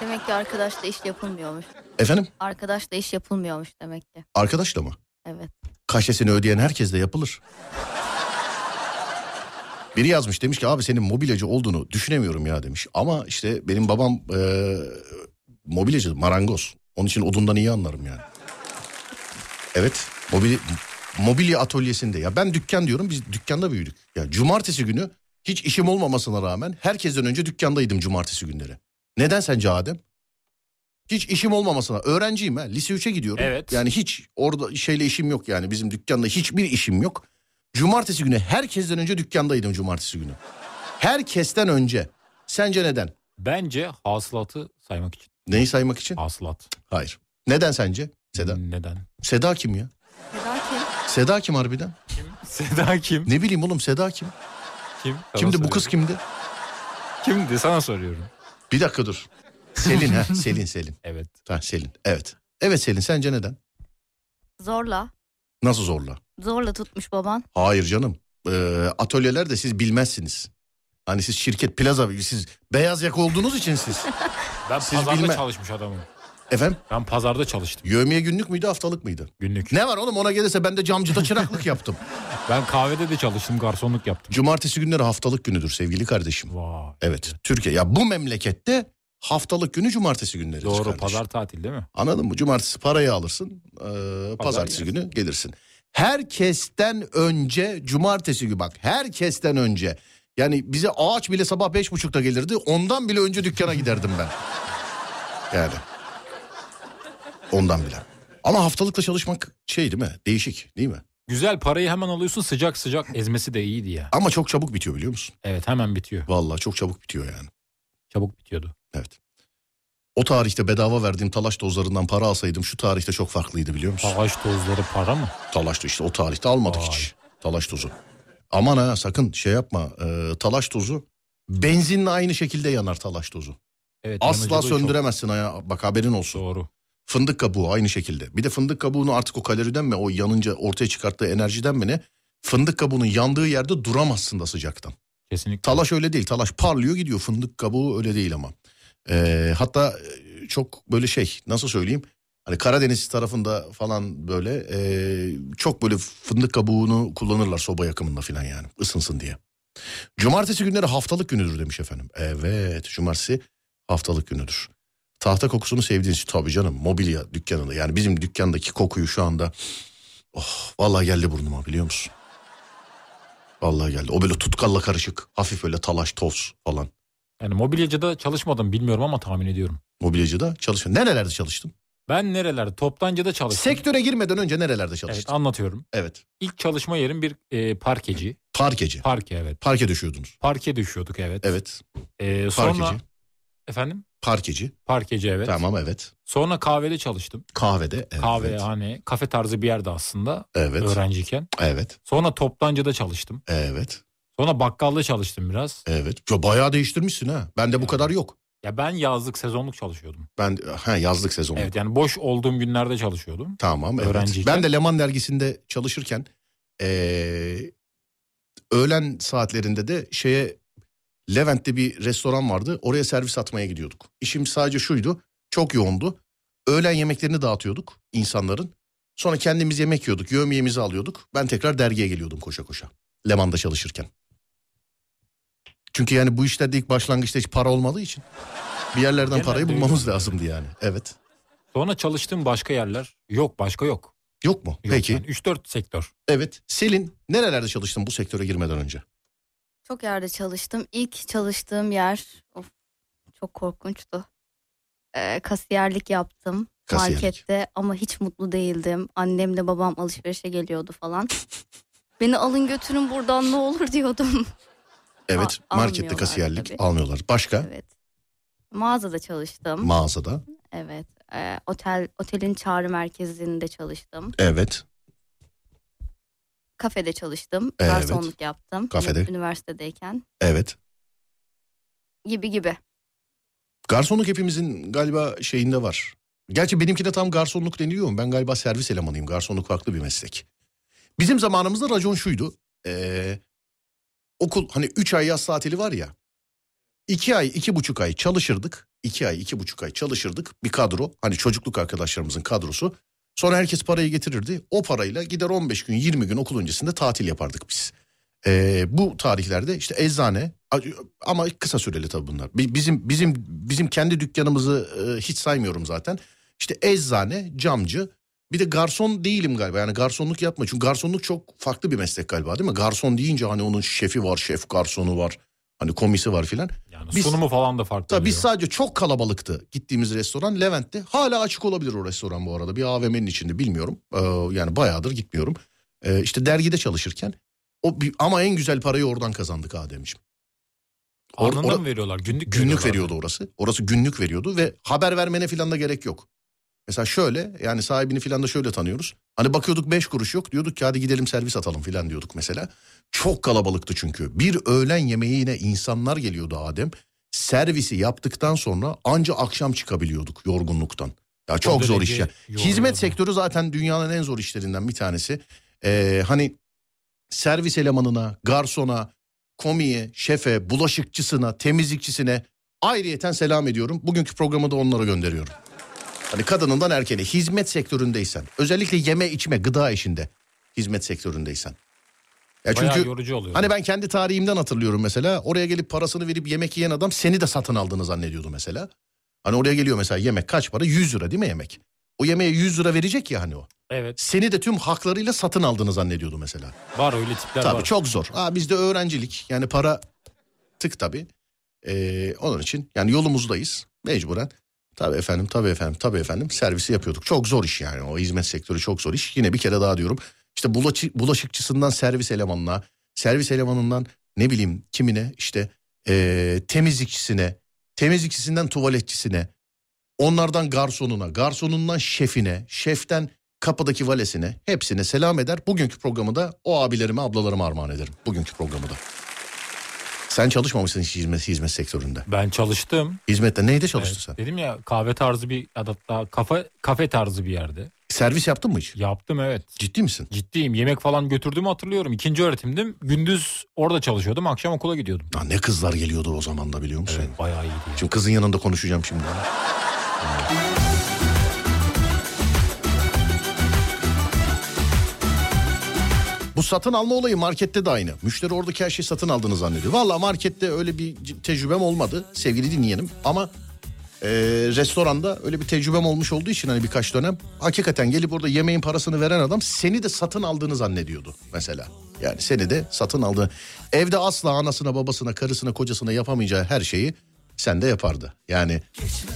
S3: Demek ki arkadaşla iş yapılmıyormuş.
S1: Efendim
S3: Arkadaşla iş yapılmıyormuş demek ki.
S1: arkadaşla mı?
S3: Evet.
S1: Kaşesini ödeyen herkes de yapılır. Biri yazmış demiş ki abi senin mobilyacı olduğunu düşünemiyorum ya demiş. Ama işte benim babam e, mobilyacı marangoz. Onun için odundan iyi anlarım yani. Evet mobili, mobilya atölyesinde ya ben dükkan diyorum biz dükkanda büyüdük. Ya cumartesi günü hiç işim olmamasına rağmen herkesten önce dükkandaydım cumartesi günleri. Neden sence Adem? Hiç işim olmamasına öğrenciyim ha lise 3'e gidiyorum.
S2: Evet.
S1: Yani hiç orada şeyle işim yok yani bizim dükkanda hiçbir işim yok. Cumartesi günü herkesten önce dükkandaydım cumartesi günü. Herkesten önce. Sence neden?
S2: Bence hasılatı saymak için.
S1: Neyi saymak için?
S2: Hasılat.
S1: Hayır. Neden sence? Seda.
S2: Neden? <laughs>
S1: Seda kim ya?
S3: Seda kim?
S1: Seda kim harbiden?
S2: Seda kim?
S1: Ne bileyim oğlum Seda kim?
S2: Kim? Sana
S1: Kimdi bu
S2: soruyorum.
S1: kız kimdi?
S2: Kimdi? Sana soruyorum.
S1: Bir dakika dur. Selin ha. <laughs> Selin Selin.
S2: Evet.
S1: Ha Selin. Evet. Evet Selin sence neden?
S3: Zorla.
S1: Nasıl zorla?
S3: Zorla tutmuş baban.
S1: Hayır canım. Ee, atölyelerde siz bilmezsiniz. Hani siz şirket plaza siz beyaz yaka olduğunuz için
S2: <laughs>
S1: siz.
S2: Ben
S1: Siz
S2: pazarda
S1: bilme-
S2: çalışmış adamım.
S1: Efendim
S2: Ben pazarda çalıştım
S1: yövmiye günlük müydü haftalık mıydı?
S2: günlük.
S1: Ne var oğlum ona gelirse ben de camcıda çıraklık
S2: <laughs>
S1: yaptım.
S2: Ben kahvede de çalıştım, garsonluk yaptım.
S1: Cumartesi günleri haftalık günüdür sevgili kardeşim.
S2: Vay.
S1: Evet Türkiye ya bu memlekette haftalık günü cumartesi günleri.
S2: Doğru, pazar tatil değil mi?
S1: Anladın mı? Cumartesi parayı alırsın. ee, pazartesi
S2: gelsin.
S1: günü gelirsin. Herkesten önce cumartesi günü bak herkesten önce. Yani bize ağaç bile sabah beş buçukta gelirdi. Ondan bile önce dükkana giderdim ben. Yani. Ondan bile. Ama haftalıkla çalışmak şey değil mi? Değişik değil mi?
S2: Güzel parayı hemen alıyorsun sıcak sıcak ezmesi de iyiydi ya.
S1: Ama çok çabuk bitiyor biliyor musun?
S2: Evet hemen bitiyor.
S1: Vallahi çok çabuk bitiyor yani.
S2: Çabuk bitiyordu.
S1: Evet. O tarihte bedava verdiğim talaş dozlarından para alsaydım şu tarihte çok farklıydı biliyor musun?
S2: Savaş tozları para mı?
S1: Talaş işte o tarihte almadık
S2: Vay.
S1: hiç talaş tozu. Aman ha sakın şey yapma e, talaş tozu benzinle aynı şekilde yanar talaş tozu.
S2: Evet,
S1: Asla
S2: yanıcılığı çok.
S1: söndüremezsin ha bak haberin olsun.
S2: Doğru.
S1: Fındık kabuğu aynı şekilde. Bir de fındık kabuğunu artık o kaloriden mi o yanınca ortaya çıkarttığı enerjiden mi ne? Fındık kabuğunun yandığı yerde duramazsın da sıcaktan.
S2: Kesinlikle.
S1: Talaş öyle değil. Talaş parlıyor gidiyor. Fındık kabuğu öyle değil ama. Ee, hatta e, çok böyle şey nasıl söyleyeyim? Hani Karadeniz tarafında falan böyle e, çok böyle fındık kabuğunu kullanırlar soba yakımında falan yani ısınsın diye. Cumartesi günleri haftalık günüdür demiş efendim. Evet cumartesi haftalık günüdür. Tahta kokusunu sevdiğiniz için tabii canım mobilya dükkanında yani bizim dükkandaki kokuyu şu anda oh vallahi geldi burnuma biliyor musun? Vallahi geldi. O böyle tutkalla karışık. Hafif böyle talaş, toz falan.
S2: Yani mobilyacıda çalışmadım bilmiyorum ama tahmin ediyorum.
S1: Mobilyacıda çalışın. Nerelerde çalıştın?
S2: Ben nerelerde? Toptancıda çalıştım.
S1: Sektöre girmeden önce nerelerde
S2: Evet
S1: çalıştın?
S2: anlatıyorum.
S1: Evet.
S2: İlk çalışma yerim bir e, parkeci.
S1: Parkeci.
S2: Parke evet.
S1: Parke düşüyordunuz.
S2: Parke düşüyorduk evet.
S1: Evet.
S2: E, sonra
S1: Parkeci.
S2: efendim
S1: Parkeci.
S2: parkeci evet.
S1: Tamam evet.
S2: Sonra kahvede çalıştım.
S1: Kahvede. Evet.
S2: Kahvehane, kafe tarzı bir yerde aslında
S1: Evet.
S2: öğrenciyken.
S1: Evet.
S2: Sonra toptancıda çalıştım.
S1: Evet.
S2: Sonra bakkalda çalıştım biraz.
S1: Evet. Ya bayağı değiştirmişsin ha. Bende bu
S2: Evet.
S1: kadar yok.
S2: Ya ben yazlık sezonluk çalışıyordum.
S1: Ben ha yazlık sezonu.
S2: Evet yani boş olduğum günlerde çalışıyordum.
S1: Tamam evet.
S2: Öğrenciyken.
S1: Ben de Leman dergisinde çalışırken eee, öğlen saatlerinde de şeye Levent'te bir restoran vardı. Oraya servis atmaya gidiyorduk. İşim sadece şuydu. Çok yoğundu. Öğlen yemeklerini dağıtıyorduk insanların. Sonra kendimiz yemek yiyorduk. Yövmiyemizi alıyorduk. Ben tekrar dergiye geliyordum koşa koşa. Leman'da çalışırken. Çünkü yani bu işlerde ilk başlangıçta hiç para olmadığı için bir yerlerden
S2: Genelde
S1: parayı
S2: öyle
S1: bulmamız
S2: oluyor.
S1: lazımdı yani. Evet.
S2: Sonra çalıştığım başka yerler yok başka yok.
S1: Yok mu?
S2: Yok
S1: Peki.
S2: yani 3-4 sektör.
S1: Evet. Selin nerelerde çalıştın bu sektöre girmeden önce?
S3: Çok yerde çalıştım. İlk çalıştığım yer of, çok korkunçtu. Ee, kasiyerlik yaptım
S1: Kasiyerlik.
S3: markette ama hiç mutlu değildim. Annemle babam alışverişe geliyordu falan. Beni alın götürün buradan ne olur <laughs> diyordum.
S1: Evet.
S3: A-
S1: markette
S3: almıyorlar
S1: kasiyerlik
S3: tabii.
S1: almıyorlar. Başka?
S3: Evet. Mağazada çalıştım.
S1: Mağazada.
S3: evet. Ee, otel otelin çağrı merkezinde çalıştım.
S1: Evet.
S3: Kafede çalıştım.
S1: Evet.
S3: Garsonluk yaptım.
S1: Kafede.
S3: Üniversitedeyken
S1: Evet.
S3: gibi gibi.
S1: Garsonluk hepimizin galiba şeyinde var. Gerçi benimki de tam garsonluk deniyor mu? Ben galiba servis elemanıyım. Garsonluk farklı bir meslek. Bizim zamanımızda racon şuydu. Ee, okul hani 3 ay yaz tatili var ya. 2 ay, iki buçuk ay çalışırdık. 2 ay, iki buçuk ay çalışırdık. Bir kadro. Hani çocukluk arkadaşlarımızın kadrosu. Sonra herkes parayı getirirdi. O parayla gider 15 gün, 20 gün okul öncesinde tatil yapardık biz. Ee, bu tarihlerde işte eczane ama kısa süreli tabii bunlar. Bi- Bizim bizim bizim kendi dükkanımızı e, hiç saymıyorum zaten. İşte eczane, camcı, bir de garson değilim galiba. Yani garsonluk yapma. Çünkü garsonluk çok farklı bir meslek galiba değil mi? Garson deyince hani onun şefi var, şef garsonu var. Hani komisi var filan.
S2: Yani
S1: Biz-
S2: sunumu falan da farklı.
S1: Tabii biz
S2: oluyor.
S1: sadece çok kalabalıktı gittiğimiz restoran Levent'te. Hala açık olabilir o restoran bu arada. Bir AVM'nin içinde bilmiyorum. Ee, yani bayağıdır gitmiyorum. Ee, işte dergide çalışırken. O bir- ama en güzel parayı oradan kazandık Ademciğim. Or-
S2: Anında
S1: or-
S2: mı veriyorlar? Günlük,
S1: Günlük
S2: veriyorlar.
S1: veriyordu orası. Orası günlük veriyordu ve haber vermene filan da gerek yok. Mesela şöyle yani sahibini filan da şöyle tanıyoruz. Hani bakıyorduk 5 kuruş yok diyorduk ki hadi gidelim servis atalım filan diyorduk mesela. Çok kalabalıktı çünkü. Bir öğlen yemeğine insanlar geliyordu Adem. Servisi yaptıktan sonra anca akşam çıkabiliyorduk yorgunluktan. Ya çok
S2: O
S1: zor
S2: derece
S1: iş ya.
S2: yoğun
S1: Hizmet
S2: yani.
S1: sektörü zaten dünyanın en zor işlerinden bir tanesi. Ee, hani servis elemanına, garsona, komiye, şefe, bulaşıkçısına, temizlikçisine ayrıyeten selam ediyorum. Bugünkü programı da onlara gönderiyorum. Hani kadınından erkeğine hizmet sektöründeysen, özellikle yeme içme gıda işinde hizmet sektöründeysen. Ya
S2: Bayağı
S1: çünkü
S2: yorucu oluyor.
S1: hani ben kendi tarihimden hatırlıyorum mesela. Oraya gelip parasını verip yemek yiyen adam seni de satın aldığını zannediyordu mesela. Hani oraya geliyor mesela yemek kaç para? 100 lira değil mi yemek? O yemeğe 100 lira verecek ya hani o.
S2: Evet
S1: Seni de tüm haklarıyla satın aldığını zannediyordu mesela.
S2: var öyle tipler
S1: Tabii
S2: var.
S1: çok zor. Aa, bizde öğrencilik yani para tık tabii. Ee, onun için yani yolumuzdayız mecburen. Tabii efendim tabii efendim tabii efendim servisi yapıyorduk. Çok zor iş yani o hizmet sektörü çok zor iş. Yine bir kere daha diyorum işte bulaşı- bulaşıkçısından servis elemanına servis elemanından ne bileyim kimine işte ee, temizlikçisine temizlikçisinden tuvaletçisine onlardan garsonuna garsonundan şefine şeften kapıdaki valesine hepsine selam eder. Bugünkü programı da o abilerime ablalarıma armağan ederim. Bugünkü programı da. Sen çalışmamışsın hiç hizmet, hizmet sektöründe.
S2: Ben çalıştım.
S1: Hizmette neyde çalıştın
S2: Evet,
S1: sen?
S2: Dedim ya kahve tarzı bir hatta kafe kafe tarzı bir yerde.
S1: Servis yaptın mı hiç?
S2: Yaptım evet.
S1: Ciddi misin?
S2: Ciddiyim. Yemek falan götürdüğümü hatırlıyorum. İkinci öğretimdim. Gündüz orada çalışıyordum. Akşam okula gidiyordum.
S1: Ya ne kızlar geliyordu o zaman da biliyor musun?
S2: Evet bayağı iyiydi. ya.
S1: Şimdi kızın yanında konuşacağım şimdi. Bu satın alma olayı markette de aynı. Müşteri oradaki her şeyi satın aldığını zannediyor. Valla markette öyle bir c- tecrübem olmadı sevgili dinleyenim. Ama e, restoranda öyle bir tecrübem olmuş olduğu için hani birkaç dönem hakikaten gelip orada yemeğin parasını veren adam seni de satın aldığını zannediyordu mesela. Yani seni de satın aldı. Evde asla anasına, babasına, karısına, kocasına yapamayacağı her şeyi sen de yapardı. Yani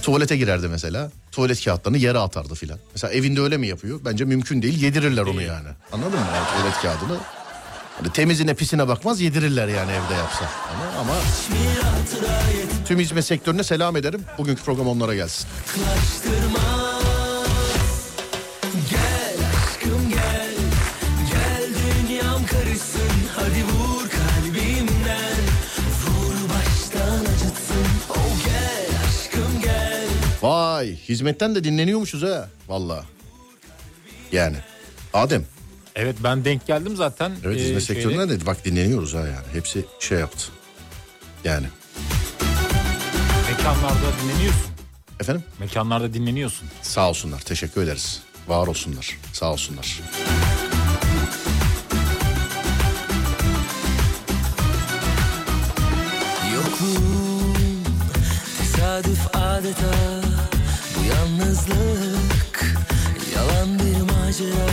S1: tuvalete girerdi mesela. Tuvalet kağıtlarını yere atardı filan. Mesela evinde öyle mi yapıyor? Bence mümkün değil. Yedirirler onu yani. Anladın mı? Yani tuvalet kağıdını Hani temizine pisine bakmaz yedirirler yani evde yapsa. Ama, ama tüm hizmet sektörüne selam ederim. Bugünkü program onlara gelsin. Vay hizmetten de dinleniyormuşuz ha. Valla. Yani. Adem.
S2: Evet ben denk geldim zaten.
S1: Evet
S2: Ee,
S1: hizmet
S2: şeyle-
S1: sektörüne de bak dinleniyoruz ha yani. Hepsi şey yaptı. Yani.
S2: Mekanlarda dinleniyorsun.
S1: Efendim?
S2: Mekanlarda dinleniyorsun.
S1: Sağ olsunlar. Teşekkür ederiz. Var olsunlar. Sağ olsunlar.
S7: Yokluğum tesadüf adeta Bu yalnızlık yalan bir macera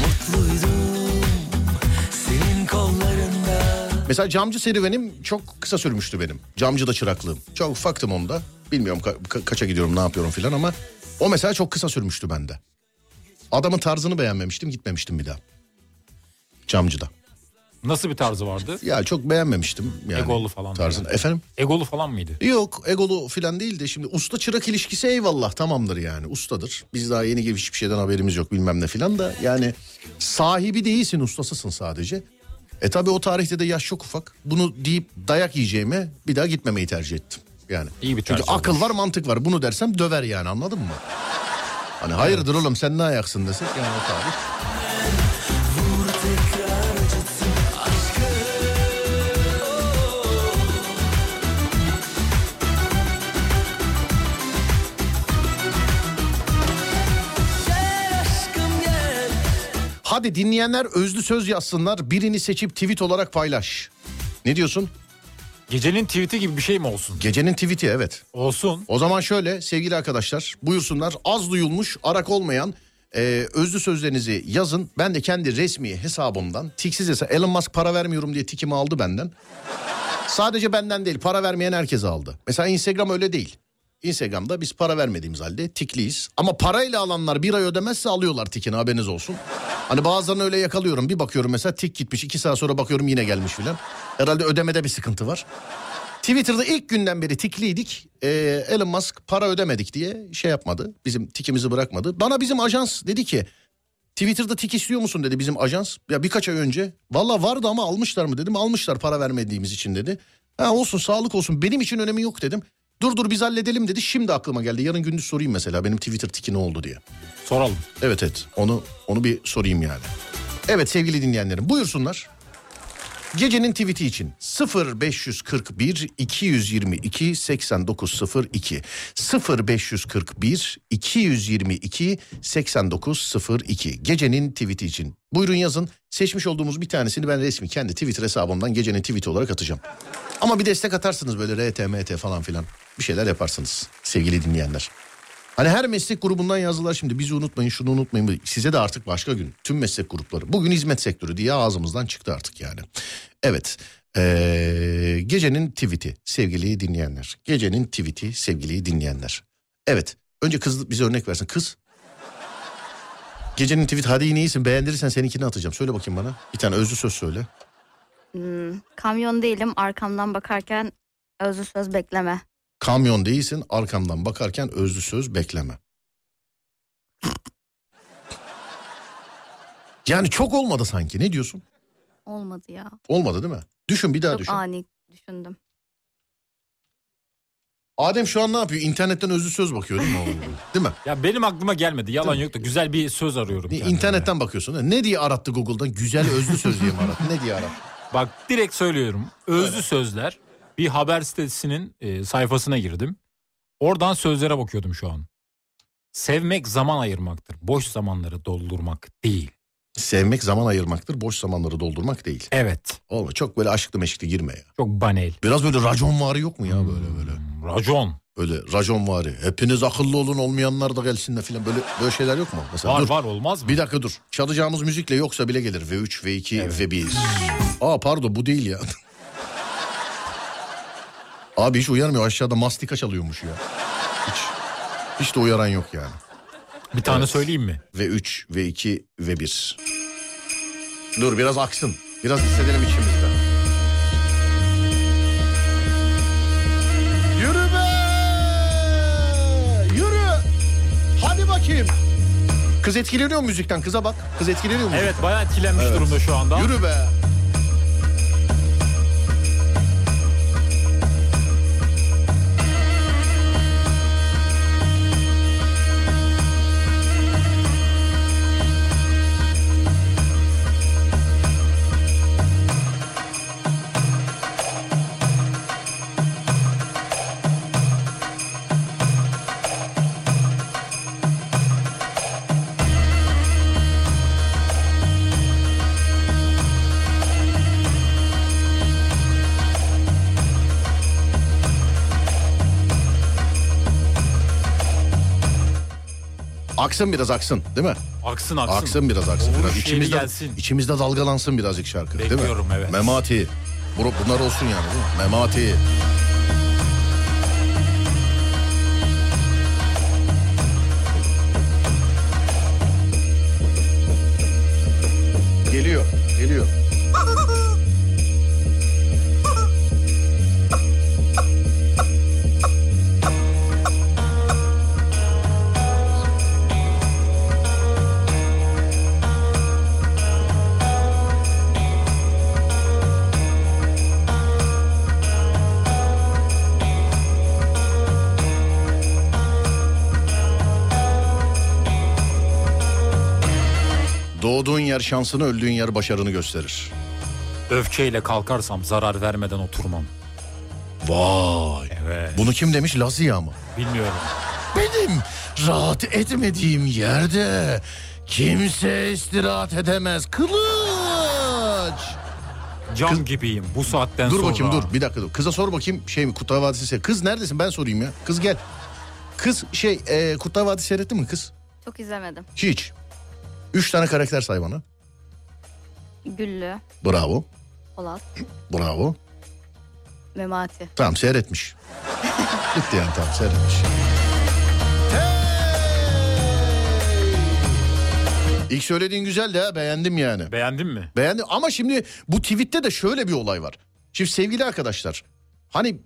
S7: Mutluydum senin kollarında
S1: Mesela camcı serüvenim çok kısa sürmüştü benim. Camcı da çıraklığım. Çok ufaktım onda. Bilmiyorum ka- ka- kaça gidiyorum ne yapıyorum filan ama o mesela çok kısa sürmüştü bende. Adamın tarzını beğenmemiştim gitmemiştim bir daha. Camcıda.
S2: Nasıl bir tarzı vardı?
S1: Ya çok beğenmemiştim. Yani
S2: Egolu falan
S1: Tarzını.
S2: filan.
S1: Efendim?
S2: Egolu falan mıydı?
S1: Yok egolu filan değil de şimdi usta çırak ilişkisi eyvallah tamamdır yani ustadır. Biz daha yeni gibi hiçbir şeyden haberimiz yok bilmem ne filan da yani sahibi değilsin ustasısın sadece. E tabi o tarihte de yaş çok ufak bunu deyip dayak yiyeceğime bir daha gitmemeyi tercih ettim. Yani
S2: İyi bir
S1: çünkü
S2: tercih
S1: akıl
S2: olmuş.
S1: var mantık var bunu dersem döver yani anladın mı? Hani hayırdır oğlum sen ne ayaksın desek yani o tarih.
S7: Gel aşkım gel
S1: Hadi dinleyenler özlü söz yazsınlar birini seçip tweet olarak paylaş. Ne diyorsun?
S2: Gecenin tweet'i gibi bir şey mi olsun?
S1: Gecenin tweet'i evet.
S2: Olsun.
S1: O zaman şöyle sevgili arkadaşlar buyursunlar az duyulmuş arak olmayan e, özlü sözlerinizi yazın. Ben de kendi resmi hesabımdan tiksiz hesap Elon Musk para vermiyorum diye tikimi aldı benden. Sadece benden değil para vermeyen herkes aldı. Mesela Instagram öyle değil. Instagram'da biz para vermediğimiz halde tikliyiz. Ama parayla alanlar bir ay ödemezse alıyorlar tikini haberiniz olsun. Hani bazılarını öyle yakalıyorum bir bakıyorum mesela tik gitmiş iki saat sonra bakıyorum yine gelmiş filan. Herhalde ödemede bir sıkıntı var. Twitter'da ilk günden beri tikliydik. Ee, Elon Musk para ödemedik diye şey yapmadı. Bizim tikimizi bırakmadı. Bana bizim ajans dedi ki Twitter'da tik istiyor musun dedi bizim ajans. Ya birkaç ay önce. Valla vardı ama almışlar mı dedim. Almışlar para vermediğimiz için dedi. Ha olsun sağlık olsun benim için önemi yok dedim. Dur dur biz halledelim dedi. Şimdi aklıma geldi. Yarın gündüz sorayım mesela benim Twitter tiki ne oldu diye.
S2: Soralım.
S1: Evet evet onu onu bir sorayım yani. Evet sevgili dinleyenlerim buyursunlar. Gecenin tweet'i için 0541 222 8902 0541 222 8902 Gecenin tweet'i için. Buyurun yazın. Seçmiş olduğumuz bir tanesini ben resmi kendi Twitter hesabımdan gecenin tweet'i olarak atacağım. Ama bir destek atarsınız böyle RTMT falan filan. Bir şeyler yaparsınız sevgili dinleyenler. Hani her meslek grubundan yazdılar şimdi bizi unutmayın şunu unutmayın. Size de artık başka gün tüm meslek grupları. Bugün hizmet sektörü diye ağzımızdan çıktı artık yani. Evet ee, gecenin tweet'i sevgili dinleyenler. Gecenin tweet'i sevgili dinleyenler. Evet önce kız bize örnek versin kız. Gecenin tweet hadi yine iyisin beğendirirsen seninkini atacağım. Söyle bakayım bana bir tane özlü söz söyle.
S3: Hmm, kamyon değilim arkamdan bakarken özlü söz bekleme.
S1: Kamyon değilsin arkamdan bakarken özlü söz bekleme. Yani çok olmadı sanki ne diyorsun?
S3: Olmadı ya.
S1: Olmadı değil mi? Düşün bir daha
S3: Çok
S1: düşün.
S3: ani düşündüm.
S1: Adem şu an ne yapıyor? İnternetten özlü söz bakıyor değil mi? oğlum? değil mi?
S2: Ya benim aklıma gelmedi. Yalan yok da güzel bir söz arıyorum. kendime.
S1: İnternetten bakıyorsun. değil mi? Ne diye arattı Google'dan? Güzel özlü söz diye mi arattı? Ne diye arattı?
S2: Bak direkt söylüyorum. Özlü sözler. Bir haber sitesinin e, sayfasına girdim. Oradan sözlere bakıyordum şu an. Sevmek zaman ayırmaktır. Boş zamanları doldurmak değil.
S1: Sevmek zaman ayırmaktır. Boş zamanları doldurmak değil.
S2: Evet.
S1: Olma çok böyle aşklı meşkli girme ya.
S2: Çok banel.
S1: Biraz böyle racon varı yok mu ya böyle böyle?
S2: Hmm, Racon.
S1: Öyle racon vari. Hepiniz akıllı olun olmayanlar da gelsinler filan. Böyle böyle şeyler yok mu? Mesela
S2: Var
S1: dur.
S2: var olmaz mı?
S1: Bir dakika dur. Çalacağımız müzikle yoksa bile gelir. V3, V2, V1. Aa pardon bu değil ya. <laughs> Abi hiç uyarmıyor. Aşağıda mastika çalıyormuş ya. Hiç, hiç de uyaran yok yani.
S2: Bir tane söyleyeyim mi?
S1: V3, V2, V1. Dur biraz aksın. Biraz hissedelim içimizde. Yürü be! Yürü! Hadi bakayım. Kız etkileniyor mu müzikten? Kıza bak. Kız etkileniyor mu?
S2: Evet bayağı etkilenmiş durumda şu anda.
S1: Yürü be. Aksın biraz aksın değil mi?
S2: Aksın aksın.
S1: Aksın, biraz aksın.
S2: Vuruş
S1: Biraz.
S2: yeri
S1: İçimizde,
S2: gelsin.
S1: içimizde dalgalansın birazcık şarkı değil mi?
S2: Bekliyorum, evet.
S1: Memati. Bur- Bunlar olsun yani değil mi? Memati. Geliyor, geliyor. Doğduğun yer şansını, öldüğün yer başarını gösterir.
S2: Öfkeyle kalkarsam zarar vermeden oturmam.
S1: Vay.
S2: Evet.
S1: Bunu kim demiş? Lazia mı?
S2: Bilmiyorum.
S1: Benim rahat etmediğim yerde kimse istirahat edemez. Kılıç!
S2: Cam gibiyim bu saatten
S1: Dur
S2: sonra.
S1: bakayım dur bir dakika dur. Kıza sor bakayım şey mi Kurtlar Vadisi seyret- Kız neredesin ben sorayım ya. Kız gel. Kız şey e, Kurtlar Vadisi seyretti mi kız?
S3: Çok izlemedim.
S1: Hiç. Üç tane karakter say bana.
S3: Güllü,
S1: Bravo.
S3: Polat,
S1: Bravo.
S3: Memati.
S1: Tamam seyretmiş. <laughs> Bitti yani tamam seyretmiş. İlk söylediğin güzeldi ha beğendim yani.
S2: Beğendin mi?
S1: Beğendim ama şimdi bu tweette de şöyle bir olay var. Şimdi sevgili arkadaşlar hani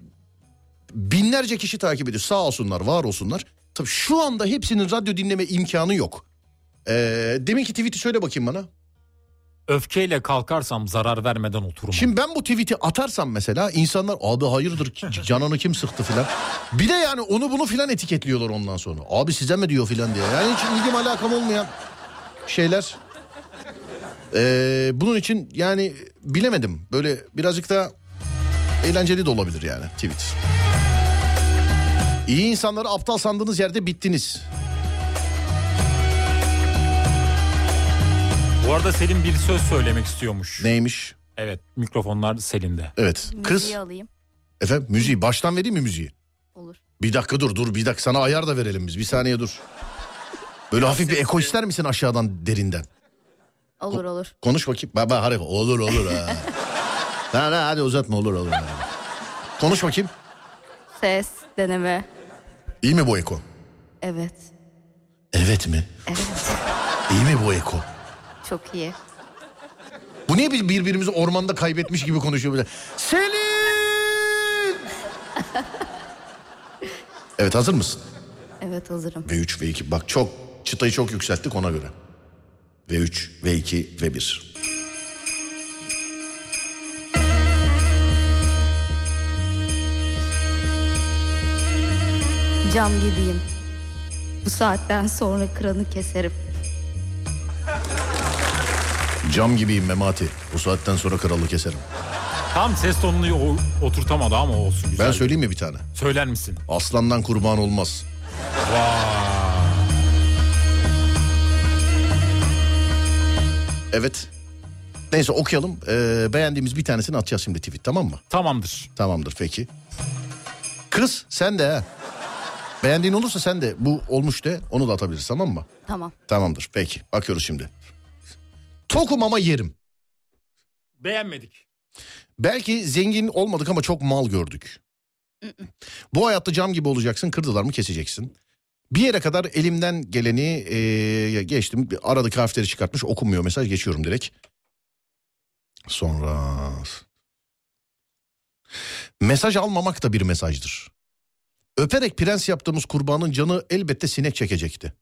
S1: binlerce kişi takip ediyor sağ olsunlar var olsunlar. Tabii şu anda hepsinin radyo dinleme imkanı yok. Ee, deminki tweet'i söyle bakayım bana.
S2: Öfkeyle kalkarsam zarar vermeden oturmam.
S1: Şimdi ben bu tweet'i atarsam mesela insanlar abi hayırdır ki- ki canını kim sıktı filan. Bir de yani onu bunu filan etiketliyorlar ondan sonra. Abi size mi diyor filan diye. Yani hiç ilgim alakam olmayan şeyler. Ee, bunun için yani bilemedim. Böyle birazcık da eğlenceli de olabilir yani tweet. İyi insanları aptal sandığınız yerde bittiniz.
S2: Bu arada Selin bir söz söylemek istiyormuş.
S1: Neymiş?
S2: Evet mikrofonlar Selin'de.
S1: Evet. Kız.
S3: Müziği alayım.
S1: Efendim müziği baştan vereyim mi müziği?
S3: Olur.
S1: Bir dakika dur dur bir dakika sana ayar da verelim biz bir saniye dur. Böyle hafif bir eko ister misin aşağıdan derinden?
S3: Olur olur.
S1: Konuş bakayım. Baba harika olur olur <laughs> ha. ha, ha, hadi uzatma olur olur. ha. Konuş bakayım.
S3: Ses, deneme.
S1: İyi mi bu eko?
S3: Evet.
S1: Evet mi?
S3: Evet.
S1: İyi mi bu eko?
S3: Çok iyi.
S1: Bu niye biz birbirimizi ormanda kaybetmiş gibi konuşuyor böyle? Selin! evet hazır mısın?
S3: Evet hazırım.
S1: V3, V2 bak çok çıtayı çok yükselttik ona göre. V3, V2, V1.
S3: Cam gibiyim. Bu saatten sonra kranı keserim.
S1: Cam gibiyim Memati. Bu saatten sonra kralı keserim.
S2: Tam ses tonunu o- oturtamadı ama olsun güzel.
S1: Ben söyleyeyim mi bir tane?
S2: Söyler misin?
S1: Aslandan kurban olmaz.
S2: Vay.
S1: Evet. Neyse okuyalım. Ee, beğendiğimiz bir tanesini atacağız şimdi tweet tamam mı?
S2: Tamamdır.
S1: Tamamdır peki. Kız sen de ha. Beğendiğin olursa sen de bu olmuş de onu da atabiliriz tamam mı?
S3: Tamam.
S1: Tamamdır peki bakıyoruz şimdi. Tokum ama yerim.
S2: Beğenmedik.
S1: Belki zengin olmadık ama çok mal gördük. Bu hayatta cam gibi olacaksın kırdılar mı keseceksin. Bir yere kadar elimden geleni eee, geçtim. Aradık harfleri çıkartmış okunmuyor mesaj geçiyorum direkt. Sonra... Mesaj almamak da bir mesajdır. Öperek prens yaptığımız kurbanın canı elbette sinek çekecekti.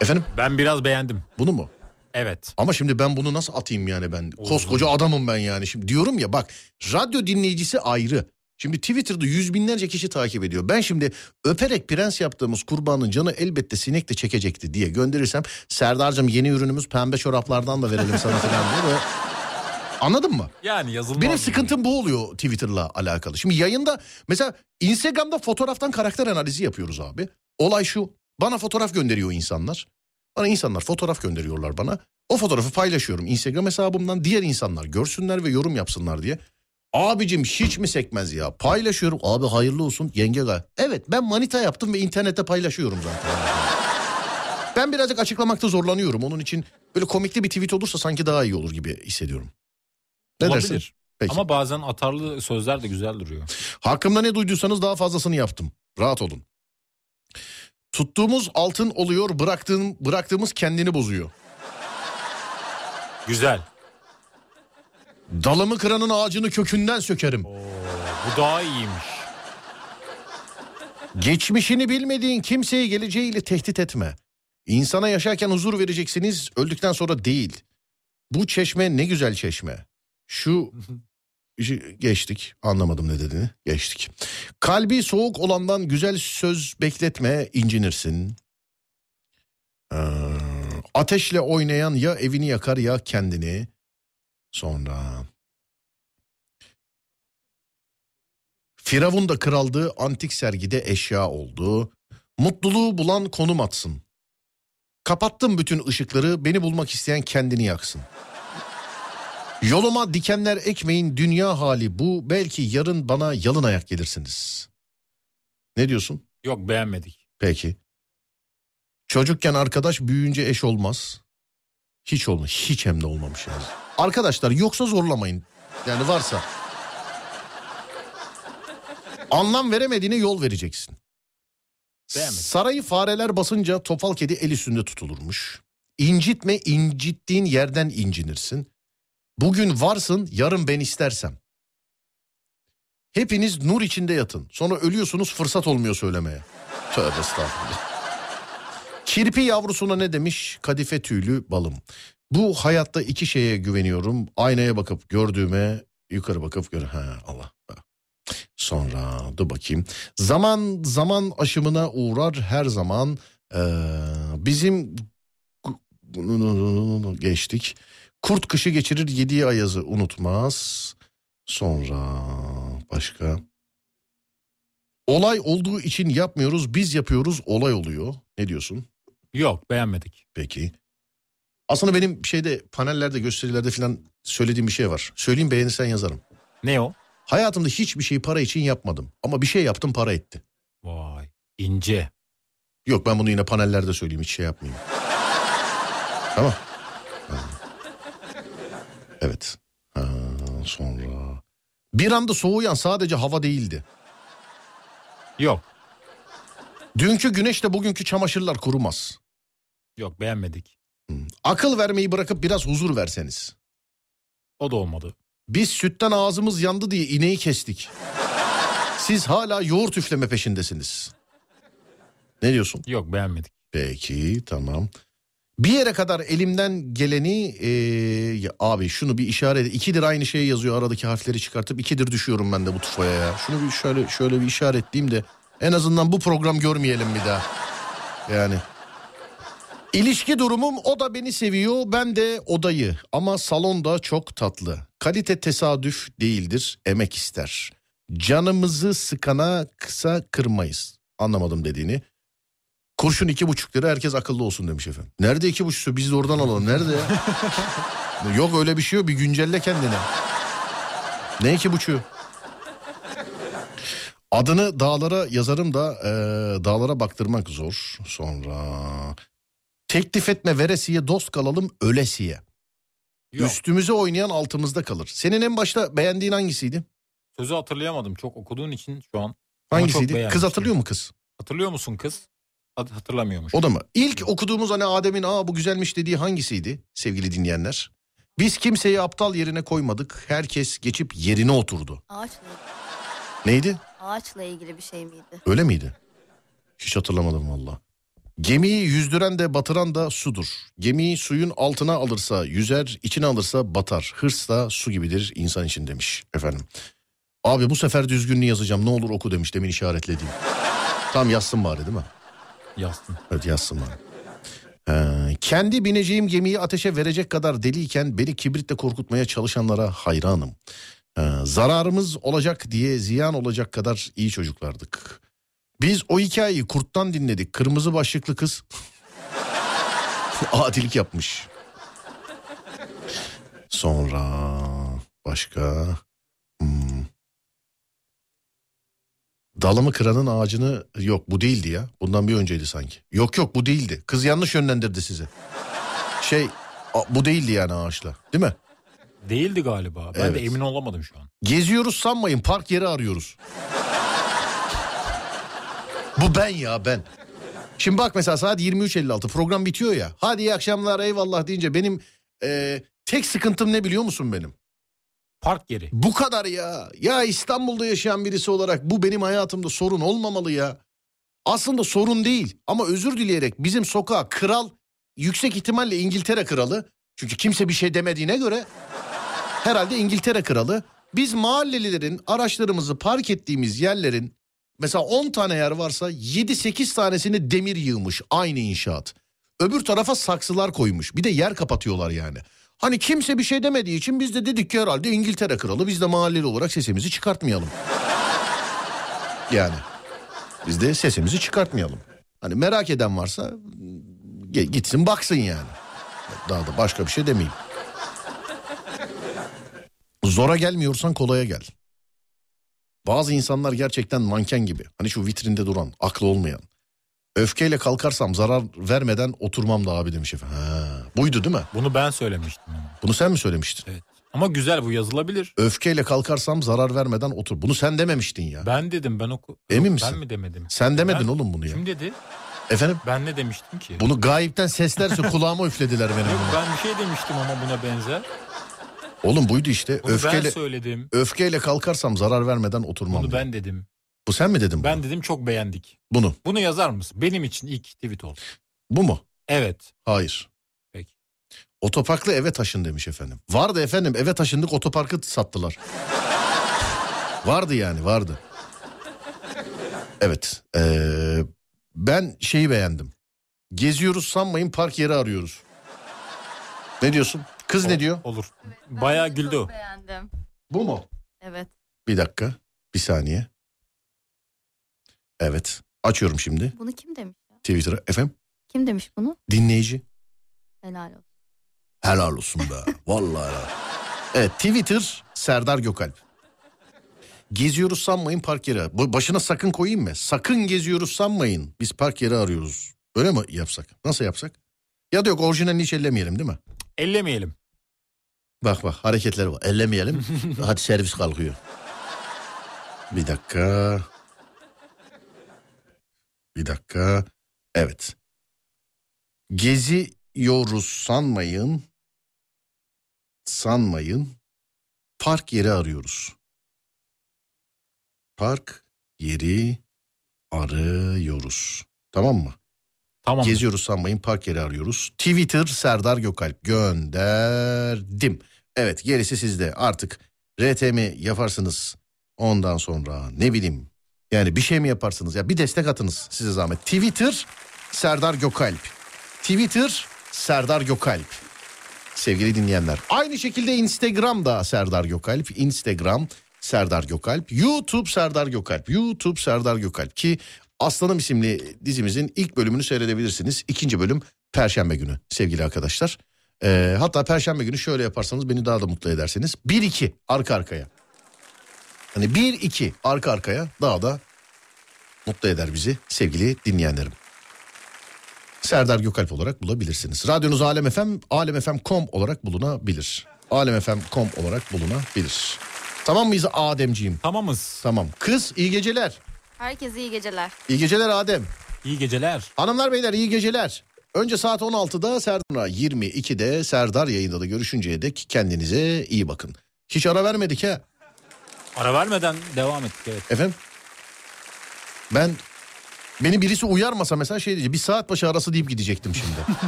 S1: Efendim
S2: Ben biraz beğendim.
S1: bunu mu?
S2: Evet.
S1: Ama şimdi ben bunu nasıl atayım yani ben?
S2: Olur.
S1: Koskoca adamım ben yani. Şimdi diyorum ya bak radyo dinleyicisi ayrı. Şimdi Twitter'da yüz binlerce kişi takip ediyor. Ben şimdi öperek prens yaptığımız kurbanın canı elbette sinek de çekecekti diye gönderirsem Serdar'cığım yeni ürünümüz pembe çoraplardan da verelim sana falan diye. böyle- Anladın mı?
S2: Yani yazılmaz.
S1: Benim
S2: mı?
S1: sıkıntım bu oluyor Twitter'la alakalı. Şimdi yayında mesela Instagram'da fotoğraftan karakter analizi yapıyoruz abi. Olay şu. Bana fotoğraf gönderiyor insanlar. Bana insanlar fotoğraf gönderiyorlar bana. O fotoğrafı paylaşıyorum Instagram hesabımdan. Diğer insanlar görsünler ve yorum yapsınlar diye. Abicim hiç mi sekmez ya? Paylaşıyorum. Abi hayırlı olsun yenge gay. Evet ben manita yaptım ve internette paylaşıyorum zaten. <laughs> ben birazcık açıklamakta zorlanıyorum. Onun için böyle komikli bir tweet olursa sanki daha iyi olur gibi hissediyorum. Ne
S2: Olabilir.
S1: dersin? Peki.
S2: Ama bazen atarlı sözler de güzel duruyor.
S1: Hakkımda ne duyduysanız daha fazlasını yaptım. Rahat olun. Tuttuğumuz altın oluyor, bıraktığım, bıraktığımız kendini bozuyor.
S2: Güzel.
S1: Dalımı kıranın ağacını kökünden sökerim.
S2: Bu daha iyiymiş.
S1: Geçmişini bilmediğin kimseyi geleceğiyle tehdit etme. İnsana yaşarken huzur vereceksiniz, öldükten sonra değil. Bu çeşme ne güzel çeşme. Şu işi geçtik. Anlamadım ne dediğini. Geçtik. Kalbi soğuk olandan güzel söz bekletme, incinirsin. Ee, ateşle oynayan ya evini yakar ya kendini. Sonra Firavun da kraldı, antik sergide eşya oldu. Mutluluğu bulan konum atsın. Kapattım bütün ışıkları, beni bulmak isteyen kendini yaksın. Yoluma dikenler ekmeyin, dünya hali bu. Belki yarın bana yalın ayak gelirsiniz. Ne diyorsun?
S2: Yok beğenmedik.
S1: Peki. Çocukken arkadaş büyüyünce eş olmaz. Hiç olmaz. Hiç hem de olmamış yani. Arkadaşlar yoksa zorlamayın. Yani varsa. Anlam veremediğine yol vereceksin.
S2: Beğenmedim.
S1: Sarayı fareler basınca topal kedi el üstünde tutulurmuş. İncitme incittiğin yerden incinirsin. Bugün varsın yarın ben istersem. Hepiniz nur içinde yatın. Sonra ölüyorsunuz fırsat olmuyor söylemeye. Tövbe estağfurullah. Kirpi yavrusuna ne demiş? Kadife tüylü balım. Bu hayatta iki şeye güveniyorum. Aynaya bakıp gördüğüme, yukarı bakıp gör. Ha Allah. Sonra dur bakayım. Zaman zaman aşımına uğrar her zaman. Ee, bizim geçtik. Kurt kışı geçirir yediği ayazı unutmaz. Sonra başka. Olay olduğu için yapmıyoruz biz yapıyoruz olay oluyor. Ne diyorsun?
S2: Yok beğenmedik.
S1: Peki. Aslında benim şeyde panellerde gösterilerde filan söylediğim bir şey var. Söyleyeyim beğenirsen yazarım.
S2: Ne o?
S1: Hayatımda hiçbir şeyi para için yapmadım. Ama bir şey yaptım para etti.
S2: Vay ince.
S1: Yok ben bunu yine panellerde söyleyeyim hiç şey yapmayayım. <laughs> tamam. Ha. Evet. Ha, sonra. Bir anda soğuyan sadece hava değildi.
S2: Yok.
S1: Dünkü güneşle bugünkü çamaşırlar kurumaz.
S2: Yok beğenmedik.
S1: Akıl vermeyi bırakıp biraz huzur verseniz.
S2: O da olmadı.
S1: Biz sütten ağzımız yandı diye ineği kestik. Siz hala yoğurt üfleme peşindesiniz. Ne diyorsun?
S2: Yok beğenmedik.
S1: Peki tamam. Bir yere kadar elimden geleni eee, ya abi şunu bir işaret ikidir aynı şey yazıyor aradaki harfleri çıkartıp ikidir düşüyorum ben de bu tufaya ya. Şunu bir şöyle şöyle bir işaretleyeyim de en azından bu program görmeyelim bir daha. Yani İlişki durumum o da beni seviyor ben de odayı ama salonda çok tatlı. Kalite tesadüf değildir emek ister. Canımızı sıkana kısa kırmayız. Anlamadım dediğini. Kurşun iki buçuk lira herkes akıllı olsun demiş efendim. Nerede iki buçuksu biz de oradan alalım nerede
S2: <laughs>
S1: ya? yok öyle bir şey yok bir güncelle kendini. Ne iki buçuğu? Adını dağlara yazarım da eee, dağlara baktırmak zor. Sonra teklif etme veresiye dost kalalım ölesiye.
S2: Yok.
S1: Üstümüze oynayan altımızda kalır. Senin en başta beğendiğin hangisiydi?
S2: Sözü hatırlayamadım. Çok okuduğun için şu an. Ama çok
S1: Hangisiydi?
S2: beğenmiştim.
S1: Kız hatırlıyor mu kız?
S2: Hatırlıyor musun kız? Hat- Hatırlamıyormuş.
S1: O da mı? İlk okuduğumuz hani Adem'in aa bu güzelmiş dediği hangisiydi sevgili dinleyenler? Biz kimseyi aptal yerine koymadık. Herkes geçip yerine oturdu.
S3: Ağaçla,
S1: Neydi?
S3: ağaçla ilgili bir şey miydi?
S1: Öyle miydi? Hiç hatırlamadım valla. Gemiyi yüzdüren de batıran da sudur. Gemiyi suyun altına alırsa yüzer, içine alırsa batar. Hırs da su gibidir insan için demiş efendim. Abi bu sefer düzgününü yazacağım ne olur oku demiş demin işaretlediğim. Tam yazsın bari değil mi?
S2: Yazsın.
S1: Evet yazsın bana. Ee, kendi bineceğim gemiyi ateşe verecek kadar deliyken beni kibritle korkutmaya çalışanlara hayranım. Ee, zararımız olacak diye ziyan olacak kadar iyi çocuklardık. Biz o hikayeyi kurttan dinledik. Kırmızı başlıklı kız <laughs> adilik yapmış. Sonra başka hmm. Dalımı kıranın ağacını yok bu değildi ya. Bundan bir önceydi sanki. Yok yok bu değildi. Kız yanlış yönlendirdi sizi. Şey a- bu değildi yani ağaçla değil mi?
S2: Değildi galiba. Ben de
S1: Evet.
S2: emin olamadım şu an.
S1: Geziyoruz sanmayın park yeri arıyoruz. Bu ben ya ben. Şimdi bak mesela saat 23.56 program bitiyor ya. Hadi iyi akşamlar eyvallah deyince benim e, tek sıkıntım ne biliyor musun benim?
S2: Park yeri.
S1: Bu kadar ya. Ya İstanbul'da yaşayan birisi olarak bu benim hayatımda sorun olmamalı ya. Aslında sorun değil ama özür dileyerek bizim sokağa kral yüksek ihtimalle İngiltere kralı. Çünkü kimse bir şey demediğine göre herhalde İngiltere kralı. Biz mahallelilerin araçlarımızı park ettiğimiz yerlerin mesela 10 tane yer varsa 7-8 tanesini demir yığmış aynı inşaat. Öbür tarafa saksılar koymuş bir de yer kapatıyorlar yani. Hani kimse bir şey demediği için biz de dedik ki herhalde İngiltere kralı biz de mahalleli olarak sesimizi çıkartmayalım. yani biz de sesimizi çıkartmayalım. Hani merak eden varsa ge- gitsin baksın yani. Daha da başka bir şey demeyeyim. Zora gelmiyorsan kolaya gel. Bazı insanlar gerçekten manken gibi. Hani şu vitrinde duran, aklı olmayan. Öfkeyle kalkarsam zarar vermeden oturmam da abi demiş efendim. Ha, buydu değil mi?
S2: Bunu ben söylemiştim. ona.
S1: Bunu sen mi söylemiştin?
S2: Ama güzel bu yazılabilir.
S1: Öfkeyle kalkarsam zarar vermeden otur. Bunu sen dememiştin ya.
S2: Ben dedim ben oku.
S1: Emin
S2: Yok,
S1: misin?
S2: Ben mi demedim?
S1: Sen demedin
S2: Ben-
S1: oğlum bunu ya.
S2: Kim dedi?
S1: Efendim?
S2: Ben ne demiştim ki?
S1: Bunu gayipten
S2: <laughs>
S1: seslerse kulağıma üflediler benim.
S2: Yok
S1: bunu.
S2: ben bir şey demiştim ama buna benzer.
S1: Oğlum buydu işte.
S2: Bunu ben
S1: öfkeyle
S2: söyledim.
S1: öfkeyle kalkarsam zarar vermeden oturmam.
S2: Bunu
S1: diye.
S2: ben dedim.
S1: Bu sen mi dedin
S2: Ben
S1: bunu?
S2: dedim çok beğendik.
S1: Bunu.
S2: Bunu yazar mısın? Benim için ilk tweet oldu.
S1: Bu mu?
S2: Evet.
S1: Hayır.
S2: Peki.
S1: Otoparklı eve taşın demiş efendim. Vardı efendim eve taşındık otoparkı sattılar. vardı yani vardı. Evet. eee, ben şeyi beğendim. Geziyoruz sanmayın park yeri arıyoruz. Ne diyorsun? Kız ne
S2: O-
S1: diyor?
S2: Olur. Bayağı
S3: Ben de çok
S2: güldü o.
S3: Beğendim.
S1: Bu mu?
S3: Evet.
S1: Bir dakika. Bir saniye. Evet. Açıyorum şimdi
S3: Bunu kim demiş? ya?
S1: Twitter'ı. Efendim
S3: Kim demiş bunu?
S1: dinleyici.
S3: Helal olsun.
S1: Helal olsun be. Vallahi helal. Evet Twitter Serdar Gökalp. Geziyoruz sanmayın park yeri. Bu başına sakın koyayım mı? Sakın geziyoruz sanmayın. Biz park yeri arıyoruz. Öyle mi yapsak? Nasıl yapsak? Ya da yok orijinalini hiç ellemeyelim değil mi?
S2: Ellemeyelim.
S1: Bak bak hareketleri var. Ellemeyelim. Hadi servis kalkıyor. Bir dakika. Bir dakika. Evet. Geziyoruz sanmayın. Sanmayın. Park yeri arıyoruz. Park yeri arıyoruz. Tamam mı?
S2: Tamam.
S1: Geziyoruz sanmayın park yeri arıyoruz. Twitter Serdar Gökalp gönderdim. Evet gerisi sizde artık RTM yaparsınız. Ondan sonra ne bileyim yani bir şey mi yaparsınız ya bir destek atınız size zahmet. Twitter Serdar Gökalp. Twitter Serdar Gökalp. Sevgili dinleyenler. Aynı şekilde Instagram'da Serdar Gökalp. Instagram Serdar Gökalp. YouTube Serdar Gökalp. YouTube Serdar Gökalp ki Aslanım isimli dizimizin ilk bölümünü seyredebilirsiniz. İkinci bölüm Perşembe günü sevgili arkadaşlar. Ee, hatta Perşembe günü şöyle yaparsanız beni daha da mutlu edersiniz. 1-2 arka arkaya. Hani 1-2 arka arkaya daha da mutlu eder bizi sevgili dinleyenlerim. Serdar Gökalp olarak bulabilirsiniz. Radyonuz Alem FM, alemfm.com olarak bulunabilir. Alemfm.com olarak bulunabilir. Tamam mıyız Ademciğim?
S2: Tamamız.
S1: Tamam. Kız iyi geceler.
S3: Herkese iyi geceler.
S1: İyi geceler Adem.
S2: İyi geceler.
S1: Hanımlar beyler iyi geceler. Önce saat 16'da Serdar 22'de Serdar yayında da görüşünceye dek kendinize iyi bakın. Hiç ara vermedik ha
S2: Ara vermeden devam ettik evet.
S1: efendim. Ben beni birisi uyarmasa mesela şey diyecek bir saat başı arası deyip gidecektim şimdi.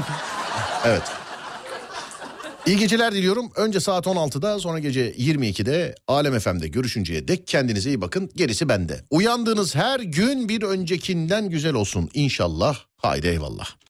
S1: evet. İyi geceler diliyorum. Önce saat 16'da sonra gece 22'de Alem FM'de görüşünceye dek kendinize iyi bakın. Gerisi bende. Uyandığınız her gün bir öncekinden güzel olsun inşallah. Haydi eyvallah.